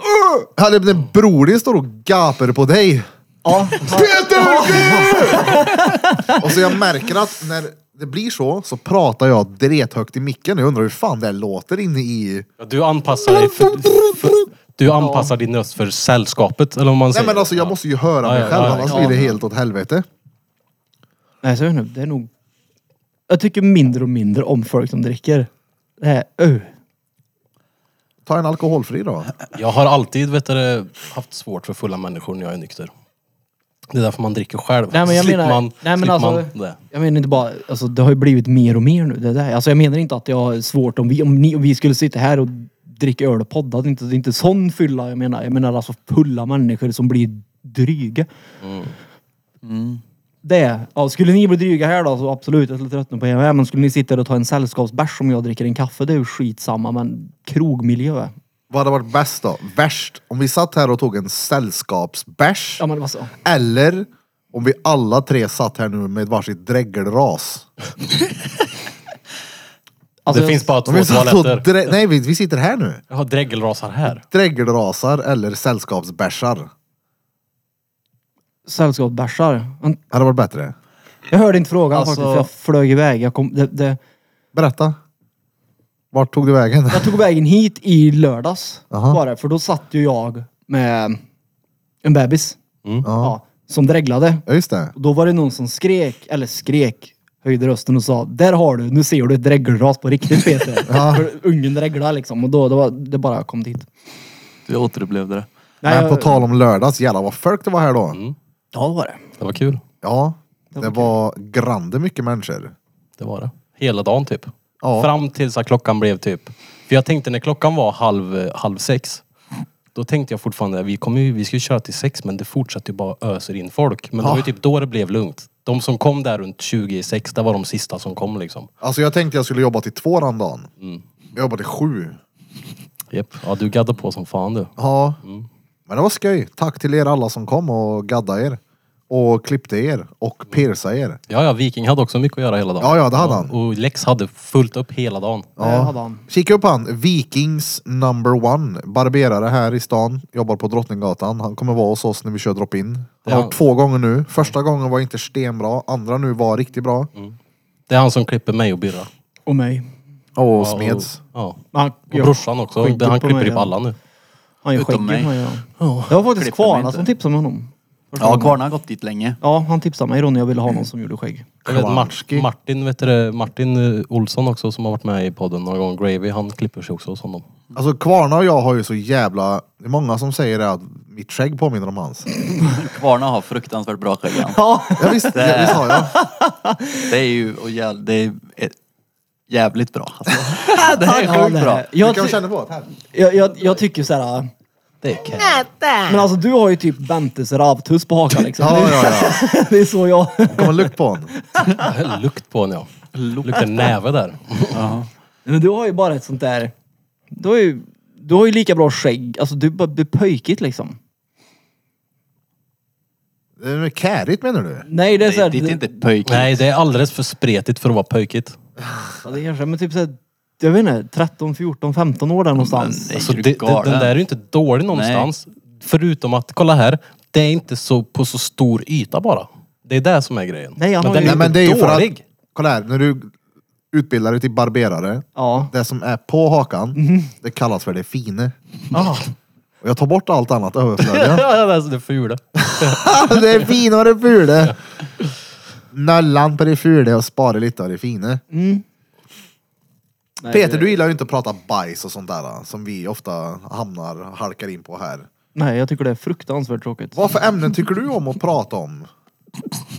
A: Hade den broder står och gapar på dig.
B: Ja,
A: Peter! Gud! och så jag märker att när det blir så, så pratar jag drethögt i micken. Jag undrar hur fan det här låter inne i...
C: Ja, Du anpassar dig för, för, Du anpassar din röst för sällskapet eller om man
A: Nej
C: säger.
A: men alltså jag
C: Ja.
A: måste ju höra
C: Ja,
A: mig
C: ja,
A: själv,
C: ja,
A: annars
C: ja.
A: blir det helt åt helvete.
B: Nej, så jag vet inte. Det är nog... Jag tycker mindre och mindre om folk som dricker. Det här, uh.
A: Ta en alkoholfri då.
C: Jag har alltid vet du, haft svårt för fulla människor när jag är nykter. Det är därför man dricker själv.
B: Nej, men jag
C: slipper
B: menar-
C: man,
B: nej, men
C: slipper
B: alltså-
C: man det.
B: Jag menar inte bara, alltså det har ju blivit mer och mer nu. Det där. Alltså jag menar inte att jag har svårt om vi, om ni, om vi skulle sitta här och dricka öl och podda. Det är inte, det är inte sån fylla jag menar. Jag menar alltså fulla människor som blir dryga.
C: Mm.
B: Det, ja, skulle ni bli dryga här då så absolut, jag skulle tröttna på er med. Men skulle ni sitta där och ta en sällskapsbärs om jag dricker en kaffe, det är ju skitsamma. Men krogmiljö.
A: Vad hade varit bäst då? Värst? Om vi satt här och tog en sällskapsbärs.
B: Ja men alltså- det var så.
A: Eller om vi alla tre satt här nu med ett varsitt dräggelras.
B: Alltså,
C: det finns bara
A: Om
C: två
A: vi satt och
C: toaletter.
A: drä- Nej, vi, vi sitter här nu.
C: Jag har dräggelrasar här.
A: Dräggelrasar eller sällskapsbärsar.
B: Sällskapsbärsar. Men
A: Hade varit bättre.
B: Jag hörde inte frågan
D: Alltså-
B: faktiskt, för jag flög iväg. Jag, kom, det, det,
A: Berätta. Vart tog du vägen?
B: jag tog vägen hit i lördags.
A: Aha.
B: Bara, för då satt ju jag med en bebis.
A: Mm.
B: Ja, som dreglade.
A: Ja, just det.
B: Och då var det någon som skrek, eller skrek, höjde rösten och sa Där har du, nu ser du ett dregelras på riktigt Peter. För ungen dreglade liksom. Och då, då var det bara kom dit.
D: Du återupplevde det.
A: Men
B: jag-
A: på tal om lördags, jävlar vad folk det var här då.
C: Mm.
B: Ja, det var det.
C: Det var kul.
A: Ja, det var grande mycket människor.
C: Det var det. Hela dagen typ.
A: Ja.
C: Fram tills att klockan blev typ... För jag tänkte när klockan var halv, halv sex. Då tänkte jag fortfarande, vi, kommer ju, vi ska ju köra till sex men det fortsatte ju bara öser in folk. Men det var ju typ då det blev lugnt. De som kom där runt 20 i sex, det var de sista som kom liksom.
A: Alltså jag tänkte jag skulle jobba till två den dagen.
C: Mm.
A: Jag jobbade sju.
C: Japp. Ja, du gaddar på som fan du.
A: Ja. Men det var skoj. Tack till er alla som kom och gaddade er. Och klippte er och piercade er.
C: Ja, ja, Viking hade också mycket att göra hela dagen.
A: Ja, ja, det hade han.
C: Och Lex hade fullt upp hela dagen.
B: Det hade han.
A: Kika upp han, Vikings number one. Barberare här i stan, jobbar på Drottninggatan. Han kommer vara hos oss när vi kör drop-in. Han har
C: Ja.
A: varit två gånger nu. Första gången var inte stenbra, andra nu var riktigt bra.
C: Det är han som klipper mig och Birra.
B: Och mig.
A: Och Smeds.
C: Ja.
B: Men Han,
C: Och brorsan också.
B: skägget
C: Han
B: på
C: klipper
B: mig,
C: typ
B: ja.
C: alla nu.
B: Han gör
D: Utom
B: skägget på
D: mig.
B: mig. Ja. Det var faktiskt
D: Klipper mig
B: Kvarna
D: inte.
B: som tipsade mig om honom.
D: Ja, Kvarna har gått dit länge.
B: Ja, han tipsade mig då när jag ville ha någon som gjorde skägg.
C: Jag vet, Mar-
A: Kvarnski.
C: Martin, vet du, det, Martin eh, Olsson också som har varit med i podden några gånger. Gravy, han klipper sig också hos honom.
A: Alltså Kvarna och jag har ju så jävla... Det är många som säger det att mitt skägg påminner om hans.
D: Kvarna har fruktansvärt bra skägg. han.
A: Ja, visst, ja, visst har jag.
D: Det är ju och jäv, det är ett- jävligt bra. Alltså. Det
B: Tack!
D: är sjukt bra.
A: Du
B: Jag,
A: kan
B: ty-
A: känna på det här.
B: jag, jag, jag tycker såhär...
C: Det är Ken.
B: Men alltså du har ju typ Bentes ravtuss på hakan liksom.
A: Ja, ja,
B: ja. det är så jag...
A: ja. Kommer lukt på honom.
C: Jag höll Lukt på honom ja. Luktar näve där.
B: Men du har ju bara ett sånt där... Du har ju, du har ju lika bra skägg. Alltså du är bara du är pöjkigt liksom.
A: Det är Eh, kärigt menar du?
B: Nej det är
D: Det
B: såhär...
D: är ditt är inte pöjkigt.
C: Nej, det är alldeles för spretigt för att vara pöjkigt.
B: Ja, det kanske, men typ såhär... Jag vet inte, 13, 14, 15 år där någonstans.
D: Men-
C: Alltså,
D: är ju
C: det, det, den
D: galen.
C: där är ju inte dålig någonstans. Förutom att, kolla här, det är inte så på så stor yta bara. Det är det som är grejen.
B: Nej, han
C: men
B: har
C: den
B: ju-
C: är
A: Nej, men det är ju för att...
C: dålig.
A: Kolla här, när du utbildar dig till barberare.
B: Ja.
A: Det som är på hakan, det kallas för det fine.
B: Ah.
A: Och jag tar bort allt annat överflödiga.
C: Ja, det är så det fula.
A: det är fina och det fule. Nollan på det fule och sparar lite av det fine. Peter, du gillar ju inte att prata bajs och sånt där som vi ofta hamnar, halkar in på här.
B: Nej jag tycker det är fruktansvärt tråkigt.
A: Vad för ämnen tycker du om att prata om?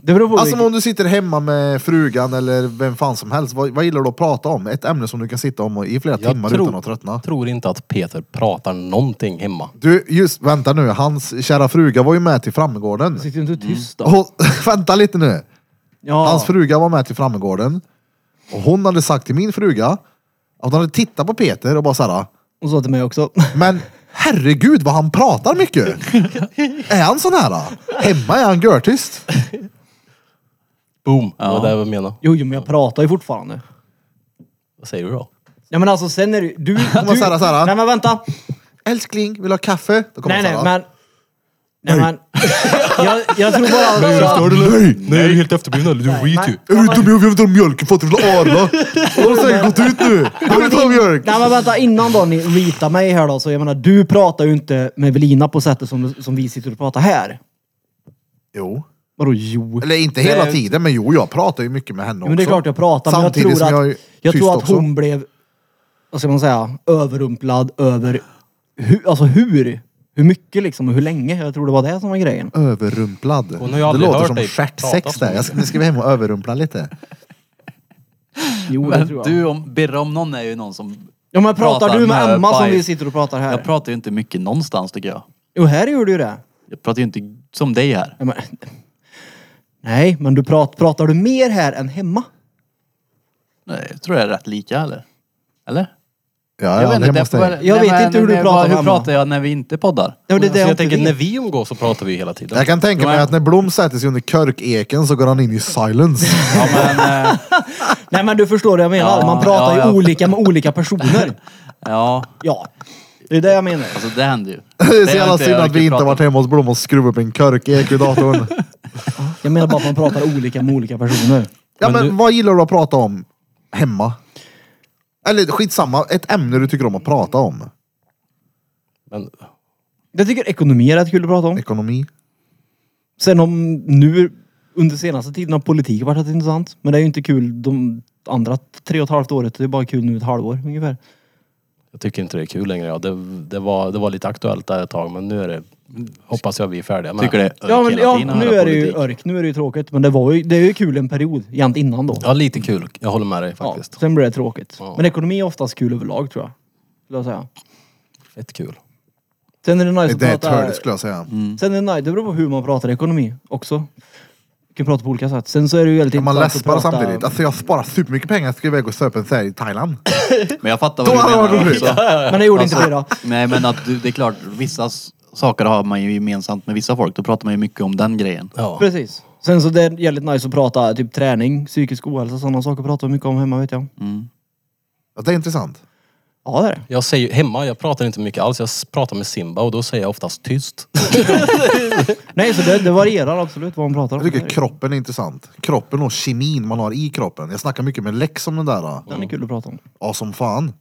B: Det beror på
A: Alltså
B: vilket-
A: om du sitter hemma med frugan eller vem fan som helst, vad, vad gillar du att prata om? Ett ämne som du kan sitta om i flera timmar utan att tröttna.
C: tror inte att Peter pratar någonting hemma.
A: Du, just vänta nu, hans kära fruga var ju med till Framgården.
B: Sitter du inte tyst då?
A: Och, vänta lite nu.
B: Ja.
A: Mm. Hans fruga var med till Framgården. Och hon hade sagt till min fruga att hon hade tittat på Peter och bara såhär,
B: Hon sa till mig också.
A: men herregud vad han pratar mycket. är han sån här? Hemma är han görtyst.
C: Boom! Det var det jag menade.
B: Jo, jo, men jag pratar ju fortfarande.
C: Vad säger du då?
B: Ja men alltså sen är det ju- du...
A: var
B: du
A: så här, så här.
B: Nej men vänta.
A: Älskling, vill du ha kaffe? Då kommer
B: Nej nej
A: Sara.
B: men... Nej men... jag, jag tror bara att...
A: Nej!
C: Nej, jag är helt efterbliven. Du är skit ju.
A: Är du dum i huvudet? Jag vill inte ha mjölk. Fattar du? Jag vill ha Arla. Då har du säkert gått ut nu. Jag vill inte ha mjölk.
B: Nej men vänta innan då ni ritar mig här då. Så jag menar du pratar ju inte med Evelina på sättet som, som vi sitter och pratar här.
A: Jo.
B: Vadå jo?
A: Eller inte hela tiden, men jo, jag pratar ju mycket med henne också.
B: Jo, men det är klart jag pratar men jag
A: Samtidigt
B: tror
A: som jag
B: att... Jag,
A: är tyst
B: tror att
A: också.
B: hon blev... Vad ska man säga? Överrumplad över... Hur, alltså hur? Hur mycket liksom och hur länge? Jag tror det var det som var grejen.
A: Överrumplad.
C: har ju
A: det
C: aldrig
A: låter
C: hört
A: som
C: dig prata
A: stjärtsex
C: så
A: där. Jag ska, nu ska vi hem och överrumpla lite.
B: Jo det tror
D: Men
B: jag.
D: du, om, Birra om någon är ju någon som...
B: Ja men pratar, du med Emma som
D: bajs.
B: vi sitter och pratar här?
D: Jag pratar ju inte mycket någonstans tycker jag.
B: jo här gör du ju det.
D: Jag pratar ju inte som dig här.
B: Ja, men... Nej, men du prat... pratar du mer här än hemma?
D: Nej, jag tror jag är rätt lika eller? Eller?
A: Ja, jag är
D: vet
A: hemma hos
D: det är bara-
A: dig.
B: Jag
D: Nej,
B: vet
D: men-
B: inte hur du
D: nej,
B: pratar
D: vad-
B: med
D: Hur
B: Emma.
D: pratar jag när vi inte poddar?
B: Ja, det är det
C: Alltså, jag
B: inte
C: tänker,
B: vet.
C: när vi umgås så pratar vi hela tiden.
A: Jag kan tänka mig att när Blom sätter sig under körkeken så går han in i silence.
D: Ja, men, eh,
B: Nej men du förstår vad jag menar.
D: Ja,
B: Man pratar
D: ja,
B: ju
D: ja.
B: olika med olika personer.
D: ja,
B: Ja, det är det jag menar.
D: alltså det händer ju.
A: Det är så
D: har
A: jävla
D: inte-
A: synd
D: jag
A: att vi
D: kan
A: inte
D: prata-
A: varit hemma hos Blom och skruvat upp en körkek i datorn.
B: Jag menar bara att man pratar olika med olika personer.
A: Ja men,
C: Men du-
A: vad gillar du att prata om hemma? Eller skitsamma, ett ämne du tycker om att prata om.
C: Men
B: Jag tycker ekonomi är rätt kul att prata om.
A: Ekonomi.
B: Sen om nu under senaste tiden har politik varit rätt intressant. Men det är ju inte kul de andra tre och ett halvt året. Det är bara kul nu ett halvår ungefär.
C: jag tycker inte det är kul längre. Ja, det, det, var, det var lite aktuellt där ett tag men nu är det... Hoppas jag vi är färdiga med
D: Tycker det är
B: Ja, men,
D: hela
B: ja,
D: tiden att
B: nu
D: höra
B: är det ju
D: politik.
B: örk, nu är det ju tråkigt. Men det, var ju, det är ju kul en period, egentligen innan då.
C: Ja, lite kul. Jag håller med dig
B: Ja,
C: faktiskt.
B: sen blir det tråkigt.
C: Ja.
B: Men ekonomi är oftast kul överlag tror jag. Skulle jag säga.
C: Fett kul.
B: Sen är det nice
A: Det är Mm.
B: att prata... Mm.
A: törligt skulle jag säga.
B: Sen är det nice, det beror på hur man pratar ekonomi också. Du kan prata på olika sätt. Sen så är det ju väldigt
A: Kan man
B: intressant att
A: läspar
B: prata...
A: samtidigt? Alltså jag sparar supermycket pengar. Jag ska iväg och söpa en serie i Thailand.
D: Men jag fattar
A: Då
D: vad
A: hade det
D: du
A: varit roligt.
D: menar också.
B: Men det gjorde
A: Alltså.
B: inte det då.
D: Nej men att du, det är klart, vissa s- saker har man ju gemensamt med vissa folk. Då pratar man ju mycket om den grejen.
C: Ja.
B: Precis. Sen så det är jävligt nice att prata typ träning, psykisk ohälsa, sådana saker pratar vi mycket om hemma vet jag.
A: Mm. Ja, det är intressant.
B: Ja det är det.
C: Jag säger hemma, jag pratar inte mycket alls. Jag s- pratar med Simba och då säger jag oftast tyst.
B: Nej så det, det varierar absolut vad man pratar om.
A: Jag tycker kroppen är intressant. Kroppen och kemin man har i kroppen. Jag snackar mycket med Lex om den där.
B: Den är kul att prata om.
A: Ja som fan.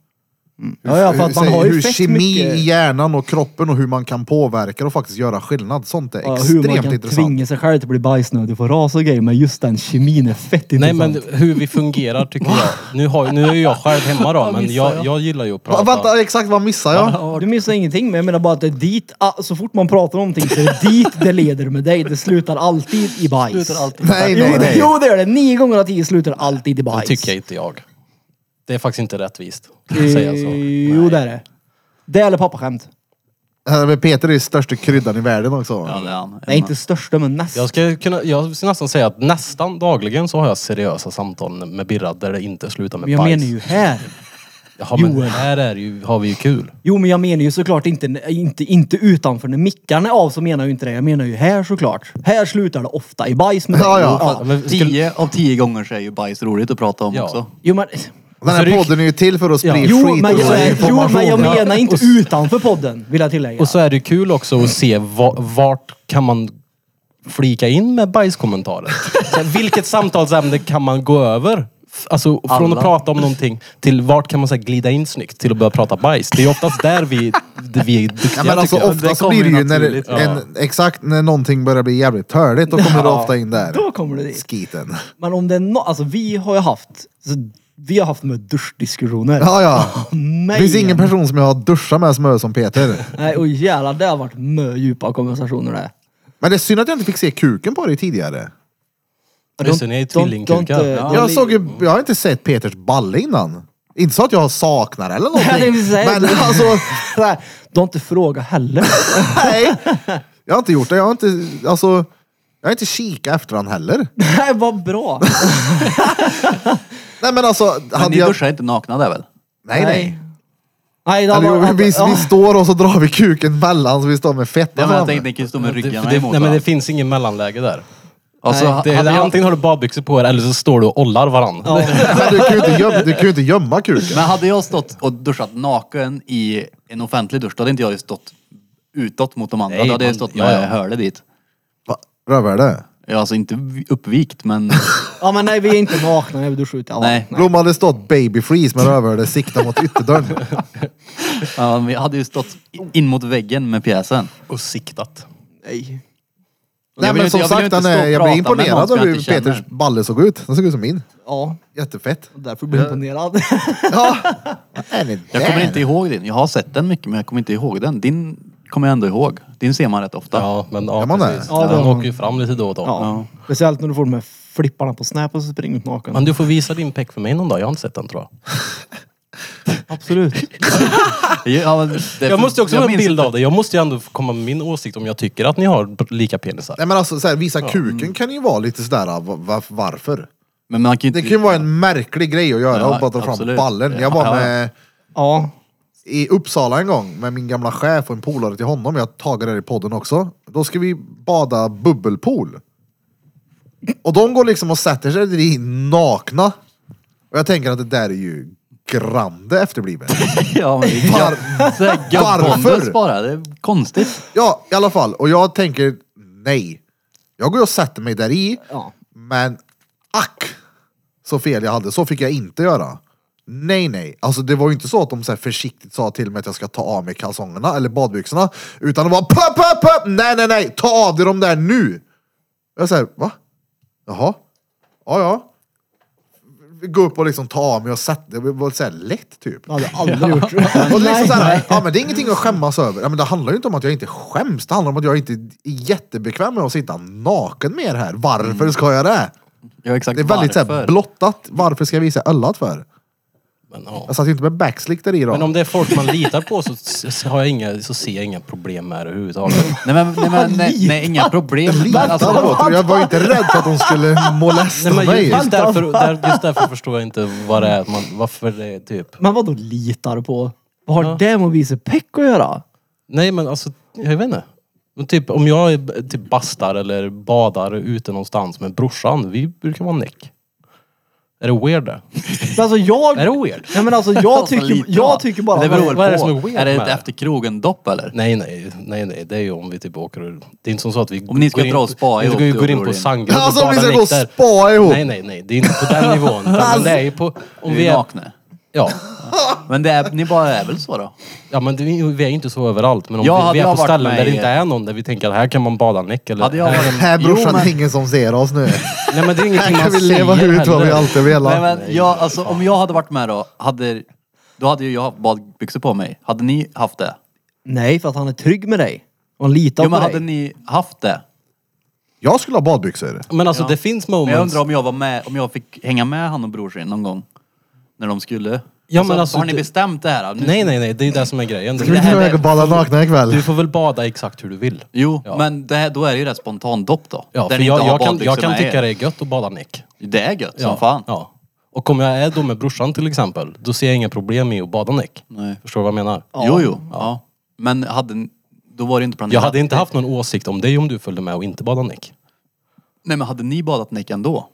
B: Ja, ja för
A: Hur-
B: att man
A: säg-
B: har ju
A: hur
B: fett
A: kemi
B: mycket...
A: i hjärnan och kroppen och hur man kan påverka och faktiskt göra skillnad. Sånt är
B: Ja, hur
A: extremt
B: man kan
A: intressant.
B: tvinga sig själv till att bli bajsnödig för ras och grejer. Men just den kemin är fett
C: Nej
B: intressant.
C: men hur vi fungerar tycker jag. Nu, har, nu är ju jag själv hemma då men jag, jag gillar ju att
A: Va,
C: prata.
A: vänta, exakt vad missar jag?
B: Du missar ingenting men jag menar bara att det är dit, ah, så fort man pratar om någonting så är det dit det leder med dig. Det slutar alltid i bajs.
A: Nej,
B: Jo,
A: nej,
B: det-
A: nej.
B: jo det gör det. Nio gånger av tio slutar alltid i
C: Det
B: bajs.
C: tycker inte jag. Det är faktiskt inte rättvist. Kan jag säga så.
B: Eh, Jo det är det. Det eller pappaskämt.
A: Ja, men Peter är ju största kryddan i världen också.
D: Ja, det är han.
B: Nej inte största men näst.
C: Jag ska kunna, jag ska nästan säga att nästan dagligen så har jag seriösa samtal med Birra där det inte slutar med
B: Men jag
C: bajs.
B: menar ju här.
C: Jaha, men
B: Joel.
C: här är det ju, har vi ju kul.
B: Jo men jag menar ju såklart inte, inte, inte utanför. När mickarna är av så menar jag ju inte det. Jag menar ju här såklart. Här slutar det ofta i bajs med dig.
A: Ja, ja.
C: Ja, men skulle,
D: Tio av tio gånger så är ju bajs roligt att prata om
C: Ja.
D: också.
B: Jo men...
A: Den här podden är ju till för att sprida
B: Jo
A: skit
B: men,
A: och
B: jag, jo
A: information.
B: men jag
A: Ja.
B: menar inte utanför podden vill jag tillägga.
C: och så är det ju kul också att se va, vart kan man flika in med bajskommentarer. Så här, vilket samtalsämne kan man gå över? F- Alltså från
D: Alla.
C: att prata om någonting till vart kan man så här, glida in snyggt till att börja prata bajs. Det är oftast där vi, där vi är duktiga
A: Ja, men alltså,
C: tycker jag.
A: ofta
D: Det
A: så
D: kommer
A: blir det ju
D: ju
A: när,
D: naturligt.
A: en, exakt när någonting börjar bli jävligt törligt, då kommer det ofta in där.
B: Då kommer det dit.
A: Skiten.
B: Men om det är no- alltså vi har ju haft, så vi har haft med duschdiskussioner.
A: Ja, ja. Det
B: Nej.
A: finns ingen person som jag har duschat med som är som Peter.
B: Nej, och jävlar det har varit mö djupa konversationer det.
A: Men det är synd att jag inte fick se kuken på dig tidigare.
C: Just det, ni är ju
B: Don't- don't-
C: tvillingkukar.
B: don't, eh,
C: Ja.
B: don't
A: Jag,
B: leave-
A: såg ju, jag har inte sett Peters balle innan. Inte så att jag saknar eller
B: Nej, det
A: någonting.
B: vill säga.
A: men alltså,
B: Nej, Du har inte frågat heller.
A: nej. Jag har inte gjort det. Jag har inte, alltså, jag har inte kikat efter han heller.
B: Nej, vad bra.
A: Nej men alltså,
D: Men
A: hade
D: ni
A: jag...
D: duschar inte nakna där väl?
A: Nej nej.
B: Nej, det
A: Eller,
B: var,
A: jo, vi, vi står och så drar vi kuken mellan så vi står med
D: Ja,
A: fettan
D: men jag
A: framme.
D: tänkte ni kan ju stå med
C: Det,
D: ryggarna
C: det,
D: emot
C: nej, men
D: varandra.
C: det finns ingen mellanläge där.
D: Alltså,
B: Nej,
C: Det,
D: hade
C: det,
D: han-
C: antingen har du badbyxor på dig eller så står du och ollar varandra.
B: Ja.
A: Men du kan ju inte gömma, du kan ju inte gömma kuken.
D: Men hade jag stått och duschat naken i en offentlig dusch, då hade inte jag ju stått utåt mot de andra.
C: Nej,
D: då hade jag
C: man-
D: stått
C: ja,
D: med
C: ja.
D: hörde dit.
A: Va? Rövhålet?
D: Jag alltså inte v- uppvikt, men
B: ja, men nej, vi är inte nakna när vi duschar ute. Ja,
D: Nej.
A: Blom hade stått baby freeze med rövhålet siktat mot ytterdörren.
D: ja, men jag hade ju stått in mot väggen med pjäsen.
C: Och siktat.
B: nej.
D: Och
A: Nej
D: jag vill ju
A: men
D: inte-
A: som
D: jag vill ju
A: sagt,
D: inte
A: den är,
D: stå och
A: jag
D: prata
A: blev
D: med
A: imponerad
D: någon som
A: av
D: jag
A: hur
D: inte känner.
A: Peters balle såg ut. Den såg ut som min.
B: Ja,
A: Jättefett.
B: därför blir jag imponerad.
A: Ja. Vad är det
D: Jag kommer
A: där?
D: inte ihåg din. Jag har sett den mycket, men jag kommer inte ihåg den. Din kommer jag ändå ihåg. Din ser man rätt ofta.
C: Ja, men
A: Ja,
C: ja,
A: man är.
C: precis.
B: Ja, det
C: Den
B: har-
C: åker ju fram lite då och då.
B: Ja. Speciellt när du får de här flipparna på snap och så springer du ut naken.
C: Men du får visa din peck för mig någon dag. Jag har inte sett den tror jag.
B: Absolut.
D: Ja, men det-
C: Jag måste ju också
D: jag
C: få en
D: minns-
C: bild av det. Jag måste ju ändå få komma med min åsikt om jag tycker att ni har lika penisar.
A: Nej men alltså så här, visa
D: Mm.
A: kuken kan ju vara lite sådär, ah, va- va- varför?
D: Men man kan ju inte...
A: Det kan ju vara en märklig grej att göra,
D: Ja,
A: att bara ta fram
D: absolut.
A: ballen. Jag var
D: Ja.
A: med
B: Ja.
A: i Uppsala en gång med min gamla chef och en polare till honom, jag har tagit det här i podden också. Då ska vi bada bubbelpool. Och de går liksom och sätter sig i nakna. Och jag tänker att det där är ju grande efterblivet.
D: Ja, men det
A: Var-
D: är
A: Varför?
D: gabbondus bara. Det är konstigt.
A: Ja, i alla fall. Och jag tänker nej. Jag går och sätter mig där i.
B: Ja.
A: Men ack så fel jag hade. Så fick jag inte göra. Nej, nej. Alltså det var ju inte så att de så här försiktigt sa till mig att jag ska ta av mig kalsongerna eller badbyxorna. Utan det var pöp, pöp, pöp! Nej, nej, nej! Ta av dig dem där nu! Jag säger va? Jaha? Ja, ja. Gå upp och liksom ta av mig och sätta Det var så här lätt typ.
B: Det hade jag aldrig gjort.
A: Och liksom
B: Nej.
A: så här, ja, men det är ingenting att skämmas över. Ja, men det handlar ju inte om att jag inte skäms. Det handlar om att jag inte är jättebekväm med att sitta naken med er här. Varför ska jag det?
D: Ja, exakt
A: Det är väldigt så här,
D: varför.
A: blottat. Varför ska jag visa öllat för?
C: Men, ja.
A: Jag satt ju inte med backslick där i då.
C: men om det är folk man litar på så, s- har jag inga, så ser jag inga problem med det överhuvudtaget.
D: Nej men, nej, men nej, nej, inga problem. Men,
A: Litar
D: alltså,
A: på det. Jag var ju inte rädd för att de skulle molesta
C: Nej, men
A: mig.
C: ju- just, därför, där, just därför förstår jag inte vad det är, att man, varför det är typ...
B: Men vadå litar på? Vad har det med att visa peck att göra?
C: Nej men alltså, jag vet inte. Men Typ om jag är b- typ bastar eller badar ute någonstans med brorsan, vi brukar vara näck. Är det weird det?
B: Men alltså jag...
C: Är det weird?
B: Nej men alltså jag
D: alltså,
B: tycker,
D: lite, va?
B: jag tycker bara...
D: Det
B: att-
D: beror väl på.
C: vad är det som är weird
D: Är det
C: med
D: ett
C: det?
D: efter krogen-dopp eller?
C: Nej nej, nej nej, det är ju om vi typ åker och... Det är inte som så att vi...
D: Om ni ska
C: går in-
D: dra och spa
C: vi
D: ihop,
C: går,
D: då
C: går in
D: går
C: på
D: det in.
C: sangren och
A: Alltså om ni
C: badar
A: ska gå och
C: näck där.
A: spa ihop. Alltså,
C: Nej nej nej, det är inte på den nivån. utan Men det är ju på... Om
D: Vi
C: vi
D: är
C: är,
D: nakna.
C: ja,
D: Men det är, ni bara är väl så då?
C: ja men det, vi är ju inte så överallt. Men om
D: Jag
C: vi,
D: hade
C: vi är
D: jag
C: på
D: varit
C: ställen
D: med
C: där det
D: i-
C: inte är någon där vi tänker att här kan man bada näck eller...
D: Hade jag varit...
A: Här brorsan,
D: Jo, men-
A: det är ingen som ser oss nu.
C: Nej men det är
A: Här
C: ingenting man
A: kan vi
C: säger
A: leva ut vad vi
C: heller.
A: alltid
D: Nej,
A: velat.
D: men jag, alltså, om jag hade varit med då, hade, då hade ju jag haft badbyxor på mig. Hade ni haft det?
B: Nej, för att han är trygg med dig. Och han litar
D: Jo men
B: på
D: hade
B: dig.
D: ni haft det?
A: Jag skulle ha badbyxor.
C: Men alltså
D: Ja.
C: det finns
D: Men jag
C: moments...
D: undrar om jag var med, om jag fick hänga med han och brorsan någon gång. När de skulle.
C: Ja, men alltså,
D: har ni
C: det-
D: bestämt det här? Nu,
C: Nej nej nej, det är ju det som är grejen.
A: Ska vi
C: Du,
A: inte iväg och bada nakna ikväll?
C: du får väl bada exakt hur du vill.
D: Jo,
C: Ja.
D: men det, här- då är det ju rätt spontant dopp då.
C: Ja,
D: Där
C: för
D: ni inte
C: jag,
D: har
C: jag, kan, jag
D: badbyxorna
C: kan tycka
D: er.
C: det är gött att bada näck.
D: Det är gött
C: Ja,
D: som fan.
C: Ja. Och om jag är då med brorsan till exempel, då ser jag inga problem i att bada näck.
D: Nej.
C: Förstår du vad jag menar?
D: Jo, jo. Ja. Men hade, ni- då var det inte planerat.
C: Jag hade inte haft någon åsikt om dig om du följde med och inte badade näck.
D: Nej men hade ni badat näck ändå?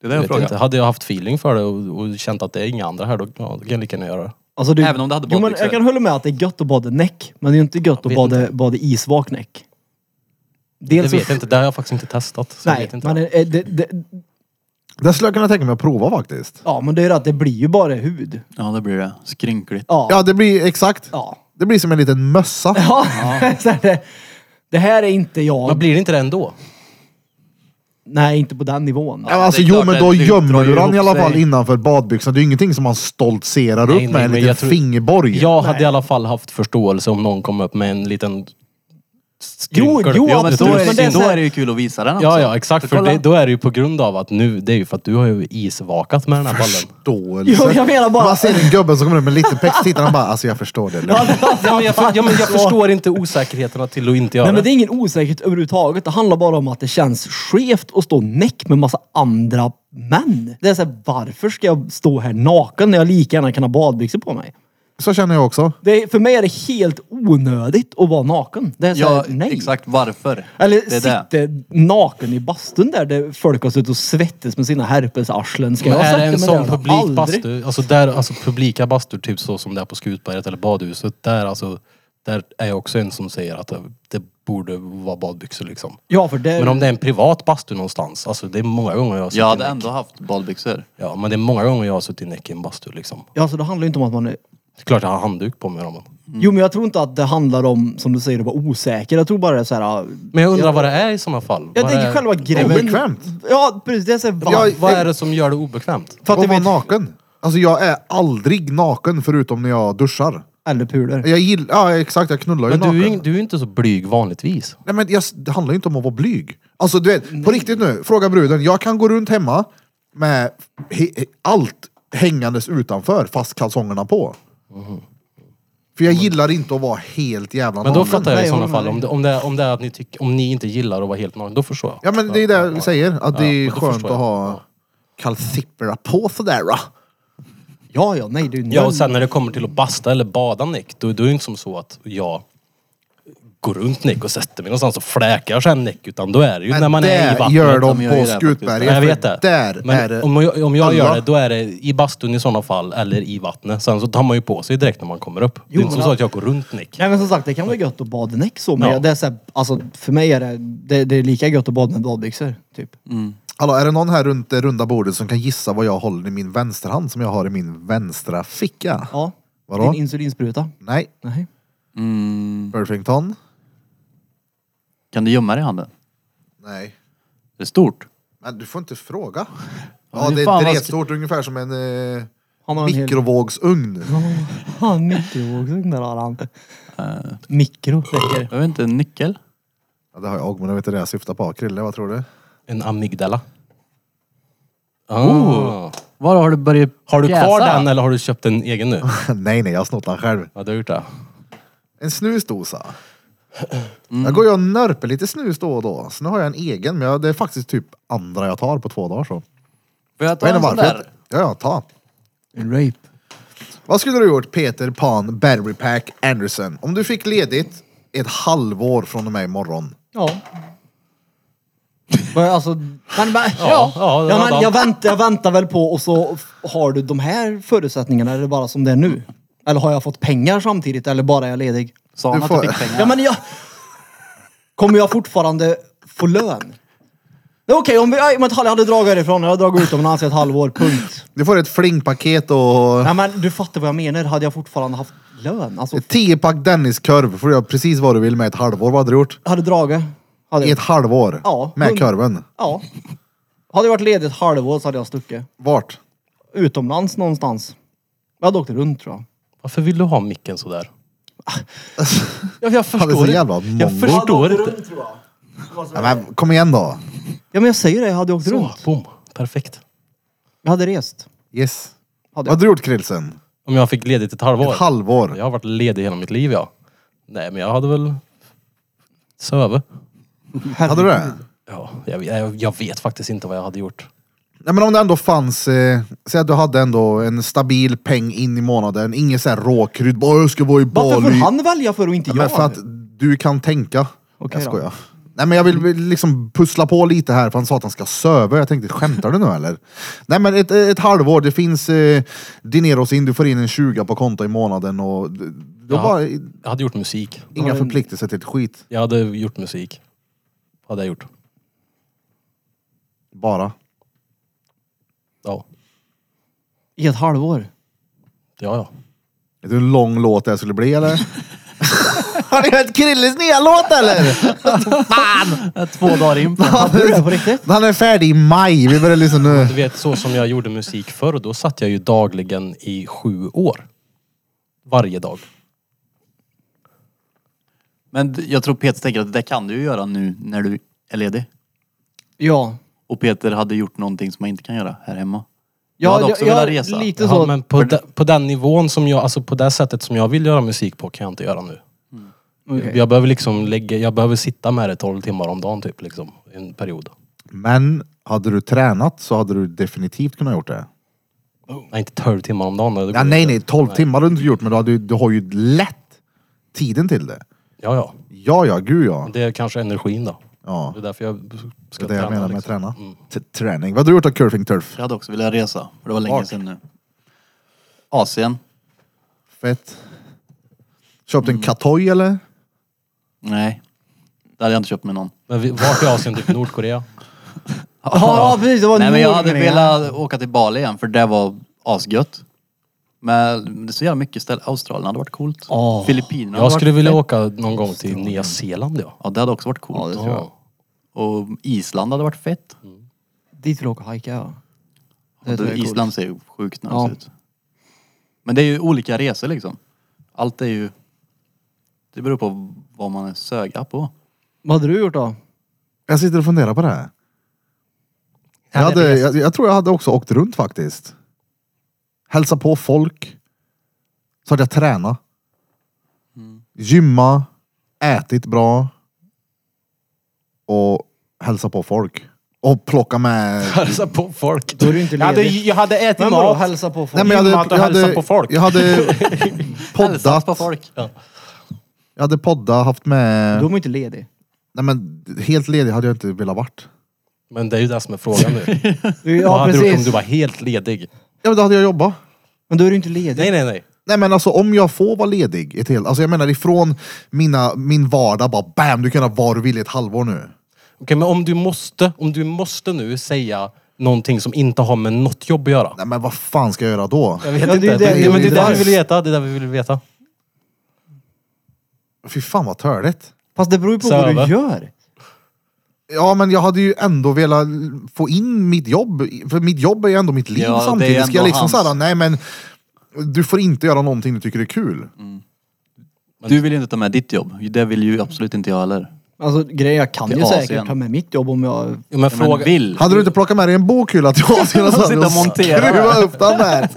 D: Det är det
C: Jag
D: jag
C: vet inte.
D: frågar.
C: Hade jag haft feeling för det och, och känt att det är inga andra här, då, ja, då kan jag lika gärna göra det.
B: Alltså, det-
D: Även om det hade
B: jo, men
D: badbyxor.
B: Jag kan hålla med att det är gött att bada näck. Men det är ju inte gött att
C: vet
B: bada, bada isvak näck.
C: Det
B: Dels så-
C: vet jag inte, det har jag faktiskt inte testat. Så jag
B: Nej,
C: vet inte.
B: men det, det, det,
A: Det skulle jag kunna tänka mig att prova faktiskt.
B: ja, men det är att det blir ju bara hud.
D: Ja det blir det. Skrynkligt.
B: Ja.
A: Ja, det blir exakt.
B: Ja.
A: Det blir som en liten mössa.
B: ja. så här, det, det här är inte jag.
C: Men blir det inte det ändå?
B: Nej, inte på den nivån.
A: Ja, men alltså,
D: det är
A: jo,
D: klart,
A: men
D: det-
A: då
D: det
A: gömmer
D: drar ju
A: du den
D: ihop
A: i alla fall
D: sig.
A: innanför badbyxorna. Det är ju ingenting som man stoltserar upp
C: Nej, nej,
A: med, en
C: men
A: liten
C: jag tror-
A: fingerborg.
C: Jag hade i alla fall haft förståelse om någon kom upp med en liten
B: Jo,
C: skrynkor.
B: jo,
C: det
B: absolut,
D: Då
C: tror
D: är,
C: jag.
B: men det
D: det,
B: är så
D: då
B: här-
D: är det ju kul att visa den också.
C: Ja, ja, exakt. För
D: kolla.
C: det, då är det ju på grund av att nu, det är ju för att du har ju isvakat med den här bollen.
A: Förståelse.
B: Jo, jag menar bara...
A: Man ser en gubbe som kommer med lite pex, tittar han bara alltså jag förstår det.
B: Ja,
A: lugnt."
B: det-
C: Ja, men jag, ja, men jag förstår inte osäkerheterna till att inte göra
B: Nej men
C: det.
B: det är ingen osäkerhet överhuvudtaget. Det handlar bara om att det känns skevt att stå näck med massa andra män. Det är såhär, varför ska jag stå här naken när jag lika gärna kan ha badbyxor på mig?
A: Så känner jag också.
B: Det är, för mig är det helt onödigt att vara naken. Det är så
D: Ja,
B: här, nej.
D: exakt varför.
B: Eller
D: det är det.
B: sitta naken i bastun där, där folk har suttit och svettats med sina herpesarslen. Ska
C: Men
B: jag
C: är det
B: sätta
C: en
B: mig
C: sån
B: där?
C: publik
B: Aldrig.
C: bastu? Alltså, där, alltså publika bastur, typ så som det är på Skutberget eller badhuset. Där, alltså, där är jag också en som säger att det, det borde vara badbyxor liksom.
B: Ja, för det...
C: Men om det är en privat bastu någonstans, alltså det är många gånger jag har suttit
D: Jag
C: i
D: hade
C: näck.
D: ändå haft badbyxor.
C: Ja, men det är många gånger jag har suttit i näck i en bastu liksom.
B: Ja, alltså, det handlar ju inte om att man är
C: Det är klart jag har handduk på mig då, men.
B: Jo men jag tror inte att det handlar om, som du säger, att vara osäker. Jag tror bara det är såhär...
C: Men jag undrar vad det är i sådana fall.
B: Jag
C: Vad
B: tänker
C: är-
B: själva grejen.
A: Obekvämt.
B: Ja precis, det är såhär...
A: Jag-
C: Vad är det som gör det obekvämt?
B: för att
A: Och
B: jag
A: vara
B: vet,
A: naken. Alltså jag är aldrig naken förutom när jag duschar.
B: eller puler.
A: Jag gillar, ja exakt jag knullar ju
C: Men du är
A: naken.
C: ju in- du är ju inte så blyg vanligtvis.
A: Nej men jag, det handlar ju inte om att vara blyg. Alltså du vet, på riktigt nu, fråga bruden. Jag kan gå runt hemma med he, he- allt hängandes utanför fast kalsongerna på. För jag gillar inte att vara helt jävla
C: Men då fattar jag i
B: Nej,
C: sådana
B: jag håller
C: fall. Om det, om, det, om det är att ni tycker, om ni inte gillar att vara helt naken, då förstår jag.
A: Ja men det är det vi säger, att det är
C: men då
A: skönt
C: förstår
A: att
C: jag.
A: ha kalsipperna på sådär. va?
B: Ja ja, nej det är ju
C: Ja, och sen när det kommer till att basta eller bada näck, då, då är det inte som så att jag går runt näck och sätter mig någonstans och fläkar sen näck, utan då är det ju när man är i
A: där
C: vattnet.
A: gör
D: de
A: de på
D: gör ju det faktiskt.
A: Skutberget.
C: Nej, jag
A: för
C: vet det.
A: Där
C: men
A: är det.
C: om jag, om jag gör
A: alla.
C: det, då är det i bastun i sådana fall, eller i vattnet. Sen så tar man ju på sig direkt när man kommer upp. det är inte
B: men-
C: som så att jag går runt nick.
B: Nej men som sagt, det kan vara gött att bada näck så, men
C: Ja.
B: jag- det är så här, alltså för mig är det, det, det är lika gött att bada med badbyxor. Typ.
A: Hallå, är det någon här runt det runda bordet som kan gissa vad jag håller i min vänsterhand som jag har i min vänstra ficka?
B: Ja.
A: Vadå?
B: Din insulinspruta.
A: Nej,
B: Nej.
C: Mm.
A: Burfington?
D: Kan du gömma det i handen?
A: Nej.
D: Det är stort.
A: Men du får inte fråga.
D: Ja,
A: Ja,
D: men
A: det
D: fan
A: är
D: vad
A: dretstort, ungefär som en eh,
B: Han har en hel...
A: mikrovågsugn.
B: Han mikrovågsugn där har han. Mikro. räcker.
D: Jag vet inte, en nyckel?
A: Ja, det har jag, men jag vet inte det jag syftar på. Krille, vad tror du?
C: En amygdala. Ah.
D: Oh. Var har du börjat
C: Har du kvar
D: pjäsa?
C: den eller har du köpt en egen nu?
A: nej, nej, jag har snott den själv.
C: Ja, du har gjort det.
A: En snusdosa. Jag går ju och nörper lite snus då och då. Så nu har jag en egen, men jag, det är faktiskt typ andra jag tar på två dagar. Så.
D: Får jag
A: Jag
D: ta
A: vet
D: en
A: inte
D: sån
A: varför.
D: där?
A: Ja, ja, ta.
B: En rape.
A: Vad skulle du gjort Peter Pan Battery Pack Anderson om du fick ledigt ett halvår från och med imorgon?
B: Ja. Men alltså, men, men, ja, ja,
C: ja, det hade
B: men
C: han.
B: jag, väntar, jag väntar väl på och så f- har du de här förutsättningarna eller bara som det är nu? Eller har jag fått pengar samtidigt eller bara är jag ledig?
D: Sa han
A: Du
D: att du
A: får-
D: fick pengar?
B: Ja men jag... Kommer jag fortfarande få lön? Det är Okej, om vi- om jag hade dragit härifrån, jag hade dragit utomlands i ett halvår, punkt.
A: Du får ett flingpaket och
B: Nej men du fattar vad jag menar, hade jag fortfarande haft lön? Alltså,
A: ett 10-pack Dennis-korv. Får du göra precis vad du vill med ett halvår. Vad hade du gjort?
B: hade dragit? Hade
A: I ett
B: jag,
A: halvår?
B: Ja,
A: Med
B: hund-
A: korven?
B: ja. Hade jag varit ledig ett halvår så hade jag stuckit.
A: Vart?
B: utomlands någonstans. Jag hade åkt runt tror jag.
C: Varför vill du ha micken sådär? Jag, jag
A: Han är
C: förstår
A: så
C: inte.
A: jävla
C: Jag
A: mongo.
C: förstår inte.
A: Ja, men, kom igen då.
B: Ja men jag säger det, jag hade åkt
C: Så,
B: runt.
C: boom. Perfekt.
B: Jag hade rest.
A: Yes. Vad
B: Hade jag.
A: hade du gjort Krillsen?
C: Om jag fick ledigt ett halvår?
A: Ett halvår?
C: Jag har varit ledig hela mitt liv, ja. Nej, men jag hade väl... Söve.
A: Hade du det?
C: Ja, jag, jag, jag vet faktiskt inte vad jag hade gjort.
A: Nej men om det ändå fanns, eh, säg att du hade ändå en stabil peng in i månaden, ingen sån här råkrydd, bara jag ska vara i
B: Varför får
A: Bali.
B: han välja för och inte
A: Men
B: jag?
A: för att du kan tänka.
B: Okej
A: jag
B: då.
A: skojar. Nej men jag vill väl liksom pussla på lite här för han sa att han ska söva. Jag tänkte, skämtar du nu eller? Nej men ett, ett halvår, det finns eh, dineros in, du får in en 20 på konto i månaden och d- då
C: Ja.
A: bara,
C: Jag hade gjort musik.
A: inga förpliktelser till ett skit.
C: Jag hade gjort musik. Hade jag gjort.
A: Bara.
C: Ja.
B: I ett halvår.
C: Ja, ja.
A: Vet du hur lång låt det här skulle bli eller? Har ni hört Krilles nya låt eller?
D: Två dagar in på den.
B: Hade du det på riktigt?
A: Den är färdig i maj, vi börjar lyssna nu.
C: Du vet, så som jag gjorde musik förr, då satt jag ju dagligen i sju år. Varje dag.
D: Men d- jag tror Peter tänker att det kan du ju göra nu när du är ledig.
B: Ja.
D: Och Peter hade gjort någonting som man inte kan göra här hemma.
B: Ja,
D: Jag hade också
B: ja,
D: velat resa.
B: Lite
C: Ja,
B: så.
C: men på, de, på den nivån som jag, alltså på det sättet som jag vill göra musik på kan jag inte göra nu.
B: Mm. Okej.
C: Jag behöver liksom lägga, jag behöver sitta med det 12 timmar om dagen typ liksom. En period.
A: Men hade du tränat så hade du definitivt kunnat gjort det.
C: Nej inte 12 timmar om dagen. det går
A: Ja, nej,
C: inte.
A: nej, 12 timmar har du inte gjort, men du, hade, ju- du har ju lätt tiden till det.
C: Ja ja.
A: Ja, ja, gud ja.
C: Det är kanske energin då.
A: Ja,
C: Det är därför jag
A: det
C: ska
A: är det jag
C: träna.
A: menar med
C: liksom.
A: träna. T- Träning. Vad har du gjort av Curving Turf?
D: Jag hade också velat resa. För det var länge
A: Vart?
D: sedan nu. Asien?
A: Fett. Köpte
C: Mm.
A: en katoj eller?
D: Nej. Det hade jag inte köpt med någon.
C: Men vi, vart i Asien? Typ Nordkorea?
B: Ja, precis. Det var
D: Nej men jag hade
B: Nordkorea.
D: velat åka till Bali igen för det var asgött. Men det är så jävla mycket ställen. Australien hade varit coolt.
C: Åh.
D: Filippinerna hade
C: Jag skulle
D: varit
C: vilja
D: fett.
C: åka någon gång till Nya Zeeland ja.
D: Ja det hade också varit coolt.
B: Ja, det tror jag.
C: Ja.
D: Och Island hade varit fett.
A: Mm.
B: Dit vill jag åka och hajka, ja. Det
D: Ja,
B: tror
D: du,
B: jag är coolt.
D: Island ser ju sjukt nice
B: Ja.
D: ut. Men det är ju olika resor liksom. Allt är ju... Det beror på vad man är söga på.
B: Vad hade du gjort då?
A: Jag sitter och funderar på det här. Jag, hade, jag, jag tror jag hade också åkt runt faktiskt. Hälsa på folk. Så hade jag tränat.
C: Mm.
A: Gymma. Ätit bra. Och hälsa på folk. Och plocka med...
C: Hälsa på folk.
B: Då är du inte
C: jag, hade,
B: ledig.
C: jag hade ätit
B: Men vadå,
C: mat.
B: hälsa på folk?
A: Nej, men jag
C: Gymmat och hälsa på folk.
A: Jag hade poddat.
D: Hälsat på folk.
A: Jag hade poddat, haft med...
B: Då är man inte ledig.
A: Nej men helt ledig hade jag inte velat varit.
C: Men det är ju det som är frågan nu.
B: Du,
C: Vad
B: ja,
C: hade du gjort om
B: precis.
C: du var helt ledig?
A: Ja men då hade jag jobbat.
B: Men då är du inte ledig.
C: Nej, nej, nej.
A: Nej men alltså om jag får vara ledig ett helt, alltså jag menar ifrån mina, min vardag bara bam, du kan ha vad du vill i ett halvår nu.
C: Okej, men om du måste, om du måste nu säga någonting som inte har med något jobb att göra.
A: Nej men vad fan ska jag göra då?
C: Jag vet
B: Ja, det är
C: inte.
B: ju
C: Det,
B: det-
C: det,
B: det är
C: men det
B: ju
C: är det vi
B: det.
C: vill veta. Det är det vi vill veta.
A: Fy fan vad törligt.
B: Fast det beror ju på vad
C: Söva.
B: du gör.
A: Ja men jag hade ju ändå velat få in mitt jobb, för mitt jobb är ju ändå mitt liv
D: Ja, det är
A: samtidigt. Ska
D: ändå
A: jag liksom
D: hans.
A: såhär, nej men du får inte göra någonting du tycker är kul.
D: Du vill ju inte ta med ditt jobb. Det vill ju absolut inte jag heller.
B: Alltså grejen, jag kan
D: Till
B: ju säkert
D: Asien.
B: ta med mitt jobb om jag...
C: Ja, men
D: Men
C: fråga...
D: vill.
A: Hade du inte plockat med dig en bokhylla till Asien och så hade
D: Sitta och
A: du
D: montera.
A: skruvat upp den där?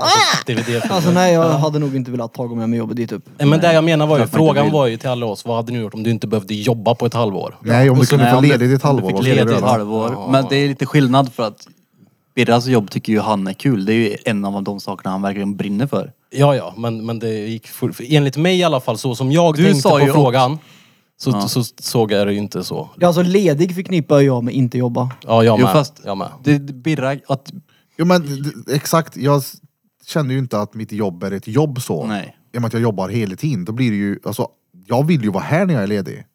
C: DVD.
B: Alltså nej, jag hade nog inte velat ta med mig jobbet dit typ. upp.
C: Nej, men det jag menar var ju,
D: Klart man inte
C: frågan
D: vill.
C: var ju till alla oss, vad hade ni gjort om du inte behövde jobba på ett halvår?
A: Nej, om du kunde
D: Nej,
A: få
D: om du-
A: ledigt i ett
D: om du
A: halvår,
D: fick
A: vad skulle du
D: ledigt ett
A: göra?
D: halvår. Men det är lite skillnad för att Birras jobb tycker ju han är kul. Det är ju en av de sakerna han verkligen brinner för.
C: Ja, ja, men, men det gick full... för Enligt mig i alla fall, så som jag
D: Du
C: tänkte
D: sa
C: på
D: ju
C: frågan, så, så, såg jag det ju inte så.
B: Ja, alltså ledig förknippar jag med inte jobba.
C: Ja, jag
D: Jo,
C: med.
D: fast-
C: Jag med.
D: Det, det- Birra, att...
A: Jo men d- d- exakt, jag s- känner ju inte att mitt jobb är ett jobb så.
D: Nej.
A: I och med att jag jobbar hela tiden, då blir det ju, alltså, jag vill ju vara här när jag är ledig.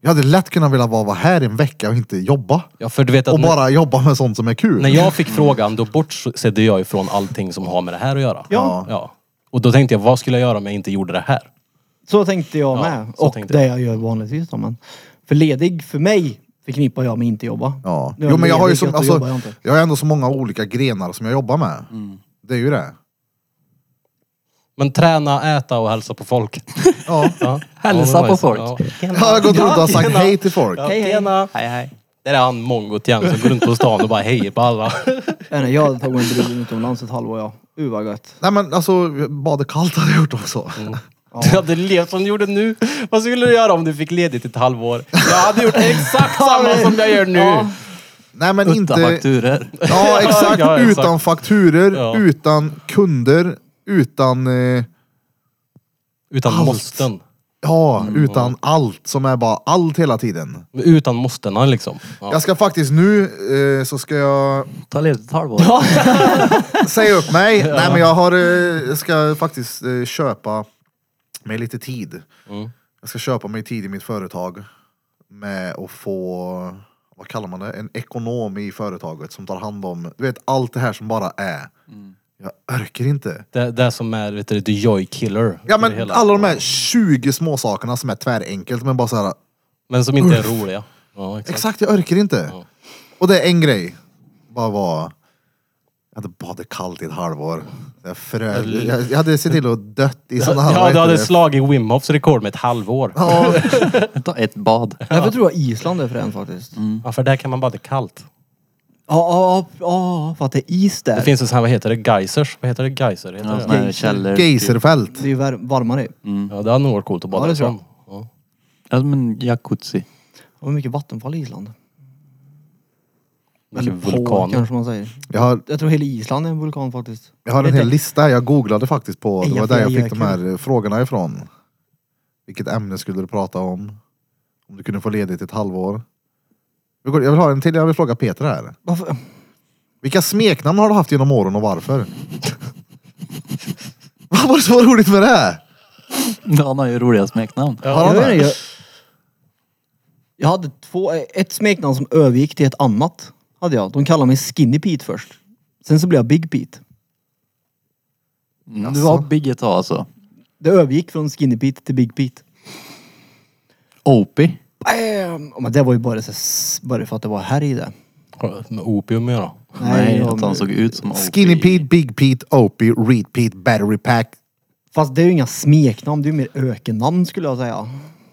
A: Jag hade lätt kunnat vilja vara, vara här en vecka och inte jobba.
C: Ja, för du vet att
A: Och
C: när-
A: bara jobba med sånt som är kul.
C: när jag fick frågan, då bortsedde jag ifrån allting som har med det här att göra.
A: Ja.
C: ja. Och då tänkte jag, vad skulle jag göra om jag inte gjorde det här?
B: Så tänkte jag
C: Ja,
B: med.
C: så
B: Och
C: tänkte
B: det jag gör vanligtvis då. Men för ledig för mig förknippar jag med inte jobba.
A: Ja.
B: Nu är
A: Jo men jag har ju
B: ledig,
A: så,
B: då
A: alltså,
B: jobbar jag inte.
A: jag har ändå så många olika grenar som jag jobbar med.
D: Mm.
A: Det är ju det.
C: Men träna, äta och hälsa på folk.
A: Ja.
C: Ja.
D: Hälsa
C: Ja, det var
D: på
C: ju så.
D: folk.
C: Ja.
A: Jag har gått runt och sagt hej till folk.
C: Hej, hej. Tjena.
D: Hej hej.
C: Det är han mongot igen som går runt på stan och bara hejar på alla.
B: Nej, nej, jag hade tagit en brud utomlands ett halvår ja. Uh vad gött.
A: Nej men alltså, bada kallt hade jag gjort också.
C: Mm. Du hade levt som du gjorde nu. Vad skulle du göra om du fick ledigt ett halvår? Jag hade gjort exakt samma som jag gör nu.
B: Ja.
A: Nej men
D: Utan
A: inte...
D: fakturer.
A: Ja exakt,
C: Ja, exakt.
A: utan fakturer,
C: Ja.
A: utan kunder, utan... Eh,
C: Utan
A: Allt.
C: måsten.
A: ja,
C: Mm.
A: utan allt som är bara allt hela tiden.
C: Utan måstena liksom. Ja.
A: Jag ska faktiskt nu, eh, så ska jag
D: Ta ledigt ett halvår.
A: säga upp mig. Nej men jag har, eh, jag ska faktiskt eh, köpa mig lite tid.
C: Mm.
A: Jag ska köpa mig tid i mitt företag med att få, vad kallar man det, en ekonom i företaget som tar hand om, du vet allt det här som bara är.
C: Mm.
A: Jag orkar inte.
C: Det, det som är vet du, the joy killer.
A: Ja
C: i det
A: men
C: hela.
A: alla de här 20 små sakerna som är tvärenkelt men bara så här.
C: Men som inte är roliga. Ja, exakt.
A: exakt jag orkar inte.
C: Ja.
A: Och det är en grej. Bara vara, Jag hade badat kallt i ett halvår. Jag, frö... jag, jag hade sett till att dött i sådana här...
C: Ja,
A: vad
C: du
A: heter
C: hade
A: det?
C: slagit Wim Hofs rekord med ett halvår.
A: Ja,
D: Ta ett bad.
B: Därför tror jag Island är fränt faktiskt.
C: Ja, för där kan man bada kallt.
B: Ja, ja, ja, ja, för att det är is där.
C: Det finns en sån här, vad heter det, geysers? Vad heter det, geyser? Heter
D: Ja,
C: det?
D: såna här källor.
A: Geiserfält.
B: Det är ju vär- varmare.
C: Ja, det hade nog varit coolt att bada
B: Ja, det tror jag.
C: ifrån. Ja.
D: Ja, men jacuzzi.
B: Det var mycket vattenfall i Island.
C: Mycket
B: Eller på,
C: vulkaner.
B: kanske man säger.
A: Jag har,
B: Jag tror hela Island är en vulkan faktiskt.
A: jag har en hel lista här. jag googlade faktiskt på.
B: Nej,
A: Det var
B: jag
A: där jag
B: får-
A: fick de
B: jag-
A: här eh, frågorna ifrån. Vilket ämne skulle du prata om? Om du kunde få ledigt ett halvår? Vi går- Jag vill ha en till, jag vill fråga Peter här.
B: Varför?
A: Vilka smeknamn har du haft genom åren och varför? Vad var det så roligt med det? här?
D: Han har ju roliga smeknamn.
A: Har
B: jag,
A: han
B: vet
A: det?
B: inte, jag, jag hade två, ett smeknamn som övergick till ett annat. Hade jag. De kallade mig Skinny Pete först. Sen så blev jag Big Pete.
D: Mm, Du var Big ett tag alltså.
B: Det övergick från Skinny Pete till Big Pete.
D: Opie.
B: Bam! Ja, Men det var ju bara, så, s- bara för att det var här i det.
C: Med opium att göra.
D: Nej,
B: jag-
D: att han såg ut som Opie.
A: Skinny Pete, Big Pete, Opie, Reed Pete, Battery Pack.
B: Fast det är ju inga smeknamn, det är ju mer ökennamn skulle jag säga.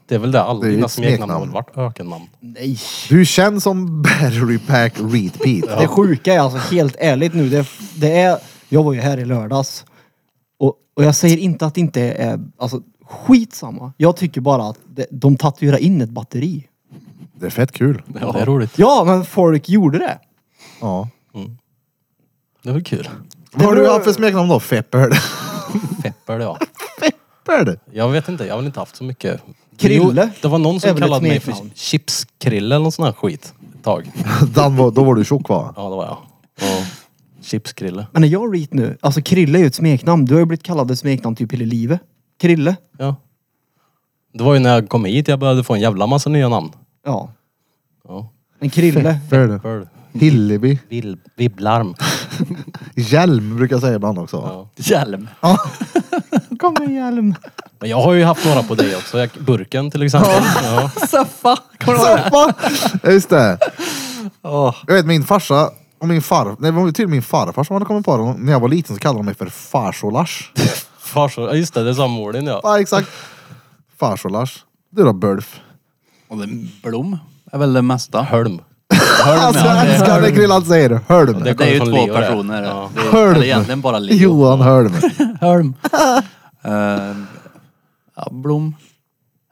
C: Det är väl det alla
A: Det är ju
C: dina
A: ett
C: smeknamn
A: smeknamn.
C: har väl varit? Ökennamn.
B: Nej.
A: Du känns som Battery Pack, Reed Pete.
B: Det sjuka är alltså helt ärligt nu, det, det är... Jag var ju här i lördags. Och, och jag säger inte att det inte är... Alltså skitsamma. Jag tycker bara att det, de tatuerar in ett batteri.
A: Det är fett kul.
C: Ja. Det är roligt.
B: Ja, men folk gjorde det.
A: Ja.
C: Det är väl kul.
A: Vad har du haft för smeknamn då? Feppel?
C: Feppel ja.
A: Feppel?
C: Jag vet inte, jag har väl inte haft så mycket.
B: Krille?
C: Jo, det var någon
B: Är
C: som
B: väl ett
C: kallade mig för
B: smeknamn.
C: Chipskrille eller någon sån här skit. Ett tag.
A: Dan var, då var du tjock va?
C: Ja, det var jag. Ja. Chipskrille.
B: Men är jag reet nu? Alltså Krille är ju ett smeknamn. Du har ju blivit kallad ett smeknamn typ hela livet. Krille.
C: Ja. Det var ju när jag kom hit jag började få en jävla massa nya namn.
B: Ja.
C: Ja.
B: Men Krille.
A: Feppel.
C: Feppel.
A: Hillevi.
C: Vill, vibblarm.
A: Hjelm brukar jag säga ibland också.
C: Ja.
D: Hjelm.
B: Kom med hjälm.
C: Men jag har ju haft några på dig också. Jag, burken till exempel. Ja.
D: Saffa.
A: Soppa! Ja, Just det. Jag vet min farsa och min far, nej det var till min farfar som hade kommit på det. När jag var liten så kallade de mig för farsolars.
C: Farsor, ja, just det, det är samordning ja.
A: ja exakt. Farsolars. Du då Bulf?
D: Och den Blom är väl det mesta.
C: Hölm.
D: Hörn,
A: Alltså jag älskar när Grillan säger Hölm.
D: Det är ju
C: Kommer från
D: två
C: Leo, det.
D: personer.
C: Ja.
D: Det är,
A: Hörn.
D: eller egentligen bara Leo.
A: Johan Hölm.
D: Hölm. Eh, ja, Blom.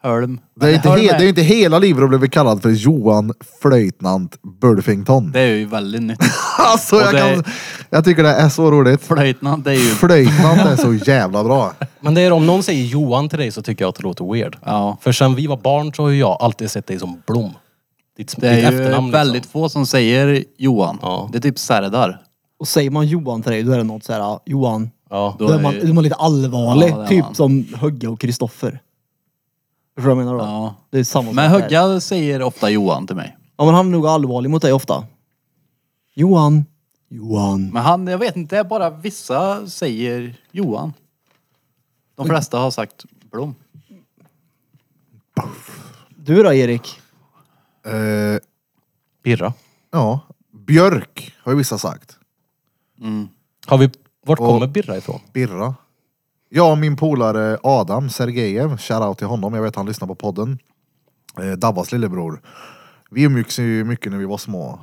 D: Hölm.
A: Det är ju inte,
D: Hölm
A: he, det är ju inte hela livet att bli kallad för Johan Flöjtnant Bulfington.
D: det är ju väldigt nytt.
A: Alltså jag,
D: och det-
A: kan, jag tycker det är så roligt.
D: Flöjtnant det är ju...
A: Flöjtnant är så jävla bra.
C: Men det är, om någon säger Johan till dig så tycker jag att det låter weird.
D: Ja.
C: För sen vi var barn så har ju jag alltid sett dig som Blom. Ditt,
D: Det är
C: ditt
D: ju
C: efternamn
D: väldigt
C: liksom.
D: få som säger Johan.
C: Ja.
D: Det är typ Serdar.
B: Och säger man Johan till dig, då är det något så här, ja, Johan.
C: Ja.
D: Då
B: Då
D: är
B: är man,
D: ju-
B: då är man lite allvarlig.
D: Ja, det är
B: typ
D: man.
B: som Högga och Kristoffer. Förstår du vad jag menar då?
D: Ja.
B: Det är samma sak
D: Men
B: där.
D: Högga säger ofta Johan till mig.
B: Ja men han är nog allvarlig mot dig ofta. Johan. Johan.
D: Men han, jag vet inte, det är bara vissa säger Johan. De flesta har sagt Blom.
B: Du då Erik?
A: Eh,
C: Birra.
A: ja. Björk har ju vissa sagt.
C: Har vi, vart
A: Och-
C: kommer Birra ifrån?
A: Birra. Jag och min polare Adam Sergejev, shoutout till honom, jag vet han lyssnar på podden. Eh, Dabbas lillebror. Vi umgicks ju mycket när vi var små.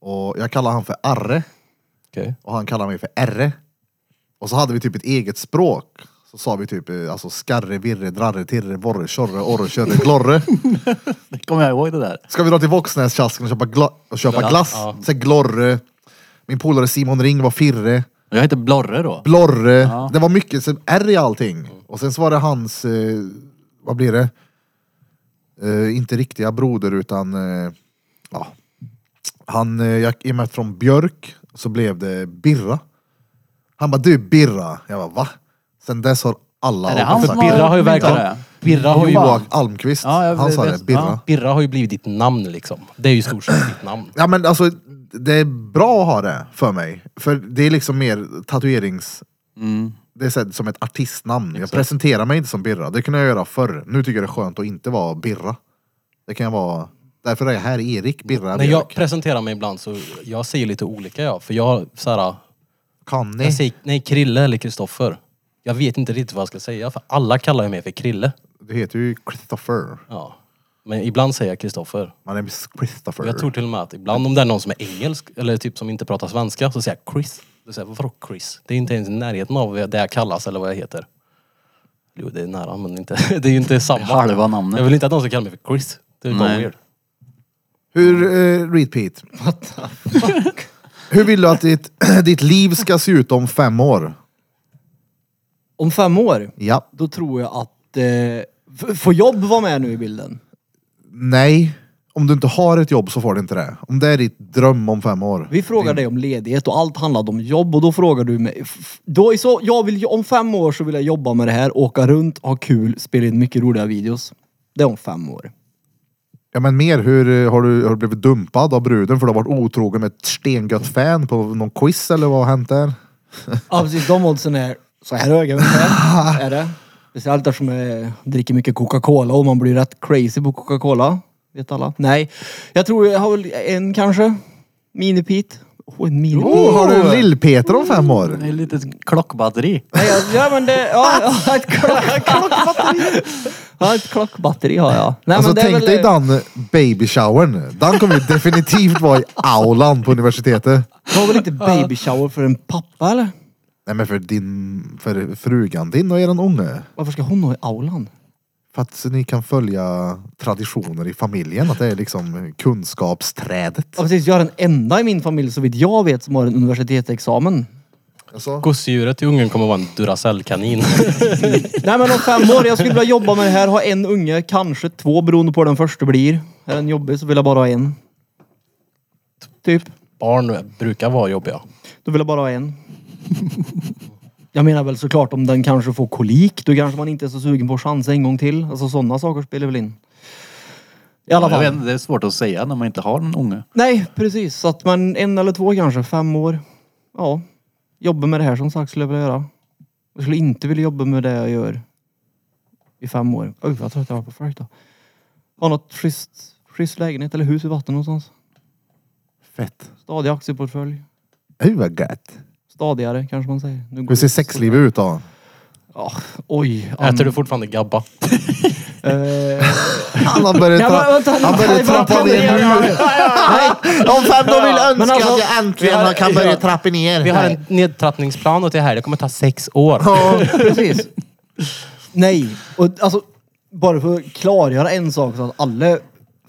A: Och jag kallar han för Arre
C: Okej.
A: och han kallar mig för Erre. Och så hade vi typ ett eget språk. Så sa vi typ eh, alltså skarre, virre, drarre, tirre, vorre, tjorre, orre, körre, glorre.
D: Det kommer jag ihåg det där.
A: Ska vi dra till Våxnäskiasken och köpa, gla- och köpa
C: Glass,
A: glass?
C: ja.
A: Sen glorre. Min polare Simon Ring var firre.
D: Jag heter Blorre då.
A: Blorre. Det var mycket sen R i allting. Och sen så var det hans, eh, vad blir det? Eh, inte riktiga broder utan, eh, ja. Han, eh, jag, i och med att från Björk så blev det Birra. Han bara, du Birra. Jag bara, va? Sen dess har alla
D: Är det
A: alltid
D: han
A: sagt
D: som har-
A: det.
C: Birra har ju
D: myntat
C: verkligen...
D: det?
C: Birra har ju,
A: Johan Almqvist,
D: Ja, jag
A: han sa
D: vet-
A: det, Birra.
D: ja.
C: Birra har ju blivit ditt namn liksom. Det är ju i stort sett ditt namn.
A: Ja men alltså, det är bra att ha det för mig. För det är liksom mer tatuerings...
D: Mm.
A: Det är så här, som ett artistnamn. Jag presenterar mig inte som Birra. Det kunde jag göra förr. Nu tycker jag det är skönt att inte vara Birra. Det kan jag vara... Därför är jag här, Erik Birra
C: När jag
A: Björk.
C: presenterar mig ibland så jag säger lite olika jag. För jag har så här,
A: Conny.
C: Jag säger, nej, Krille eller Kristoffer. Jag vet inte riktigt vad jag ska säga för alla kallar ju mig för Krille.
A: Du heter ju Christopher.
C: Ja. Men ibland säger jag Kristoffer.
A: My name is Christopher.
C: Och Jag tror till och med att ibland om det är någon som är engelsk eller typ som inte pratar svenska så säger jag Chris. Då säger jag, varför då Chris? Det är inte ens i närheten av vad det jag kallas eller vad jag heter. Jo, det är nära men inte, det är ju inte samma.
D: Halva namnet.
C: Jag vill inte att någon ska kalla mig för Chris. Det är bara
D: Nej.
C: weird.
A: Hur, eh, repeat. Hur vill du att ditt, ditt liv ska se ut om fem år?
B: Om fem år,
A: Ja.
B: då tror jag att... Eh, f- får jobb vara med nu i bilden?
A: Nej. Om du inte har ett jobb så får du inte det. Om det är ditt dröm om fem år.
B: Vi frågar dig om ledighet och allt handlade om jobb och då frågar du mig. f- f- Då är så, jag vill, om fem år så vill jag jobba med det här, åka runt, ha kul, spela in mycket roliga videos. Det är om fem år.
A: Ja men mer, hur eh, har du, har du blivit dumpad av bruden för du har varit otrogen med ett stengött fan på någon quiz eller vad har hänt där?
B: Ja precis, de oddsen är så här höga ungefär. är det. Speciellt eftersom jag dricker mycket Coca-Cola och man blir rätt crazy på Coca-Cola. Vet alla. Nej. Jag tror jag har väl en kanske. Minipit. Åh, en minipit.
A: Oh, har du Lill-Peter om fem år?
D: Det är ett litet klockbatteri.
B: Nej, jag, ja men det... Ja, jag har ett klock- klockbatteri. Ja, ett klockbatteri har jag. Nej,
A: Alltså
B: men det är
A: tänk
B: väl-
A: dig den babyshowern. Den kommer ju definitivt vara i aulan på universitetet.
B: Det var väl inte baby shower för en pappa eller?
A: Nej men för din, för frugan din och eran unge.
B: Varför ska hon ha i aulan?
A: För att ni kan följa traditioner i familjen. Att det är liksom kunskapsträdet.
B: Ja, precis, jag är den enda i min familj så vitt jag vet som har en universitetsexamen.
A: Alltså,
C: Gosedjuret i ungen kommer vara en Duracell-kanin.
B: Nej men om fem år, jag skulle vilja jobba med det här, ha en unge, kanske två beroende på hur den första blir. Är den jobbig så vill jag bara ha en. Typ.
C: Barn brukar vara jobbiga.
B: Då vill jag bara ha en. Jag menar väl såklart om den kanske får kolik, då kanske man inte är så sugen på att chansa en gång till. Alltså sådana saker spelar väl in. I alla
D: Jag
B: fall.
D: vet, inte, det är svårt att säga när man inte har någon unge.
B: Nej, precis. Så att man en eller två kanske, fem år. Ja. Jobba med det här som sagt skulle jag vilja göra. Jag skulle inte vilja jobba med det jag gör i fem år. Oj, vad trött jag var på folk då. Ha något schysst, schysst lägenhet eller hus i vatten någonstans.
A: fett.
B: Stadig aktieportfölj.
A: Hur vad gött.
B: Stadigare kanske man säger. Nu går
A: Hur ser
B: det-
A: sexlivet ut då?
B: Ja, oj.
C: Äter du fortfarande gabba?
B: Eh,
A: Han har börjat,
B: Ja,
A: tra-
B: men vänta,
A: han börjar
B: nej,
A: trappa
B: vänta,
A: ner
B: nej,
A: nu.
E: Om fem då vill jag önska
B: alltså,
E: att jag äntligen
C: vi har-
E: kan börja
C: ja.
E: trappa ner.
C: Vi har en nedtrappningsplan åt det här. Det kommer ta sex år.
B: Precis. Nej, och alltså bara för att klargöra en sak så att alla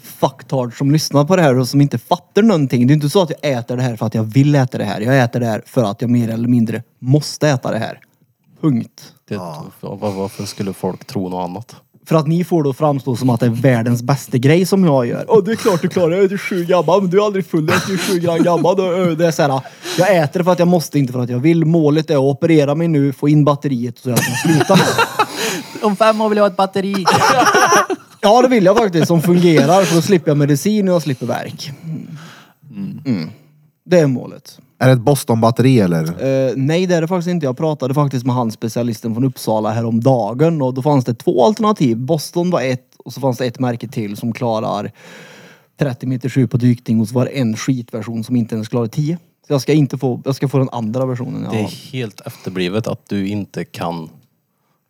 B: fucktards som lyssnar på det här och som inte fattar någonting. Det är inte så att jag äter det här för att jag vill äta det här. Jag äter det här för att jag mer eller mindre måste äta det här. Punkt.
C: Det, var- Varför skulle folk tro något annat?
B: För att ni får då framstå som att det är världens bästa grej som jag gör. Och det är klart du klarar det. Du är sju gammal men du är aldrig full. Du är sju gram gammal. Du är- Det är så här, jag äter det för att jag måste, inte för att jag vill. Målet är att operera mig nu, få in batteriet så jag kan sluta med det.
D: Om fem år vill jag ha ett batteri.
B: Ja, det vill jag faktiskt. Som fungerar. För då slipper jag medicin och jag slipper värk. Mm. Det är målet.
A: Är det ett Boston-batteri eller?
B: Eh, nej, det är det faktiskt inte. Jag pratade faktiskt med han specialisten från Uppsala häromdagen och då fanns det två alternativ. Boston var ett och så fanns det ett märke till som klarar 30 meters djup och dykning och så var det en skitversion som inte ens klarar 10. Så jag ska inte få, jag ska få den andra versionen.
C: Det är
B: Ja.
C: helt efterblivet att du inte kan...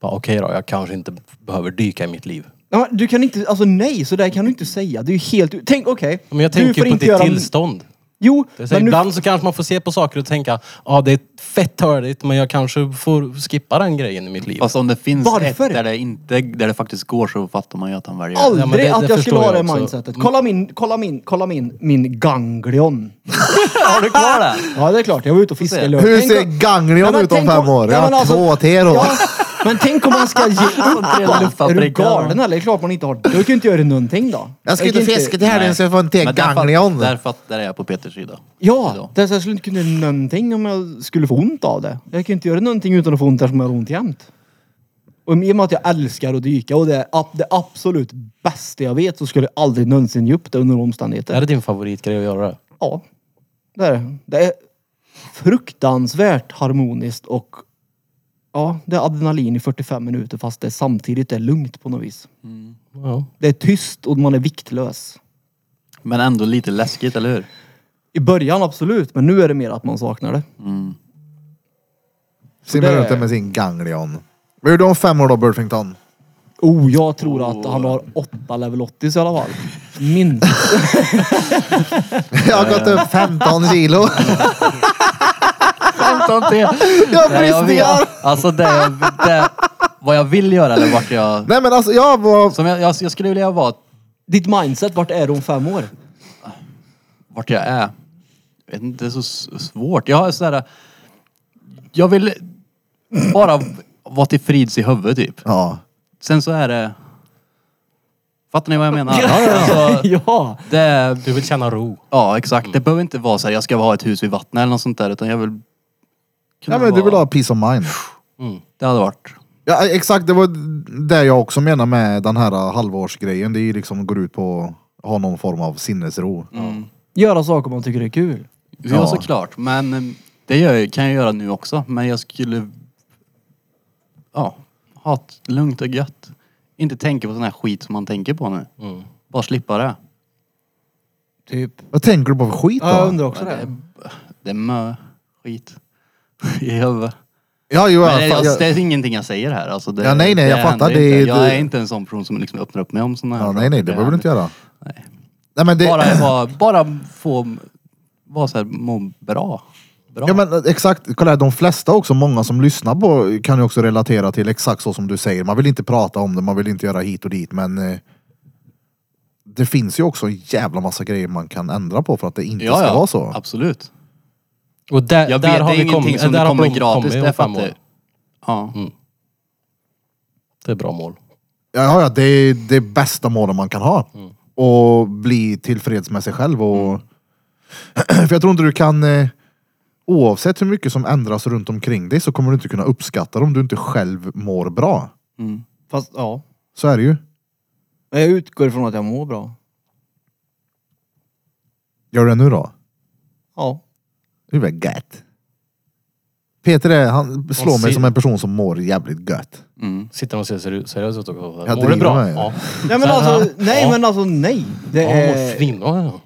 C: bara, Okej då, jag kanske inte behöver dyka i mitt liv.
B: Ja, men Du kan inte, alltså nej, så där kan du inte säga. Det är ju helt, tänk okej.
C: Men jag
B: du
C: tänker
B: får
C: ju på
B: inte
C: ditt
B: göra-
C: tillstånd.
B: Jo,
C: Det är så här,
B: men nu
C: ibland så kanske man får se på saker och tänka, ja det är fett törligt men jag kanske får skippa den grejen i mitt liv.
D: Fast om det finns
B: Varför?
D: ett där det, inte, där det faktiskt går så fattar man ju att han väljer.
B: Aldrig
C: Ja, men det- det
B: att jag skulle
C: förstår
B: ha
C: jag
B: det
C: också. Mm.
B: mindsetet. Kolla min, kolla min, kolla min, min ganglion.
D: Har du kvar det?
B: Ja det är klart, jag var ute och fiskade i lördags.
A: Hur
B: Tänk
A: ser
B: om- Ja,
A: ganglion
B: men
A: ut om
B: tänk
A: fem år? Jag
B: ja, men
A: har
B: alltså-
A: två till då.
B: Ja, men tänk om man ska ge upp. eller- Är du
D: Paprika.
B: galen eller? Det är klart man inte har. Du kan ju inte göra någonting då.
E: Jag ska ut och
B: kan
E: fiska till helgen
D: Nej.
E: så jag får en till
D: Men där fatt-
E: ganglion.
D: Där fattar jag på Peters sida.
B: Ja, det är så jag skulle inte kunna göra någonting om jag skulle få ont av det. Jag kan ju inte göra någonting utan att få ont eftersom jag har ont jämt. Och i och med att jag älskar att dyka och det är ab- det absolut bästa jag vet så skulle jag aldrig någonsin ge upp det under några omständigheter.
C: Är det din favoritgrej att göra det?
B: Ja, det är det. Det är fruktansvärt harmoniskt och ja, det är adrenalin i 45 minuter fast det samtidigt är lugnt på något vis.
C: Ja.
B: Det är tyst och man är viktlös.
D: Men ändå lite läskigt, eller hur?
B: I början absolut, men nu är det mer att man saknar det.
A: Simmar
B: det-
A: runt där med sin ganglion. Vad gör du om fem år då, Burfington?
B: Oh, jag tror att han har åtta level 80 i alla fall. Minst.
A: Jag har gått upp 15 kilo.
D: 15 till.
A: Jag
D: Nej, jag vet.
A: brister.
D: Alltså det, är- det, är vad jag vill göra eller vart jag...
A: Nej men alltså jag var...
D: Som jag, jag, jag skulle vilja vara
B: Ditt mindset, vart är du om fem år?
D: vart jag är. Jag vet inte, det är så s- svårt. Jag har sådär... Jag vill bara vara till frids i huvudet typ.
A: Ja.
D: Sen så är det... Fattar ni vad jag menar? Alltså,
B: ja!
D: det är,
C: Du vill känna ro.
D: ja, exakt. Det behöver inte vara så här, jag ska ha ett hus vid vattnet eller något sånt där. Utan jag vill... kunna
A: Nej men du
D: vara-
A: vill ha peace of mind.
D: Det hade varit...
A: Ja exakt, det var det jag också menar med den här halvårsgrejen. Det är ju liksom går ut på att ha någon form av sinnesro.
D: Mm.
B: Göra saker man tycker är kul.
D: Ja,
A: Ja.
D: såklart. Men eh, det gör jag, kan jag göra nu också. Men jag skulle... Ja, ha ett lugnt och gött. Inte tänka på sån här skit som man tänker på nu. Bara slippa det.
B: Typ.
A: Vad tänker du på för skit då?
B: Ja, jag undrar också det.
D: Eh, Det är mö skit i huvudet.
A: Ja, jo,
D: Men det,
A: jag,
D: jag,
A: jag,
D: det är ingenting jag säger här. Alltså det,
A: Ja, nej, nej, jag
D: händer
A: fattar.
D: Inte.
A: Det är-
D: jag
A: det-
D: är inte en sån person som liksom öppnar upp mig om såna här
A: ja, nej
D: saker.
A: nej, det behöver du inte
D: händer.
A: göra. Nej men det...
D: Bara, vara- bara få vara så här, må bra. bra.
A: Ja men eh, exakt, kolla här, de flesta också, många som lyssnar på kan ju också relatera till exakt så som du säger. Man vill inte prata om det, man vill inte göra hit och dit men eh, det finns ju också en jävla massa grejer man kan ändra på för att det inte ska vara så.
D: Absolut.
C: Och där,
D: Jag
C: där
D: vet,
C: har
D: det är
C: vi
D: ingenting
C: kommit,
D: som
C: där har
D: kommer
C: Blom
D: gratis.
C: kommit om
D: det
C: fem
D: fattar jag.
C: år.
D: Ja.
C: Mm. Det är bra mål.
A: Ja, ja, ja det är det bästa målet man kan ha.
C: Mm.
A: Och bli tillfreds med sig själv och...
C: Mm.
A: för jag tror inte du kan... Eh, oavsett hur mycket som ändras runt omkring dig så kommer du inte kunna uppskatta det om du inte själv mår bra.
B: Fast ja.
A: Så är det ju.
B: Men jag utgår ifrån att jag mår bra.
A: Gör det nu då.
B: Ja.
A: Det är väl gött. Peter är, han slår
C: Och
A: mig
C: se-
A: som en person som mår jävligt gött.
D: Mm.
C: Sitter och ser seri- seriös ut också.
A: Ja,
C: Mår du
A: driver
C: bra?
A: med.
C: Ja.
B: Nej men alltså, nej men eh, alltså nej. Det
C: Ja, mår
B: är...
C: svinbra. ja.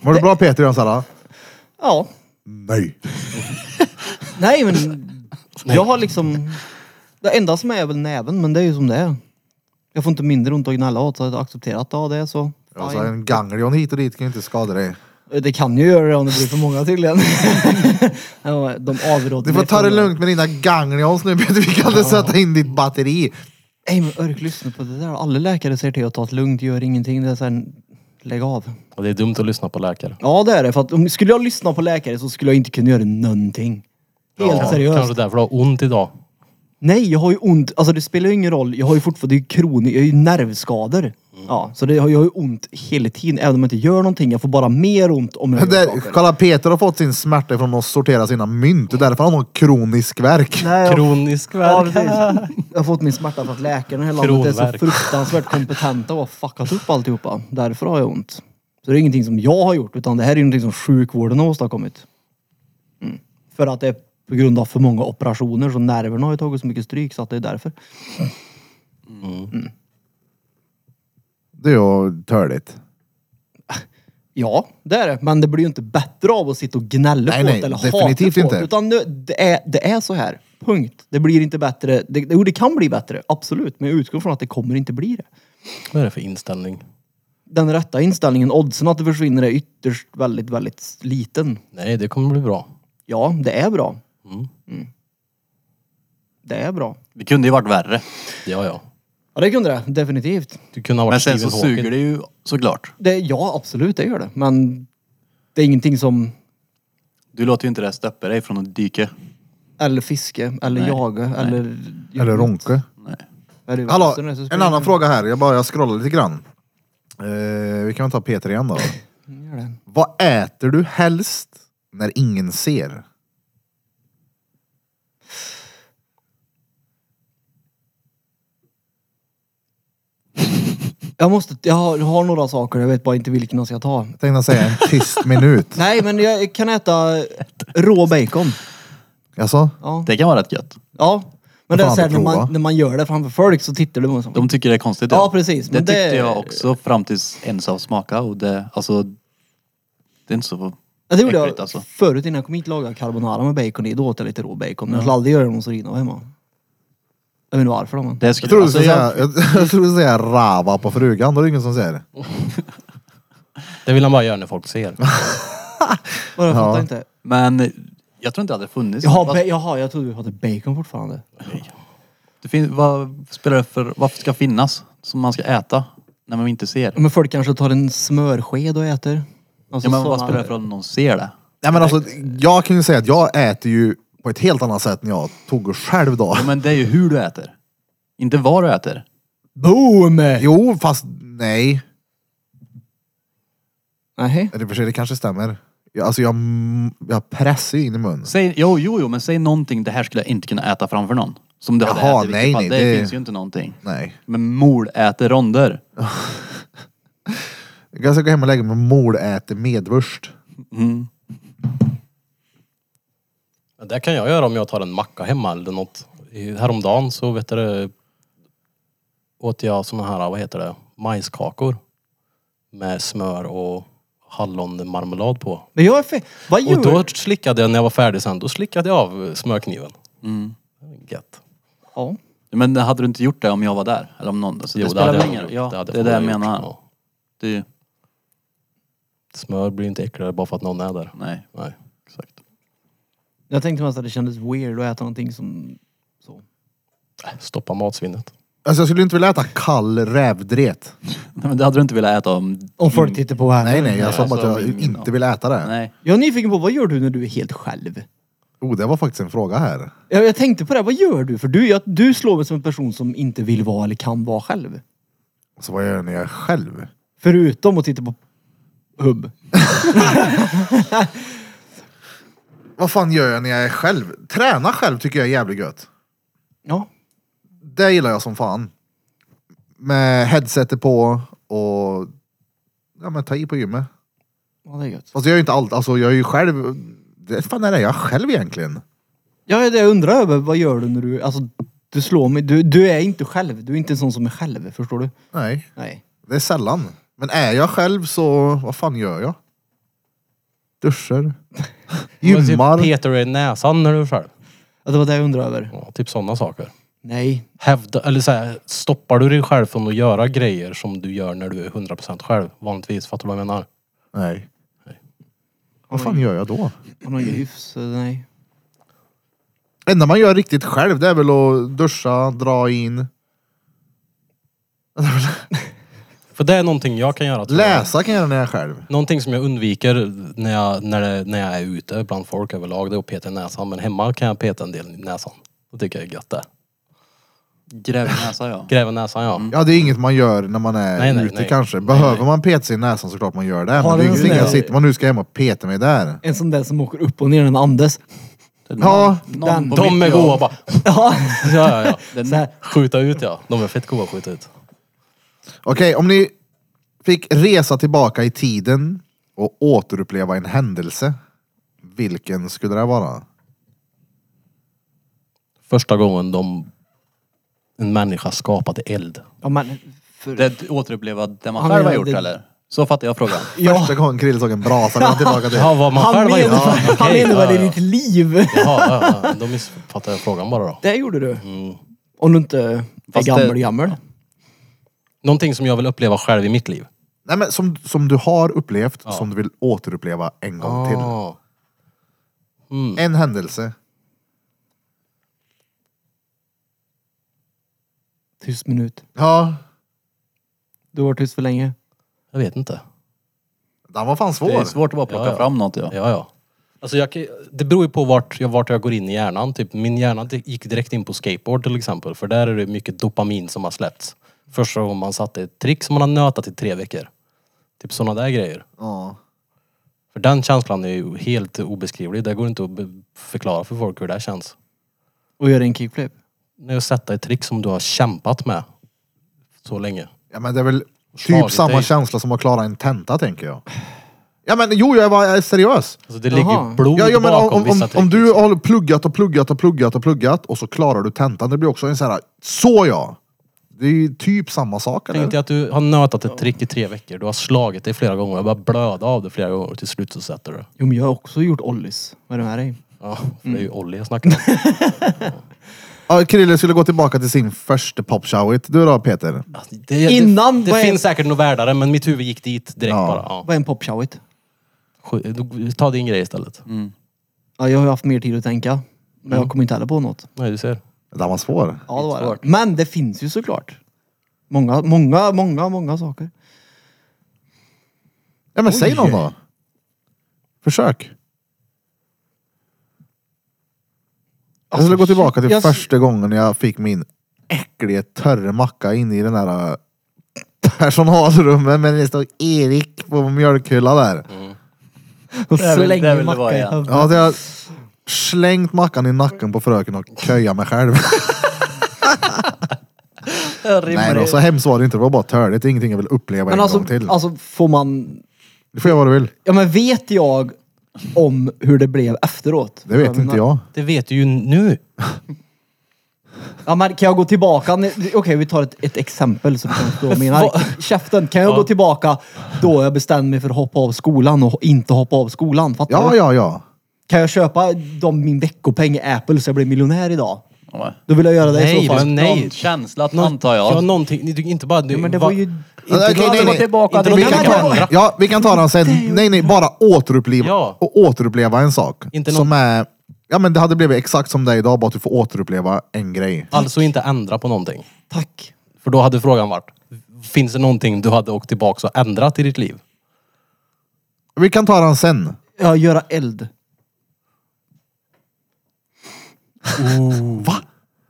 A: Mår du bra Peter? Gör han så här,
B: Ja.
A: Nej.
B: Nej men. Jag har liksom. Det enda som är väl näven men det är ju som det är. Jag får inte mindre ont att gnälla åt så jag har accepterat av det så.
A: Ja, så
B: Fine.
A: en ganglion hit och dit kan ju inte skada dig.
B: Det kan ju göra det om det blir för många tydligen. Ja, De avråder
A: Du får
B: mig
A: ta
B: från
A: det lugnt med dina ganglions nu Peter. Vi kan inte sätta in ditt batteri.
B: Nej men Örk, lyssna på det där. Alla läkare säger till att ta det lugnt, gör ingenting. Det är så här, lägg av.
C: Och det är dumt att lyssna på läkare.
B: Ja det är det. För att om skulle jag lyssna på läkare så skulle jag inte kunna göra någonting. Helt
C: Ja,
B: seriöst.
C: Kanske därför du har ont idag.
B: Nej, jag har ju ont. Alltså det spelar ju ingen roll. Jag har ju fortfarande det är ju kroni, jag har ju nervskador. Ja, så det, jag har ju ont hela tiden. Även om jag inte gör någonting. Jag får bara mer ont om jag gör
A: Där,
B: saker.
A: kolla Peter har fått sin smärta från att sortera sina mynt. Det är därför han har kronisk värk.
B: Nej, jag-
C: Kronisk
B: Ja,
C: värk.
B: precis. Jag har fått min smärta för att läkarna i hela landet är så
C: Kronvärk.
B: fruktansvärt kompetenta och har fuckat upp alltihopa. Därför har jag ont. Så det är ingenting som jag har gjort utan det här är ju någonting som sjukvården har åstadkommit. Mm. För att det är på grund av för många operationer så nerverna har ju tagit så mycket stryk så att det är därför.
A: Det är ju törligt.
B: Ja, det är det. Men det blir ju inte bättre av att sitta och gnälla
A: Nej,
B: på
A: nej,
B: det eller
A: definitivt
B: hata på
A: inte.
B: det. Utan nu- det är, det är så här. Punkt. Det blir inte bättre. Det, jo, det kan bli bättre. Absolut. Men jag utgår från att det kommer inte bli det.
C: Vad är det för inställning?
B: den rätta inställningen, oddsen att det försvinner är ytterst väldigt, väldigt liten.
C: Nej, det kommer bli bra.
B: Ja, det är bra. Mm. Det är bra.
D: Det kunde ju varit värre.
C: Ja, ja.
B: Ja, det kunde det. Definitivt.
C: Du kunde ha varit
D: Men sen så
C: Stephen
D: suger
C: Hawking.
D: det ju såklart.
B: Det, ja, absolut, det gör det. Men det är ingenting som...
D: Du låter ju inte det stoppa dig från att dyka.
B: Eller fiske, eller
D: Nej.
B: jaga, eller...
A: Eller ronke.
D: Nej.
B: Är det
A: Hallå,
B: västern, så
A: en
B: spelar
A: annan
B: det-
A: fråga här. Jag bara jag scrollar lite grann. Eh, vi kan väl ta Peter igen då.
B: Gör det.
A: Vad äter du helst när ingen ser?
B: Jag måste... Jag har, jag har några saker, jag vet bara inte vilken jag ska ta.
A: Jag tänkte säga en tyst minut.
B: Nej, men jag kan äta rå bacon.
A: Alltså,
B: Ja.
D: Det kan vara rätt gött.
B: Ja.
A: Vad
B: Men det är
A: fan,
B: såhär, när
A: prova.
B: man, när man gör det framför folk så tittar du på en sån.
D: De tycker det är konstigt.
B: Ja, precis,
D: Det
B: men
D: tyckte
B: det-
D: jag också fram tills ens av smaka och det, alltså. Det är inte så
B: Ja, det gjorde jag
D: Äckligt, alltså.
B: förut innan jag kom hit lagade jag carbonara med bacon i. Då åt jag lite rå bacon. Men jag skulle aldrig göra det om Sorino var hemma. Jag vet inte varför. då, Men.
D: Det
A: Jag
D: skulle,
A: tror du
D: alltså,
A: skulle
D: jag,
A: säga, jag, jag tror du skulle säga rava på frugan, då är det ingen som säger det.
C: Det vill han bara göra när folk ser.
B: Vadå, Jag fattar
A: Ja.
B: inte.
D: men jag tror inte det hade funnits.
B: Jaha,
D: Vad-
B: ba- jaha, jag trodde vi hade bacon fortfarande.
D: det fin- vad spelar det för... Varför ska finnas? Som man ska äta? När man inte ser.
B: Men folk kanske tar en smörsked och äter.
D: Ja,
B: Alltså,
D: men vad
B: såna-
D: spelar det för om någon ser det?
A: Nej, men alltså, jag kan ju säga att jag äter ju på ett helt annat sätt när jag tog själv då.
D: Ja, men det är ju hur du äter. Inte vad du äter.
B: Boom!
A: Jo, fast nej.
B: Nej.
A: Eller i och för sig, det kanske stämmer. Jag, alltså jag, jag pressar ju in i munnen.
D: Säg, jo, jo, jo, men säg någonting. Det här skulle jag inte kunna äta framför någon. Som du hade
A: Jaha,
D: ätit. i
A: nej,
D: vilket fall.
A: nej,
D: det,
A: det-
D: finns ju inte någonting.
A: Nej.
D: Men mord äter ronder.
A: Jag ska gå hem och lägga mig och moläta medvurst.
C: Det kan jag göra om jag tar en macka hemma eller något. I- Häromdagen så vet du, det, åt jag såna här, vad heter det, majskakor. Med smör och hallonmarmelad på.
B: Men jag är fe- Vad
C: Och då
B: gör
C: slickade jag, när jag var färdig sen, då slickade jag av smörkniven. Mm. Gött.
B: Ja.
D: Men hade du inte gjort det om jag var där? Eller om någon? Alltså, det
C: Jo,
D: spelar
C: hade
D: väl
C: jag
D: ingen
C: gjort.
D: roll. Ja,
C: hade
D: det är det jag
C: förmodligen
D: menar.
C: gjort. Ja.
D: Det är ju...
C: Smör blir inte äckligare bara för att någon är där.
D: Nej,
C: Nej.
D: exakt.
B: Jag tänkte mest att det kändes weird att äta någonting som... Så.
C: Stoppa matsvinnet.
A: Alltså jag skulle inte vilja äta kall rävdret.
D: Nej, men det hade du inte velat äta om...
B: Om folk tittar på här.
A: Nej, nej, jag sa bara att jag
D: alltså, min-
A: inte vill äta det.
D: Nej.
B: Jag är nyfiken på, vad gör du när du är helt själv?
A: Oh, det var faktiskt en fråga här.
B: Jag, jag tänkte på det, vad gör du? För du, jag, du slår mig som en person som inte vill vara eller kan vara själv.
A: Så vad gör jag när jag är själv?
B: Förutom att titta på hubb.
A: Vad fan gör jag när jag är själv? Träna själv tycker jag är jävligt gött.
B: Ja.
A: Det gillar jag som fan. Med headsetet på och ja, men ta i på gymmet.
B: ja, det är gött.
A: Fast jag är ju inte allt, alltså jag är ju själv. Det fan är det jag är själv egentligen?
B: Ja, det jag undrar över, vad gör du när du... Alltså, du slår mig. Du, du är inte själv. Du är inte en sån som är själv, förstår du?
A: Nej,
B: Nej.
A: det är sällan. Men är jag själv så vad fan gör jag? Duschar.
C: Typ
A: Gymmar.
C: Peter i näsan när du är själv.
B: Ja, det var det jag undrade över.
C: Ja, typ sådana saker.
B: Nej.
C: Hävda, eller så här, stoppar du dig själv från att göra grejer som du gör när du är 100% själv vanligtvis? Fattar du vad jag menar?
A: Nej. Vad fan gör jag då?
B: Har någon hyfs? eh, Nej.
A: enda man gör riktigt själv det är väl att duscha, dra in,
C: För det är någonting jag kan göra. tror jag.
A: läsa kan jag göra när jag är själv.
C: Någonting som jag undviker när jag, när, det, när jag är ute bland folk överlag det är att peta i näsan. Men hemma kan jag peta en del i näsan. Det tycker jag är gött det.
D: Grävnäsa, ja.
C: Gräva näsan ja.
B: Mm.
A: Ja det är inget man gör när man är
C: Nej, nej,
A: ute
C: nej.
A: kanske. Behöver man peta sig i näsan såklart man gör det.
B: Har
A: men det
B: du
A: är
B: en
A: ingenting
B: sån
A: jag
B: där-
A: sitter man nu ska jag hem och peta mig där.
B: En sån där som åker upp och ner när den andas.
A: Ja,
D: Någon på
C: De
D: mitt
C: är
D: jobb.
C: goa bara.
B: Ja.
C: Ja, ja, ja.
B: Så här.
C: Skjuta ut ja. De är fett goa att skjuta ut.
A: Okej, om ni fick resa tillbaka i tiden och återuppleva en händelse. Vilken skulle det vara?
C: Första gången de, en människa skapade eld.
B: ja, men... För...
D: Det återuppleva det man
B: Han
D: själv har
B: menade-
D: gjort eller? Så fattar jag frågan.
A: Första gången Krill såg en brasa när han tillbaka till.
C: Ja, vad man
B: Han
C: själv har
B: menar
C: gjort. Ja,
B: han
C: okej.
B: menar väl
C: Ja,
B: i
C: ja.
B: ditt liv?
C: Jaha, ja, ja. då missuppfattade jag frågan bara då.
B: Det gjorde du. Om du inte är
D: Mm. Fast det-
B: gammal, gammal.
C: Någonting som jag vill uppleva själv i mitt liv.
A: Nej, men som, som du har upplevt, som du vill återuppleva en gång till.
C: Ah.
A: En händelse.
B: Tyst minut.
A: Ja,
B: Du har varit tyst för länge.
C: Jag vet inte.
A: den var fan svår.
D: Det är svårt att bara plocka
C: Ja, ja.
D: fram något ja.
C: Ja, ja. Alltså jag, kan- det beror ju på vart jag, vart jag går in i hjärnan. Typ, min hjärna di- gick direkt in på skateboard till exempel. För där är det mycket dopamin som har släppts. Första gången man satte ett trick som man har nötat i tre veckor. Typ sådana där grejer.
A: Ja.
C: För den känslan är ju helt obeskrivlig. Det går inte att be- förklara för folk hur det här känns.
B: Och gör en kickflip.
C: När jag sätter ett trick som du har kämpat med så länge.
A: Ja men det är väl typ
C: Slagit
A: samma
C: dig.
A: känsla som att klara en tenta tänker jag. Ja men jo, jag var jag är seriös.
C: Alltså det ligger
B: Jaha.
C: ju blod
A: Ja, ja, men om,
C: bakom
A: om,
C: vissa
A: om,
C: trick.
A: om du
C: liksom.
A: har pluggat och pluggat och pluggat och pluggat och så klarar du tentan, det blir också en sån här, så ja! Det är ju typ samma sak eller?
C: Tänk dig att du har nötat ett trick i tre veckor. Du har slagit dig flera gånger. Jag bara blöda av det flera gånger och till slut så sätter du det.
B: Jo men jag har också gjort ollies. Vad är det med dig?
C: Ja, för det är ju
B: Mm.
C: Olli jag snackar om.
A: Ja, Krille skulle gå tillbaka till sin första popshowit. Du då Peter?
C: Alltså, det,
B: Innan,
C: Det,
B: vad
C: det
B: är-
C: finns säkert något värdare men mitt huvud gick dit direkt
A: Ja.
C: bara. Ja.
B: Vad är en popshowit?
C: Sk- då- Ta din grej istället.
B: Mm. Ja, jag har ju haft mer tid att tänka. Men
D: Mm.
B: jag kommer inte heller på något.
C: Nej, du ser.
A: Den var svår.
B: Ja, det var det. Men det finns ju såklart. Många, många, många, många saker.
A: Ja men säg någon då. Försök. Jag skulle gå tillbaka till
B: Jag-
A: första gången jag fick min äckliga törre macka in i den där äh, personalrummet men det stod Erik på mjölkhyllan där.
B: Mm. Och
D: Det är väl- det är
B: slänger
D: väl det var,
B: mackan i
D: ja.
B: huvudet.
A: Ja, att jag slängt mackan i nacken på fröken och köja mig själv. Nej då, så hemskt var det inte. Det var bara törligt. Det är ingenting jag vill uppleva
B: Men
A: en
B: alltså,
A: gång till.
B: alltså får man...
A: Du får göra vad du vill.
B: Ja men vet jag om hur det blev efteråt?
A: Det vet inte jag.
C: Det vet du ju nu.
B: Ja, men kan jag gå tillbaka? ni- Okej, vi tar ett, ett exempel som kan stå menar. Käften, kan jag gå tillbaka då jag bestämde mig för att hoppa av skolan och inte hoppa av skolan? Fattar
A: Ja,
B: du?
A: ja, ja.
B: Kan jag köpa dem min veckopeng i Apple så jag blir miljonär idag?
D: Ja.
B: Då vill jag göra det i
C: Nej,
B: så fall.
C: men nej.
D: Någon känsla
C: Nå-
D: antar
C: Ja,
D: jag.
C: någonting. Ni tycker inte bara... Du,
B: Ja, men det var ju...
A: Okej,
D: glad att
A: nej,
D: gå
A: nej.
D: tillbaka
A: Inte
D: till
A: vi
B: den
A: kan
B: här
A: ta-
B: gången.
A: Ja, vi kan ta den sen. Nej, nej, bara återuppleva,
C: Ja.
A: och återuppleva en sak.
C: Inte
A: som är... Ja, men det hade blivit exakt som det är idag, bara att du får återuppleva en grej.
C: Alltså inte ändra på någonting.
B: Tack.
C: För då hade frågan varit, finns det någonting du hade åkt tillbaka och ändrat i ditt liv?
A: Vi kan ta den sen.
B: Ja, göra eld.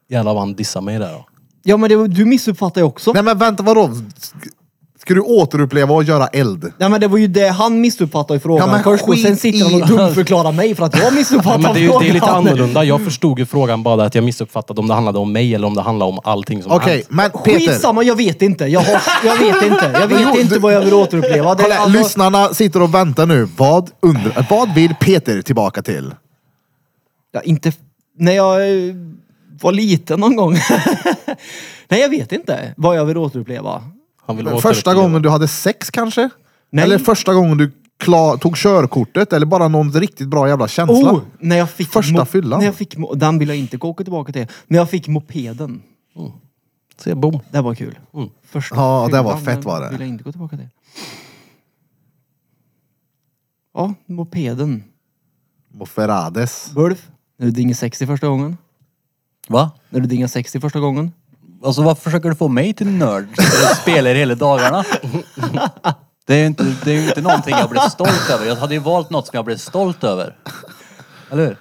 C: Jävlar vad han dissar mig där då.
B: Ja, men det, du missuppfattar ju också. Nej.
A: Nej, men vänta, vadå? Sk- Ska du återuppleva och göra eld?
B: men det var ju det han missuppfattade i frågan
A: Ja, men
B: först och
A: skit
B: sen sitter han
A: i-
B: och dumförklarar mig för att jag
C: Ja,
B: missuppfattar
C: men det, är ju, det är lite
B: frågan.
C: annorlunda. Jag förstod ju frågan bara att jag missuppfattade om det handlade om mig eller om det handlade om allting som
A: Okej,
C: hänt.
A: men Peter.
B: Skitsamma, jag vet inte. Jag, har, jag vet inte. Jag vet
A: jo,
B: inte
A: du-
B: vad jag vill återuppleva. Det, är
A: Kolla, här,
B: alltså-
A: Lyssnarna sitter och väntar nu. Vad, undrar, vad vill Peter tillbaka till?
B: Ja, inte... f- När jag eh, var liten någon gång. Nej, jag vet inte vad jag vill återuppleva.
C: Han vill
A: Första
C: återuppleva.
A: gången du hade sex kanske?
B: Nej.
A: Eller första gången du klar, tog körkortet? Eller bara någon riktigt bra jävla känsla?
B: Oh, när jag fick
A: Första
B: mo-
A: fyllan.
B: När jag fick mo- den vill jag inte gå- åka tillbaka till. När jag fick mopeden.
C: Se, boom.
B: Det var kul. Första
A: Mm. Ja, det
B: fyllan,
A: var fett
B: den
A: var det.
B: vill jag inte gå tillbaka till. Ja, mopeden.
A: Och Ferrades.
B: Bulf. När du dingade 60 första gången.
D: Va?
B: När du dingade 60 första gången.
D: Alltså vad försöker du få mig till nörd? Jag spelar hela dagarna. Det är ju inte, det är ju inte någonting jag blir stolt över. Jag hade ju valt något som jag blev stolt över. Eller hur?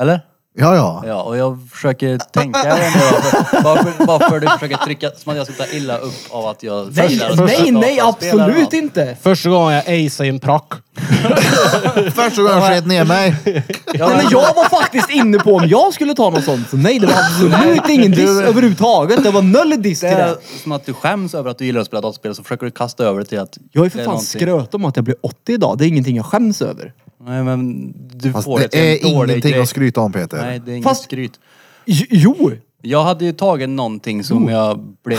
D: Eller?
A: Ja, ja.
D: Ja, och jag försöker tänka ändå. Varför, varför, varför du försöker trycka, som att jag skulle ta illa upp av att jag...
B: Nej,
D: gillar att
B: nej,
D: spela
B: nej,
D: dataspel eller
B: absolut
D: något.
B: inte!
C: Första gången jag aceade en prock.
A: Första gången jag sket ner mig.
D: Ja,
B: Nej,
D: men-
B: men jag var faktiskt inne på om jag skulle ta något sånt. Så nej, det var absolut ingen diss överhuvudtaget. Det var noll diss till
D: Det är
B: det.
D: som att du skäms över att du gillar att spela dataspel så försöker du kasta över det till att...
B: Jag har ju
D: det
B: för
D: är
B: fan
D: någonting.
B: skröt om att jag blev 80 idag. Det är ingenting jag skäms över.
D: Nej men du
A: Fast
D: får
A: det är
D: till en dålig
A: ingenting
D: grej.
A: att skryta om Peter.
D: Nej det är inget
B: Fast-
D: skryt.
B: J- Jo!
D: Jag hade ju tagit någonting som jag blev...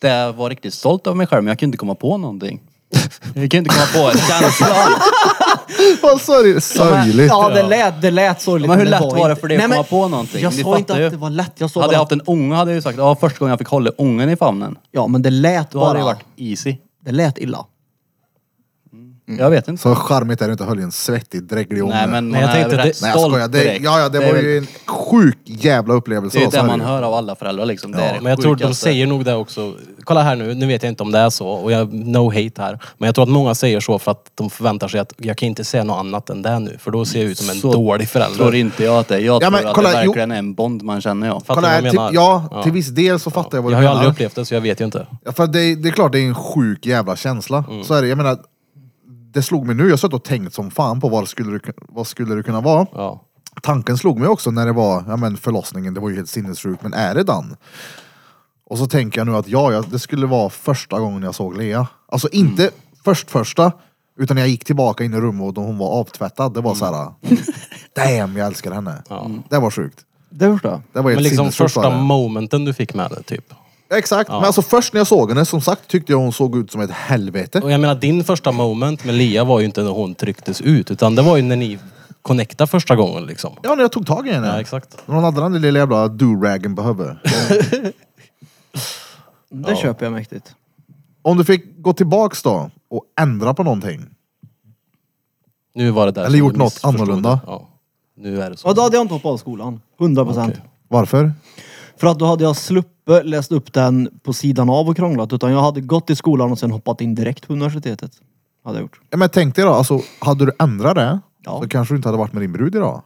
D: Där jag var riktigt stolt över mig själv men jag kunde inte komma på någonting. Jag kunde inte komma på en känsla.
A: Vad sorg- sorgligt.
B: Ja, det lät, det lät sorgligt.
D: Men hur
B: det
D: lätt var
B: inte-
D: det för dig att
B: Nej, men
D: komma på någonting?
B: Jag
D: Ni
B: sa inte
D: fattar ju.
B: att det var lätt. Jag sa
D: Hade
B: bara
D: jag
B: att...
D: haft en unge hade jag ju sagt ja första gången jag fick hålla ungen i famnen.
B: Ja, men det lät
D: Då hade
B: bara...
D: det varit easy.
B: Det lät illa.
D: Jag vet inte.
A: Så charmigt är det inte att höja en svettig, dräglig ånga.
D: Nej men man
C: Nej, jag
D: är
C: tänkte
D: väl
C: det-
D: rätt
A: Nej
D: stolt
A: jag skojar. Det,
D: direkt.
A: ja, ja, det,
D: är
A: var
D: väl-
A: ju en sjuk jävla upplevelse.
D: Det är ju
A: då, så
D: det
A: är
D: man
A: ju.
D: hör av alla föräldrar liksom. det är det
C: Men jag tror de
D: sjukaste.
C: säger nog det också. Kolla här nu, nu vet jag inte om det är så och jag no hate här. Men jag tror att många säger så för att de förväntar sig att jag kan inte säga något annat än det nu. För då ser jag ut som en
D: Så
C: dålig förälder.
D: Tror inte jag att det är. Jag
A: Ja,
D: tror
A: men
D: att
A: kolla,
D: det
A: jo-
D: verkligen är en bond man känner jag.
C: Fattar
A: Kolla
C: du vad
A: här,
C: jag
A: till,
C: menar?
A: ja, till viss del så fattar jag vad
C: Jag
A: du
C: har ju
A: menar.
C: aldrig upplevt det så jag vet ju inte.
A: Ja, För det, det är klart det är en sjuk jävla känsla.
D: Mm.
A: Så är det. Jag menar, det slog mig nu. Jag satt och tänkt som fan på vad skulle det, vad skulle det kunna vara.
C: Ja.
A: Tanken slog mig också när det var ja, men förlossningen. Det var ju helt sinnessjukt, men är det den? Och så tänker jag nu att ja, ja, det skulle vara första gången jag såg Lea. Alltså
C: Mm.
A: inte först första, utan jag gick tillbaka in i rummet och då hon var avtvättad. Det var så här,
C: Mm.
A: damn jag älskar henne. Det var sjukt.
B: Det förstår jag.
A: Det var helt
C: Men liksom
A: sinnessjukt. var
C: första
A: det.
C: momenten du fick med det typ.
A: Exakt, men alltså först när jag såg henne, som sagt, tyckte jag hon såg ut som ett helvete.
C: Och jag menar din första moment med Lia var ju inte när hon trycktes ut utan det var ju när ni connectade första gången liksom.
A: Ja, när jag tog tag i henne.
C: Ja, exakt.
A: När hon hade den där lilla jävla do-ragen på huvudet.
B: Det köper jag mäktigt.
A: Om du fick gå tillbaks då och ändra på någonting.
C: Nu var det där
A: Eller
C: som
A: gjort
C: du
A: något
C: missförstod
A: annorlunda.
C: det. Ja. Nu är det så.
B: Ja, då hade jag inte hoppat av skolan. 100 procent.
C: Okej.
A: Varför?
B: För att då hade jag sluppit läst upp den på sidan av och krånglat. Utan jag hade gått i skolan och sen hoppat in direkt på universitetet. Hade jag gjort.
A: Ja, men tänk dig då, alltså, hade du ändrat det
B: Ja.
A: så kanske du inte hade varit med din brud idag.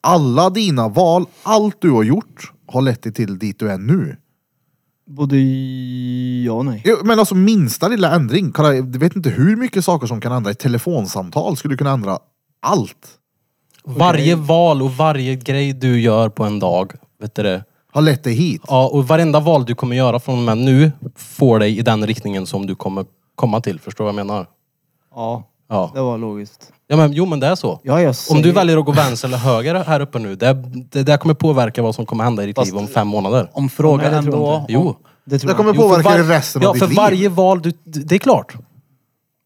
A: Alla dina val, allt du har gjort har lett dig till dit du är nu.
B: Både i- ja och nej.
A: Jo, Men alltså minsta lilla ändring. Kolla, jag vet inte hur mycket saker som kan ändra. Ett telefonsamtal skulle du kunna ändra allt.
C: Varje val och varje grej du gör på en dag, vet du det?
A: Har lett dig hit.
C: Ja, och varenda val du kommer göra från och med nu får dig i den riktningen som du kommer komma till. Förstår du vad jag menar?
B: Ja,
C: Ja.
B: det var logiskt.
C: ja men, jo men det är så.
B: Ja, jag
C: Om du
B: säger-
C: väljer att gå vänster eller höger här uppe nu, det, det där kommer påverka vad som kommer hända i ditt liv om fem månader.
D: Om
B: Nej,
D: frågan
B: det tror jag
D: ändå...
B: inte.
C: Jo.
B: Det tror
A: Det
B: jag.
A: kommer
C: Jo, för
A: påverka
C: var-
A: dig resten
C: ja,
A: av ditt
C: för
A: liv.
C: varje val du... Det är klart.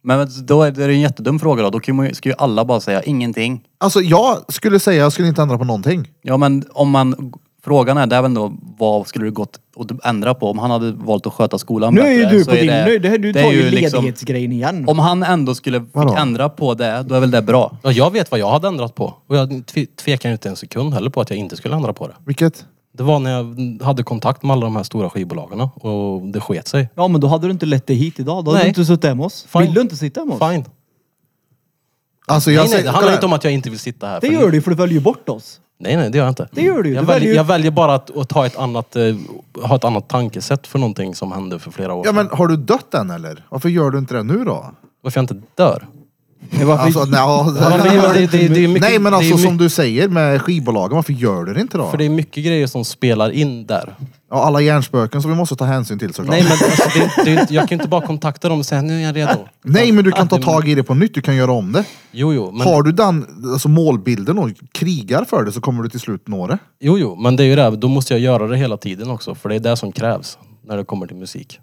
D: Men då är det är en jättedum fråga då. Då kan man, ju- ska ju alla bara säga ingenting.
A: Alltså jag skulle säga, jag skulle inte ändra på någonting.
D: Ja men om man... Frågan är, det är väl då, vad skulle du gått och ändra på? Om han hade valt att sköta skolan
B: Nu
D: bättre.
B: är ju du
D: så
B: på din...
D: det-
B: nu, det här, du
D: det är
B: tar ju
D: liksom-
B: ledighetsgrejen igen.
D: Om han ändå skulle fick
A: Vadå?
D: ändra på det, då är väl det bra.
C: Ja, jag vet vad jag hade ändrat på. Och jag tve- tvekar ju inte en sekund heller på att jag inte skulle ändra på det.
A: Vilket?
C: Det var när jag hade kontakt med alla de här stora skivbolagen och det sket sig.
B: Ja men då hade du inte lett dig hit idag. Då hade
C: Nej.
B: du inte suttit hemma hos oss.
C: Fine.
B: Vill du inte sitta hemma hos oss?
C: Fine.
A: Alltså, jag
C: Nej, nej,
A: säger-
C: det handlar
A: kolla
C: inte om
A: här.
C: att jag inte vill sitta här.
B: Det
C: för-
B: gör du ju, för du väljer ju bort oss.
C: Nej, nej, det gör jag inte.
B: Det gör du ju.
C: Jag,
B: Du
C: väljer,
B: väljer ju-
C: jag väljer bara att, att ta ett annat, eh, ha ett annat tankesätt för någonting som hände för flera år
A: Ja
C: sedan.
A: men har du dött än eller? Varför gör du inte det nu då?
C: Varför jag inte dör?
B: varför-
A: Alltså, nej, ja,
C: Ja, men det- det- det- det är mycket-
A: nej men
C: det är
A: alltså
C: mycket-
A: som du säger med skivbolagen, varför gör du det inte då?
C: För det är mycket grejer som spelar in där.
A: Ja, alla hjärnspöken som vi måste ta hänsyn till såklart.
C: Nej men alltså, det, det, jag kan ju inte bara kontakta dem och säga nu är jag redo.
A: Nej, men du kan ta tag i det på nytt, du kan göra om det.
C: Jo jo men,
A: Har du den alltså målbilden och krigar för det så kommer du till slut nå det.
C: jo, jo, men det är ju det, då måste jag göra det hela tiden också. För det är det som krävs när det kommer till musik.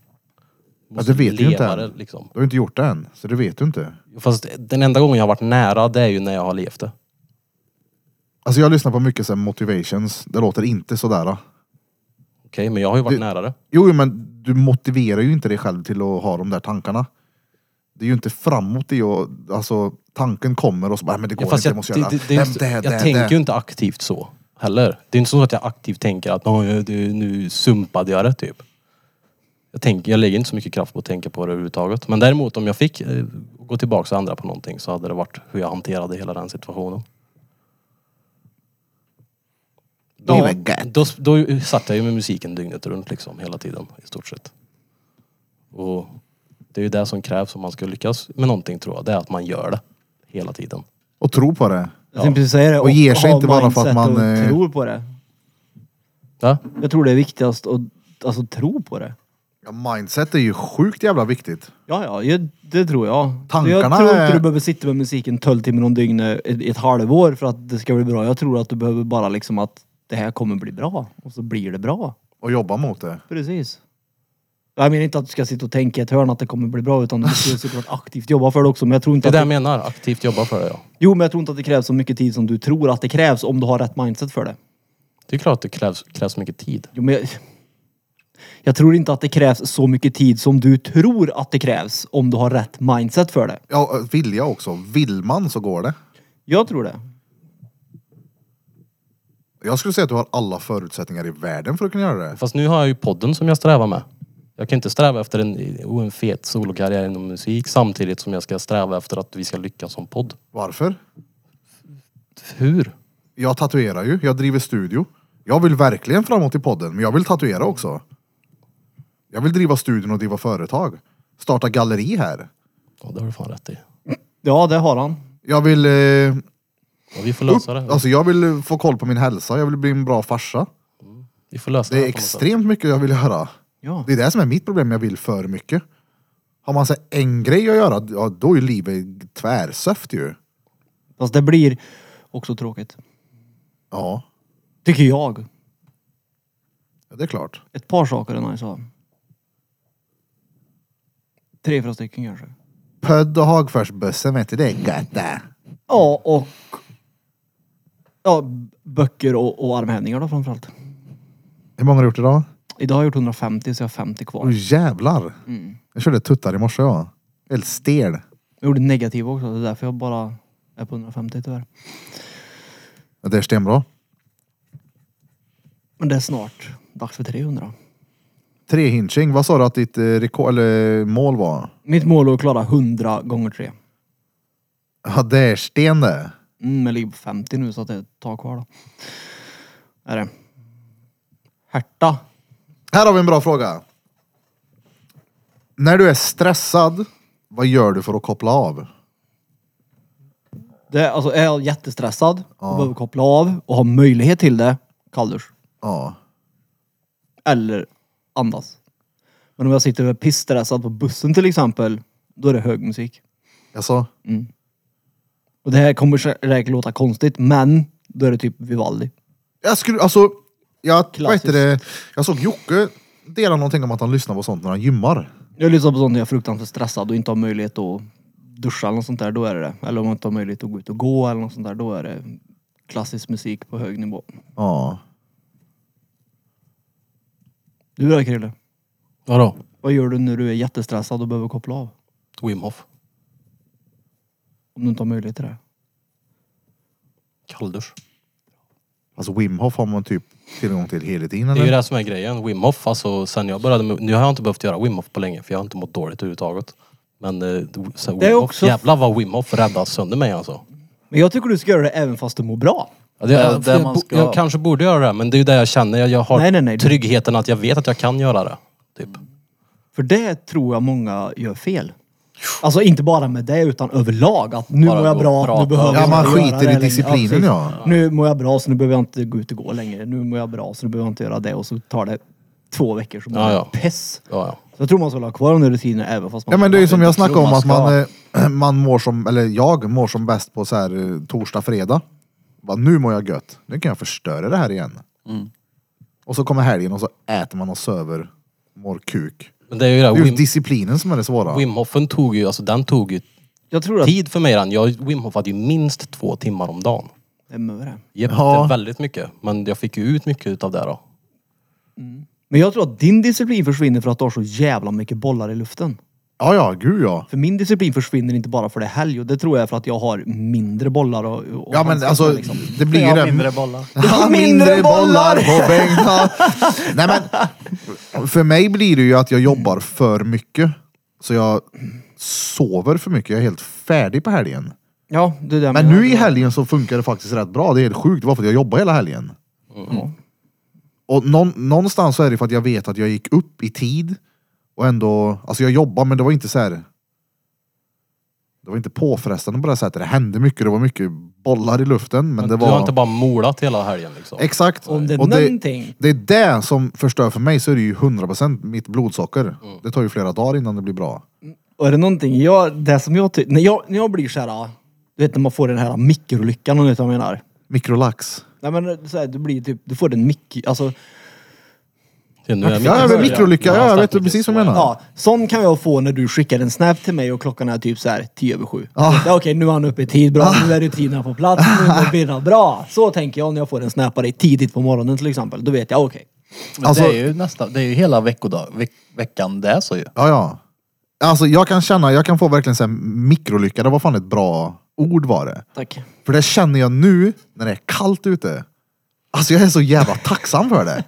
A: Ja, det vet du ju inte
C: Leva
A: än.
C: det, liksom.
A: Du har ju inte gjort det än, så det vet du inte.
C: Fast den enda gången jag har varit nära det är ju när jag har levt det.
A: Alltså jag lyssnar på mycket så här motivations, det låter inte sådär. då.
C: Okej, men jag har ju varit
A: Du-
C: nära det.
A: Jo, jo, men du motiverar ju inte dig själv till att ha de där tankarna. Det är ju inte framåt i och, alltså tanken kommer och så bara, "Nej, men det går
C: Ja, fast
A: inte, jag,
C: jag,
A: måste
C: det,
A: göra
C: det, det, är inte- jag tänker ju inte aktivt så heller. Det är inte så att jag aktivt tänker att "Åh, jag- det- nu sumpade jag det typ. Jag, tänker, jag lägger inte så mycket kraft på att tänka på det överhuvudtaget. Men däremot om jag fick eh, gå tillbaka och ändra på någonting så hade det varit hur jag hanterade hela den situationen.
A: Det är
C: Då,
A: väl gött.
C: då, då satt jag ju med musiken dygnet runt liksom hela tiden i stort sett. Och det är ju det som krävs om man ska lyckas med någonting tror jag. Det är att man gör det hela tiden.
A: Och tro på det.
B: Jag tänkte precis säga det.
A: Och ger sig
B: ha
A: inte bara för att man,
B: mindset och
A: eh,
B: tror på det.
C: Ja?
B: Jag tror det är viktigast att alltså, tro på det.
A: Ja, mindset är ju sjukt jävla viktigt.
B: Ja, ja, jag, det tror jag.
A: Tankarna
B: jag tror inte
A: är-
B: du behöver sitta med musiken 12 timmar om dygnet i i ett halvår för att det ska bli bra. Jag tror att du behöver bara liksom att det här kommer bli bra. Och så blir det bra.
A: Och jobba mot det.
B: Precis. Jag menar inte att du ska sitta och tänka i ett hörn att det kommer bli bra utan du måste ju såklart aktivt jobba för det också. Men jag tror
C: Det
B: inte
C: är
B: att
C: det
B: det,
C: jag menar, aktivt jobba för det ja.
B: jo, men jag tror inte att det krävs så mycket tid som du tror att det krävs om du har rätt mindset för det.
C: Det är klart att det krävs, krävs mycket tid.
B: Jo, men jag, jag tror inte att det krävs så mycket tid som du tror att det krävs om du har rätt mindset för det.
A: Ja, vilja också. Vill man så går det.
B: Jag tror det.
A: Jag skulle säga att du har alla förutsättningar i världen för att kunna göra det.
C: Fast nu har jag ju podden som jag strävar med. Jag kan inte sträva efter en, oh, en fet solokarriär inom musik samtidigt som jag ska sträva efter att vi ska lyckas som podd.
A: Varför?
C: Hur?
A: Jag tatuerar ju, jag driver studio. Jag vill verkligen framåt i podden, men jag vill tatuera också. Jag vill driva studion och driva företag. Starta galleri här.
C: Ja, det har du fan rätt i.
B: Ja, det har han.
A: Jag vill... Eh,
C: Ja, vi får lösa det.
A: alltså jag vill eh, få koll på min hälsa, jag vill bli en bra farsa.
C: Vi får lösa det.
A: Det är
C: här på något sätt.
A: extremt mycket jag vill göra.
B: Ja.
A: Det är det som är mitt problem, jag vill för mycket. Har man så här en grej att göra, ja, då är ju livet tvärsöft ju.
B: Fast det blir också tråkigt.
A: Ja.
B: Tycker jag.
A: Ja, det är klart.
B: Ett par saker är nice att ha. Tre, fyra stycken kanske.
A: Pödd och Hagforsbössen vet du, det är gött det.
B: Ja, och ja, böcker och, och armhävningar då framförallt.
A: Hur många har du gjort idag?
B: Idag har jag gjort 150 så jag har 50 kvar.
A: Åh jävlar! Jag körde tuttar i morse jag. Helt stel.
B: Jag gjorde negativ också, det är därför jag bara är på 150 tyvärr.
A: Ja, Det är stenbra.
B: Men det är snart dags för 300.
A: Tre hinching. Vad sa du att ditt eh, rekord, eller mål var?
B: Mitt mål är att klara 100 gånger 3.
A: Ja, det är sten det.
B: Mm, jag ligger på 50 nu så att det är ett tag kvar då. Är det. Herta.
A: Här har vi en bra fråga. När du är stressad, vad gör du för att koppla av?
B: Det, är- alltså är jag jättestressad och behöver koppla av och har möjlighet till det, kalldusch.
A: Ja.
B: Eller andas. Men om jag sitter och är pissstressad på bussen till exempel, då är det hög musik.
A: Alltså,
B: Och det här kommer säkert låta konstigt, men då är det typ Vivaldi.
A: jag skulle, alltså, jag, vad heter
B: Klassiskt.
A: det? jag såg Jocke dela någonting om att han lyssnar på sånt när han gymmar.
B: Jag lyssnar på sånt när jag är fruktansvärt stressad och inte har möjlighet att duscha eller något sånt där, då är det det. Eller om jag inte har möjlighet att gå ut och gå eller något sånt där, då är det klassisk musik på hög nivå.
A: Ja.
B: Du då Krille?
C: Vadå?
B: Vad gör du när du är jättestressad och behöver koppla av?
C: Wim Hof.
B: Om du inte har möjlighet till det?
C: Kalldusch.
A: Alltså Wim Hof har man typ tillgång till hela tiden
C: Det är ju
A: eller?
C: det som är grejen. Wim Hof, alltså sen jag började med, Nu har jag inte behövt göra Wim Hof på länge för jag har inte mått dåligt överhuvudtaget. Men eh, sen
B: Det är
C: Wim Hof,
B: också-
C: jävlar vad Wim Hof räddade sönder mig alltså.
B: Men jag tycker du ska göra det även fast du mår bra.
C: Ja, det,
D: Ja,
C: jag,
D: där
C: jag,
D: man
C: bo-
D: ska-
C: jag kanske borde göra det, men det är ju det jag känner. Jag, jag har
B: Nej, nej, nej.
C: tryggheten att jag vet att jag kan göra det. Typ.
B: För det tror jag många gör fel. Alltså inte bara med det utan överlag att nu
D: Bara
B: mår jag
D: gå och
B: bra,
D: prata.
B: nu behöver
A: Ja,
B: jag
A: man
B: inte
A: skiter
B: göra
A: i
B: det längre.
A: disciplinen,
B: precis.
A: ja.
B: Nu mår jag bra så nu behöver jag inte gå ut och gå längre. Nu mår jag bra så nu behöver jag inte göra det och så tar det två veckor så mår
C: Ja,
B: jag
C: ja.
B: piss.
C: Ja, ja.
B: Så jag tror man ska ha kvar under rutiner även fast man
A: Ja men det är ju som jag
D: Jag tror
A: snackade om
D: man
A: att man, eh, man mår som, eller jag mår som bäst på så här eh, torsdag, fredag. Bara, nu mår jag gött. Nu kan jag förstöra det här igen.
C: Mm.
A: Och så kommer helgen och så äter man och söver, mår kuk.
C: Men det är ju
A: Det
C: det.
A: är
C: Wim,
A: just disciplinen som är det svåra.
C: Wim Hofen tog ju, alltså den tog ju
A: eh,
B: Jag tror att
C: tid för mig. Den. Jag, Wim Hof hade ju minst två timmar om dagen.
B: det är möre.
C: Japp,
A: Ja.
C: det är väldigt mycket. Men jag fick ju ut mycket utav det då.
B: Men jag tror att din disciplin försvinner för att du har så jävla mycket bollar i luften.
A: Ja ja, gud ja.
B: För min disciplin försvinner inte bara för det är helg och det tror jag är för att jag har mindre bollar och, och
A: Ja men
B: handskar
A: alltså,
B: med, liksom.
A: det blir ju det.
D: bollar.
A: Ja,
B: Mindre bollar.
A: på bänkarna. Nej men, för mig blir det ju att jag jobbar för mycket. Så jag sover för mycket. Jag är helt färdig på helgen.
B: Ja, det är det jag
A: Men
B: menar.
A: nu i helgen så funkar det faktiskt rätt bra. Det är helt sjukt. Det var för att jag jobbar hela helgen. Och någon, någonstans så är det för att jag vet att jag gick upp i tid. Och ändå, alltså jag jobbar men det var inte så här. Det var inte påfrestande på det här sättet. Det hände mycket. Det var mycket bollar i luften. Men,
C: Men
A: det
C: du
A: var...
C: har inte bara molat hela helgen liksom.
A: Exakt.
B: Om det är
A: Och
B: någonting.
A: det är det som förstör för mig så är det ju 100% mitt blodsocker. Det tar ju flera dagar innan det blir bra.
B: Och är det någonting, jag, det som jag tycker, när jag, när jag blir såhär, du vet när man får den här mikrolyckan om du vet vad jag menar.
A: Mikrolax.
B: Nej men så här, du blir typ, du får den mikro, alltså
C: Ja, nu är
A: Ja,
C: jag mitt i
A: jag vet
C: början.
A: mikrolycka.
C: Nu har
A: Ja, jag
C: sagt
A: vet
C: mycket
A: precis vad
C: så
A: jag
C: här.
A: menar.
B: ja, sån kan jag få när du skickar en snap till mig och klockan är typ såhär 10 över 7.
A: Ja.
B: Ja, Okej nu är han uppe i tid, bra, nu är rutinerna på plats, nu mår Birra bra. Så tänker jag när jag får en snap av dig tidigt på morgonen till exempel, då vet jag okej.
D: Men
A: Alltså-
D: det är ju nästan, det är ju hela veckodag, veck, veckan det är så ju.
A: Ja, ja. Alltså jag kan känna, jag kan få verkligen säga mikrolycka. Det var fan ett bra ord var det.
B: Tack.
A: För det känner jag nu när det är kallt ute. Alltså jag är så jävla tacksam för det.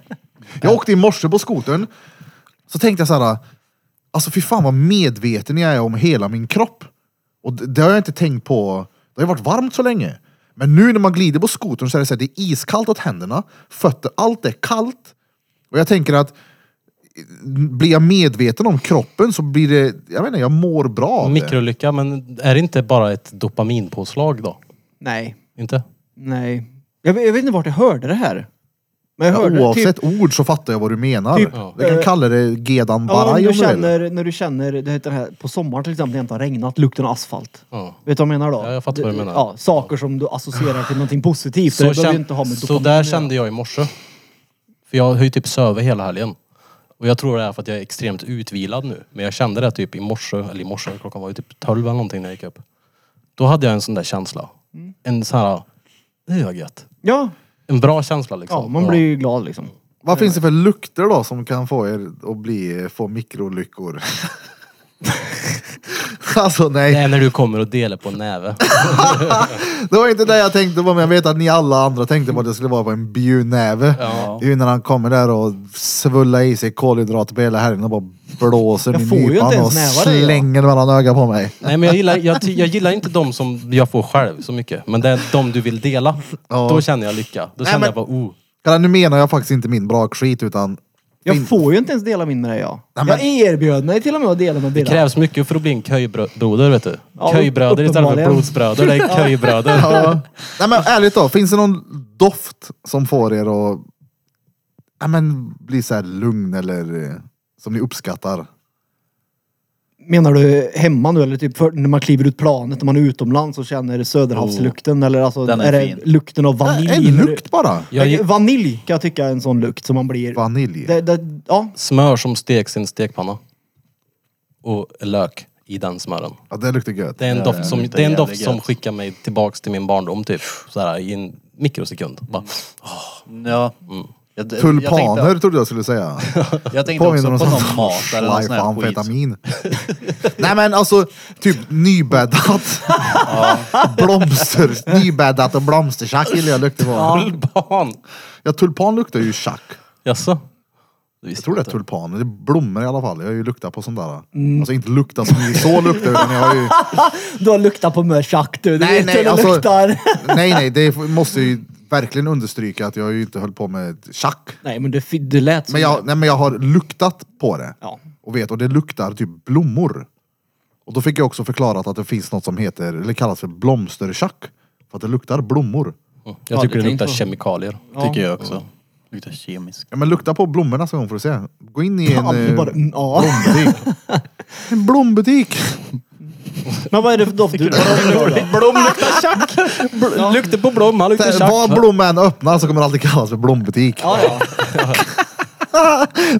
A: Jag åkte i morse på skotern. Så tänkte jag så här. Alltså fy fan vad medveten jag är om hela min kropp. Och det, det har jag inte tänkt på. Det har ju varit varmt så länge. Men nu när man glider på skotern så är det så här, det är iskallt åt händerna. Fötter, allt är kallt. Och jag tänker att blir jag medveten om kroppen så blir det, jag menar jag mår bra av det.
C: Mikrolycka, men är det inte bara ett dopaminpåslag då?
B: Nej,
C: Inte?
B: nej. Jag, vet- jag vet inte vart jag hörde det här. Men jag
A: Ja,
B: hörde det typ
A: oavsett ord så fattar jag vad du menar.
B: Typ,
A: Vi kan
B: eh,
A: kalla det gedan
B: Ja, om
A: baraj
B: du
A: om du vill.
B: känner, när du känner, det heter det här, på sommaren till exempel, när det inte har regnat, lukten av asfalt.
C: Ja.
B: Vet du vad jag menar då?
C: Ja, jag fattar vad du
B: Det-
C: menar.
B: Ja, saker som du associerar till någonting positivt. Så det
C: Så,
B: behöver ju
C: kän-
B: inte ha med
C: så
B: dopamin
C: där
B: att göra.
C: kände jag i morse. För jag har ju typ sövit hela helgen. Och jag tror det är för att jag är extremt utvilad nu. Men jag kände det typ i morse, eller i morse, klockan var ju typ 12 eller någonting när jag gick upp. Då hade jag en sån där känsla.
B: Mm.
C: En sån här, det var gött.
B: Ja,
C: En bra känsla liksom.
B: ja man blir ju glad liksom.
A: Vad finns det för lukter då som kan få er att bli, få mikrolyckor? alltså
C: Det
A: nej,
C: är när du kommer och delar på en näve.
A: det var inte det jag tänkte på men jag vet att ni alla andra tänkte på att det skulle vara på en bjudnäve.
C: Ja.
A: Det är ju när han kommer där och svullar i sig kolhydrater på hela helgen och bara blåser
B: Jag
A: min
B: får ju inte
A: nypan
B: ens
A: och
B: nävar det, ja.
A: slänger mellan ögat på mig.
C: Nej men jag gillar, jag, ty- jag gillar inte de som jag får själv så mycket. Men det är de du vill dela.
A: Ja.
C: Då känner jag lycka. Då känner
A: men-
C: jag bara oh.
A: Kolla, nu menar jag faktiskt inte min brakskit utan
B: Jag
A: Fin-
B: får ju inte ens dela min med dig jag.
A: Nej,
B: Jag erbjöd mig till och med att dela med
C: Det
B: Birra.
C: krävs mycket för att bli en köjbroder vet du.
B: Ja,
C: Köjbröder istället för
B: uppenbarligen.
C: blodsbröder. Det är köjbröder.
A: Nej men ärligt då, finns det någon doft som får er att ja, men, bli så här lugn eller eh, som ni uppskattar?
B: Menar du hemma nu eller typ för, när man kliver ut planet och man är utomlands och
C: Oh.
B: känner söderhavslukten eller alltså
D: Den är
B: är, det
D: fin.
B: lukten av vanilj?
A: En lukt bara!
C: Jag gick-
B: Vanilj kan jag tycka är en sån lukt som man blir...
A: Vanilj.
B: Det, det, ja,
C: Smör som steks i en stekpanna. Och lök i den smören.
A: Ja, det luktar gött.
C: Det är en doft, som,
D: luktar
C: det är en doft
D: jävligt
C: som
D: gött.
C: skickar mig tillbaks till min barndom typ. Sådär i en mikrosekund. Bara,
D: Ja. Jag, jag
A: Tulpaner
D: tänkte-
A: trodde jag skulle säga.
D: Jag tänkte också
A: Påminner
D: på
A: om
D: någon
A: sån
D: mat eller någon sån här skit.
A: amfetamin. Nej men alltså, typ nybäddat. Blomster, nybäddat och blomsterchack gillar jag lukten på.
C: Tulpan!
A: Ja, tulpan luktar ju chack.
C: Jaså?
A: Jag tror det är tulpaner, det är blommor i alla fall. Jag har ju luktat på sånt där.
B: Mm.
A: Alltså inte luktat som ni så luktar utan jag har ju...
B: Du har luktat på mörsack du. Du
A: Nej,
B: vet
A: nej,
B: hur det
A: alltså-
B: luktar.
A: Nej nej, det måste jag ju verkligen understryka att jag har ju inte höll på med chack.
B: Nej men det, fi- det lät som
A: Men jag, nej, men jag har luktat på det.
B: Ja.
A: Och vet, och det luktar typ blommor. Och då fick jag också förklarat att det finns något som heter, eller kallas för blomsterchack. För att det luktar blommor.
C: Mm.
D: Ja,
C: Jag tycker
D: det
C: det luktar
D: tänkte-
C: kemikalier.
D: Tycker jag också. Luktar kemiskt.
A: Ja men lukta på blommorna så gång får du se. Gå in i en
B: Ja,
A: eh,
B: bara, mm, ja.
A: blombutik. En blombutik!
B: Men vad är det för doft du
C: Blom luktar tjack! Lukter på blom, han luktar
A: Vad
C: tjack.
A: blomma än öppnar så kommer det alltid kallas för blombutik.
B: Ja, ja.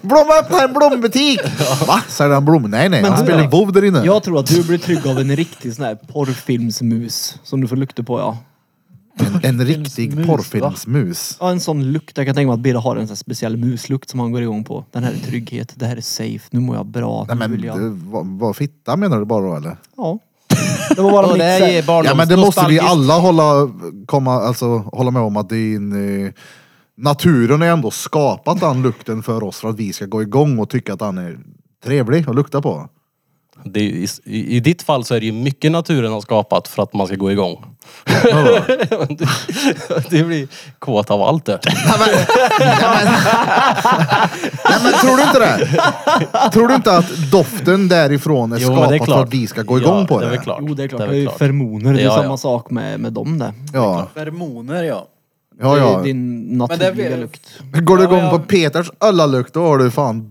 A: Blomma öppnar en blombutik! Va? Säljer han blommor? Nej nej,
B: Men
A: han
B: du-
A: spelar vov där inne.
B: Jag tror att du blir trygg av en riktig sån här porrfilmsmus som du får lukta på ja.
A: En riktig porrfilmsmus.
B: Ja en sån lukt. Jag kan tänka mig att Birra har en sån här speciell muslukt som han går igång på. Den här är trygghet. Det här är safe. Nu mår jag bra.
A: Nej
B: nu
A: men,
B: vill jag.
A: du, vad, vad fitta menar du bara då eller?
B: Ja. Det var bara
D: Och
B: mitt
D: det
B: sätt.
D: är barndoms-
A: Ja men det måste vi
D: nostalgiskt.
A: alla hålla, komma, alltså, hålla med om att det är en, eh, naturen har ändå skapat den lukten för oss för att vi ska gå igång och tycka att den är trevlig att lukta på.
C: Det är, ju- i, I ditt fall så är det ju mycket naturen har skapat för att man ska gå igång. du, du blir kåt av allt det.
A: Nej men, nej, men, nej, men tror du inte det? Tror du inte att doften därifrån är
C: Jo, men det
A: skapad
C: är
A: för
C: klart.
A: att vi ska gå igång
C: ja,
A: på
C: Det är
A: det?
C: väl klart.
B: Jo det är klart. Det är,
C: väl
B: ju feromoner. Det är
C: Ja,
B: samma
C: ja.
B: sak med, med dem där.
A: Ja,
D: Fermoner ja.
A: ja,
B: Det är
A: ja.
B: din
D: det är
B: naturliga
D: väl-
B: lukt.
A: Går du
D: Ja,
A: igång
D: ja.
A: på Peters öllalukt då har du fan,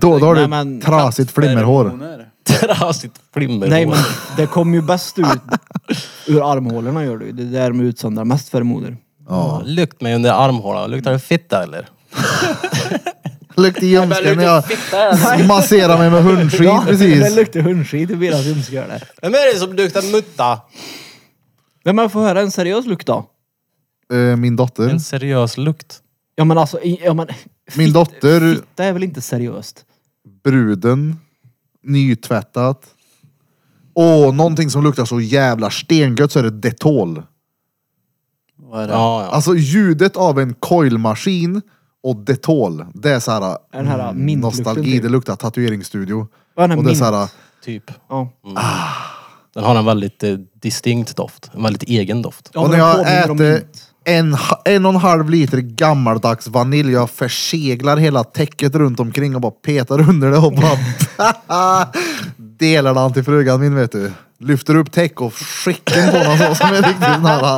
A: då, då har
B: Nej,
A: du
B: men-
A: trasigt flimmerhår.
D: Feromoner.
C: Trasigt flimmer.
B: Nej men det kom ju bäst ut ur armhålorna gör det ju. Det är där de utsöndrar mest feromoner.
A: Ja.
C: Lukt mig under armhålan. Luktar det fitta eller?
A: Lukt i ljumsken när jag
C: fitta
A: masserar mig med hundskit
B: Det
A: precis.
B: luktar hundskit i Birras ljumskar där.
C: Vem är det som luktar mutta?
B: Nej men får jag höra en seriös lukt då?
A: Eh, Min dotter.
C: En seriös lukt.
B: Ja men alltså, i- ja, men,
A: Min dotter,
B: det är väl inte seriöst?
A: bruden, nytvättat. Åh, någonting som luktar så jävla stengött så är det Detol.
D: Vad är det?
C: Ja, ja.
A: Alltså ljudet av en coilmaskin och Detol. Det är såhär
B: Den här
A: mm,
B: mintlukten
A: nostalgi.
B: typ.
A: Det luktar tatueringsstudio.
B: Ja, den här
A: Och det är
B: mint.
A: såhär,
C: Typ.
B: Ja.
C: Den har en väldigt eh, distinkt doft. En väldigt egen doft.
B: Ja,
A: och
B: men
A: när
B: den
A: jag
B: påminner om
A: äter
B: mint.
A: en, ha- en och en halv liter gammaldags vanilj, jag förseglar hela täcket runt omkring och bara petar under det och bara delar den till frugan min vet du. Lyfter upp täck och skickar den på honom så som är riktigt nära.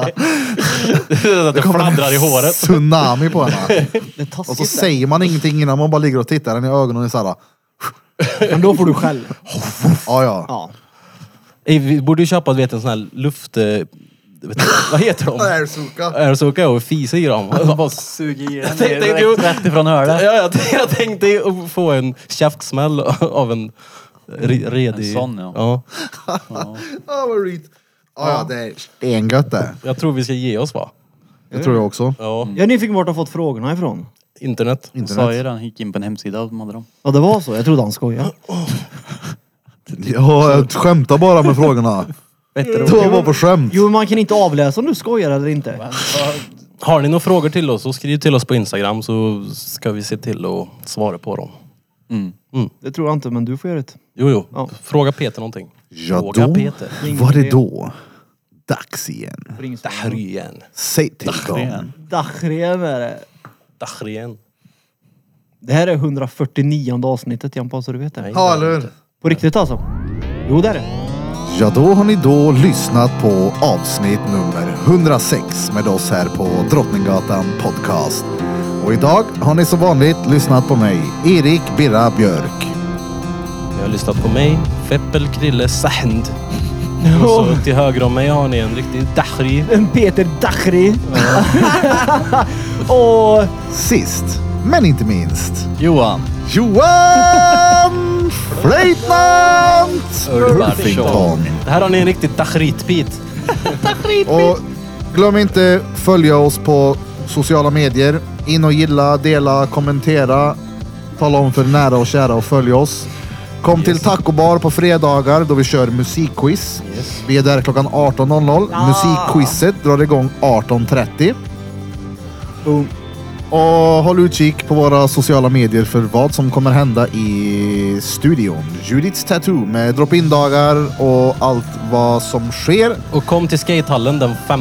C: Att det fladdrar i håret.
A: tsunami på henne.
B: Det är taskigt
A: Och så säger man ingenting innan man bara ligger och tittar den i ögonen och såhär,
B: det. Men då får du skäll.
A: ja ja.
B: Ja.
C: Ey, Vi borde ju köpa du vet, en sån här luft... eh, vet du, vad heter de?
E: Ärsuka.
C: Ärsuka och fisa i dem. Jag bara,
D: Suger i den
C: Tänkte
D: direkt-
C: du-
D: rätt ifrån
C: Ja,
D: hörnet.
C: jag, jag tänkte ju få en käftsmäll av en re- redig...
D: En sån, ja.
E: Ja, vad roligt. Ja, ja, det är...
A: Stengött det.
C: Jag tror vi ska ge oss va?
A: Det tror jag också.
C: Ja.
B: Jag är nyfiken vart du har fått frågorna ifrån.
C: Internet.
D: Hon sa ju det, han gick in på en hemsida och de hade dem.
B: Ja det var så, jag trodde han skojade.
A: Ja, jag skämtar bara med frågorna. Det var bara på skämt.
B: Jo men man kan inte avläsa om du skojar eller inte.
C: Har ni några frågor till oss så skriv till oss på Instagram så ska vi se till att svara på dem.
B: Det tror jag inte men du får göra det.
C: Jo, jo.
B: Ja.
C: Fråga Peter någonting.
A: Ja
C: Fråga
A: då
C: Peter.
A: var det då dags igen.
B: Ring så.
C: Dahrien.
A: Säg till dem.
B: Dachrén är det.
C: Dahrien.
B: Det här är 149 avsnittet Jampa så du vet det.
E: Ja, eller hur?
B: På riktigt alltså. Jo det är det.
A: Ja, då har ni då lyssnat på avsnitt nummer 106 med oss här på Drottninggatan Podcast. Och idag har ni som vanligt lyssnat på mig, Erik Birra Björk.
C: Ni har lyssnat på mig, Feppel Krille Sahnd. Och så till höger om mig har ni en riktig Dahri.
B: En Peter Dachri. Och
A: Sist, men inte minst,
D: Johan.
A: Johan Flöjtnant
D: Ulvarsson.
A: Ulfington.
C: Det här har ni en riktig Dahrit-bit.
A: Och glöm inte följa oss på sociala medier. In och gilla, dela, kommentera. Tala om för nära och kära och följ oss. Kom till Taco Bar på fredagar då vi kör musikquiz. Vi är där klockan 18.00. Musikquizet drar igång 18.30.
B: Boom.
A: Och håll utkik på våra sociala medier för vad som kommer hända i studion. Judiths Tattoo med drop-in-dagar och allt vad som sker.
C: Och kom till skatehallen den 5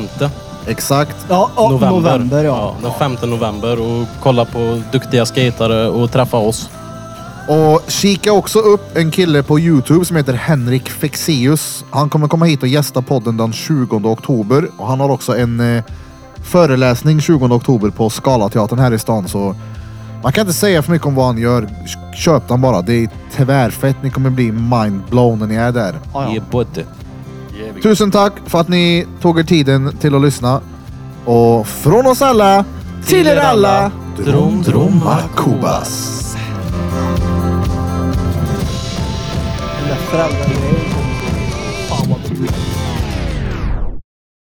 A: Exakt.
B: ja, ja, november. ja.
C: Den 5 november och kolla på duktiga skatare och träffa oss.
A: Och kika också upp en kille på Youtube som heter Henrik Fexeus. Han kommer komma hit och gästa podden den 20 oktober. Och han har också en eh, föreläsning 20 oktober på Scalateatern här i stan. Så man kan inte säga för mycket om vad han gör. Köp den bara. Det är tvärfett. Ni kommer bli mindblown när ni är där.
B: Ja,
C: Ge
B: ja.
C: både.
A: Tusen tack för att ni tog er tiden till att lyssna. Och från oss alla till er alla.
C: Drom, droma,
A: kubas.
B: Den där föräldragrejen. Fan vad kul.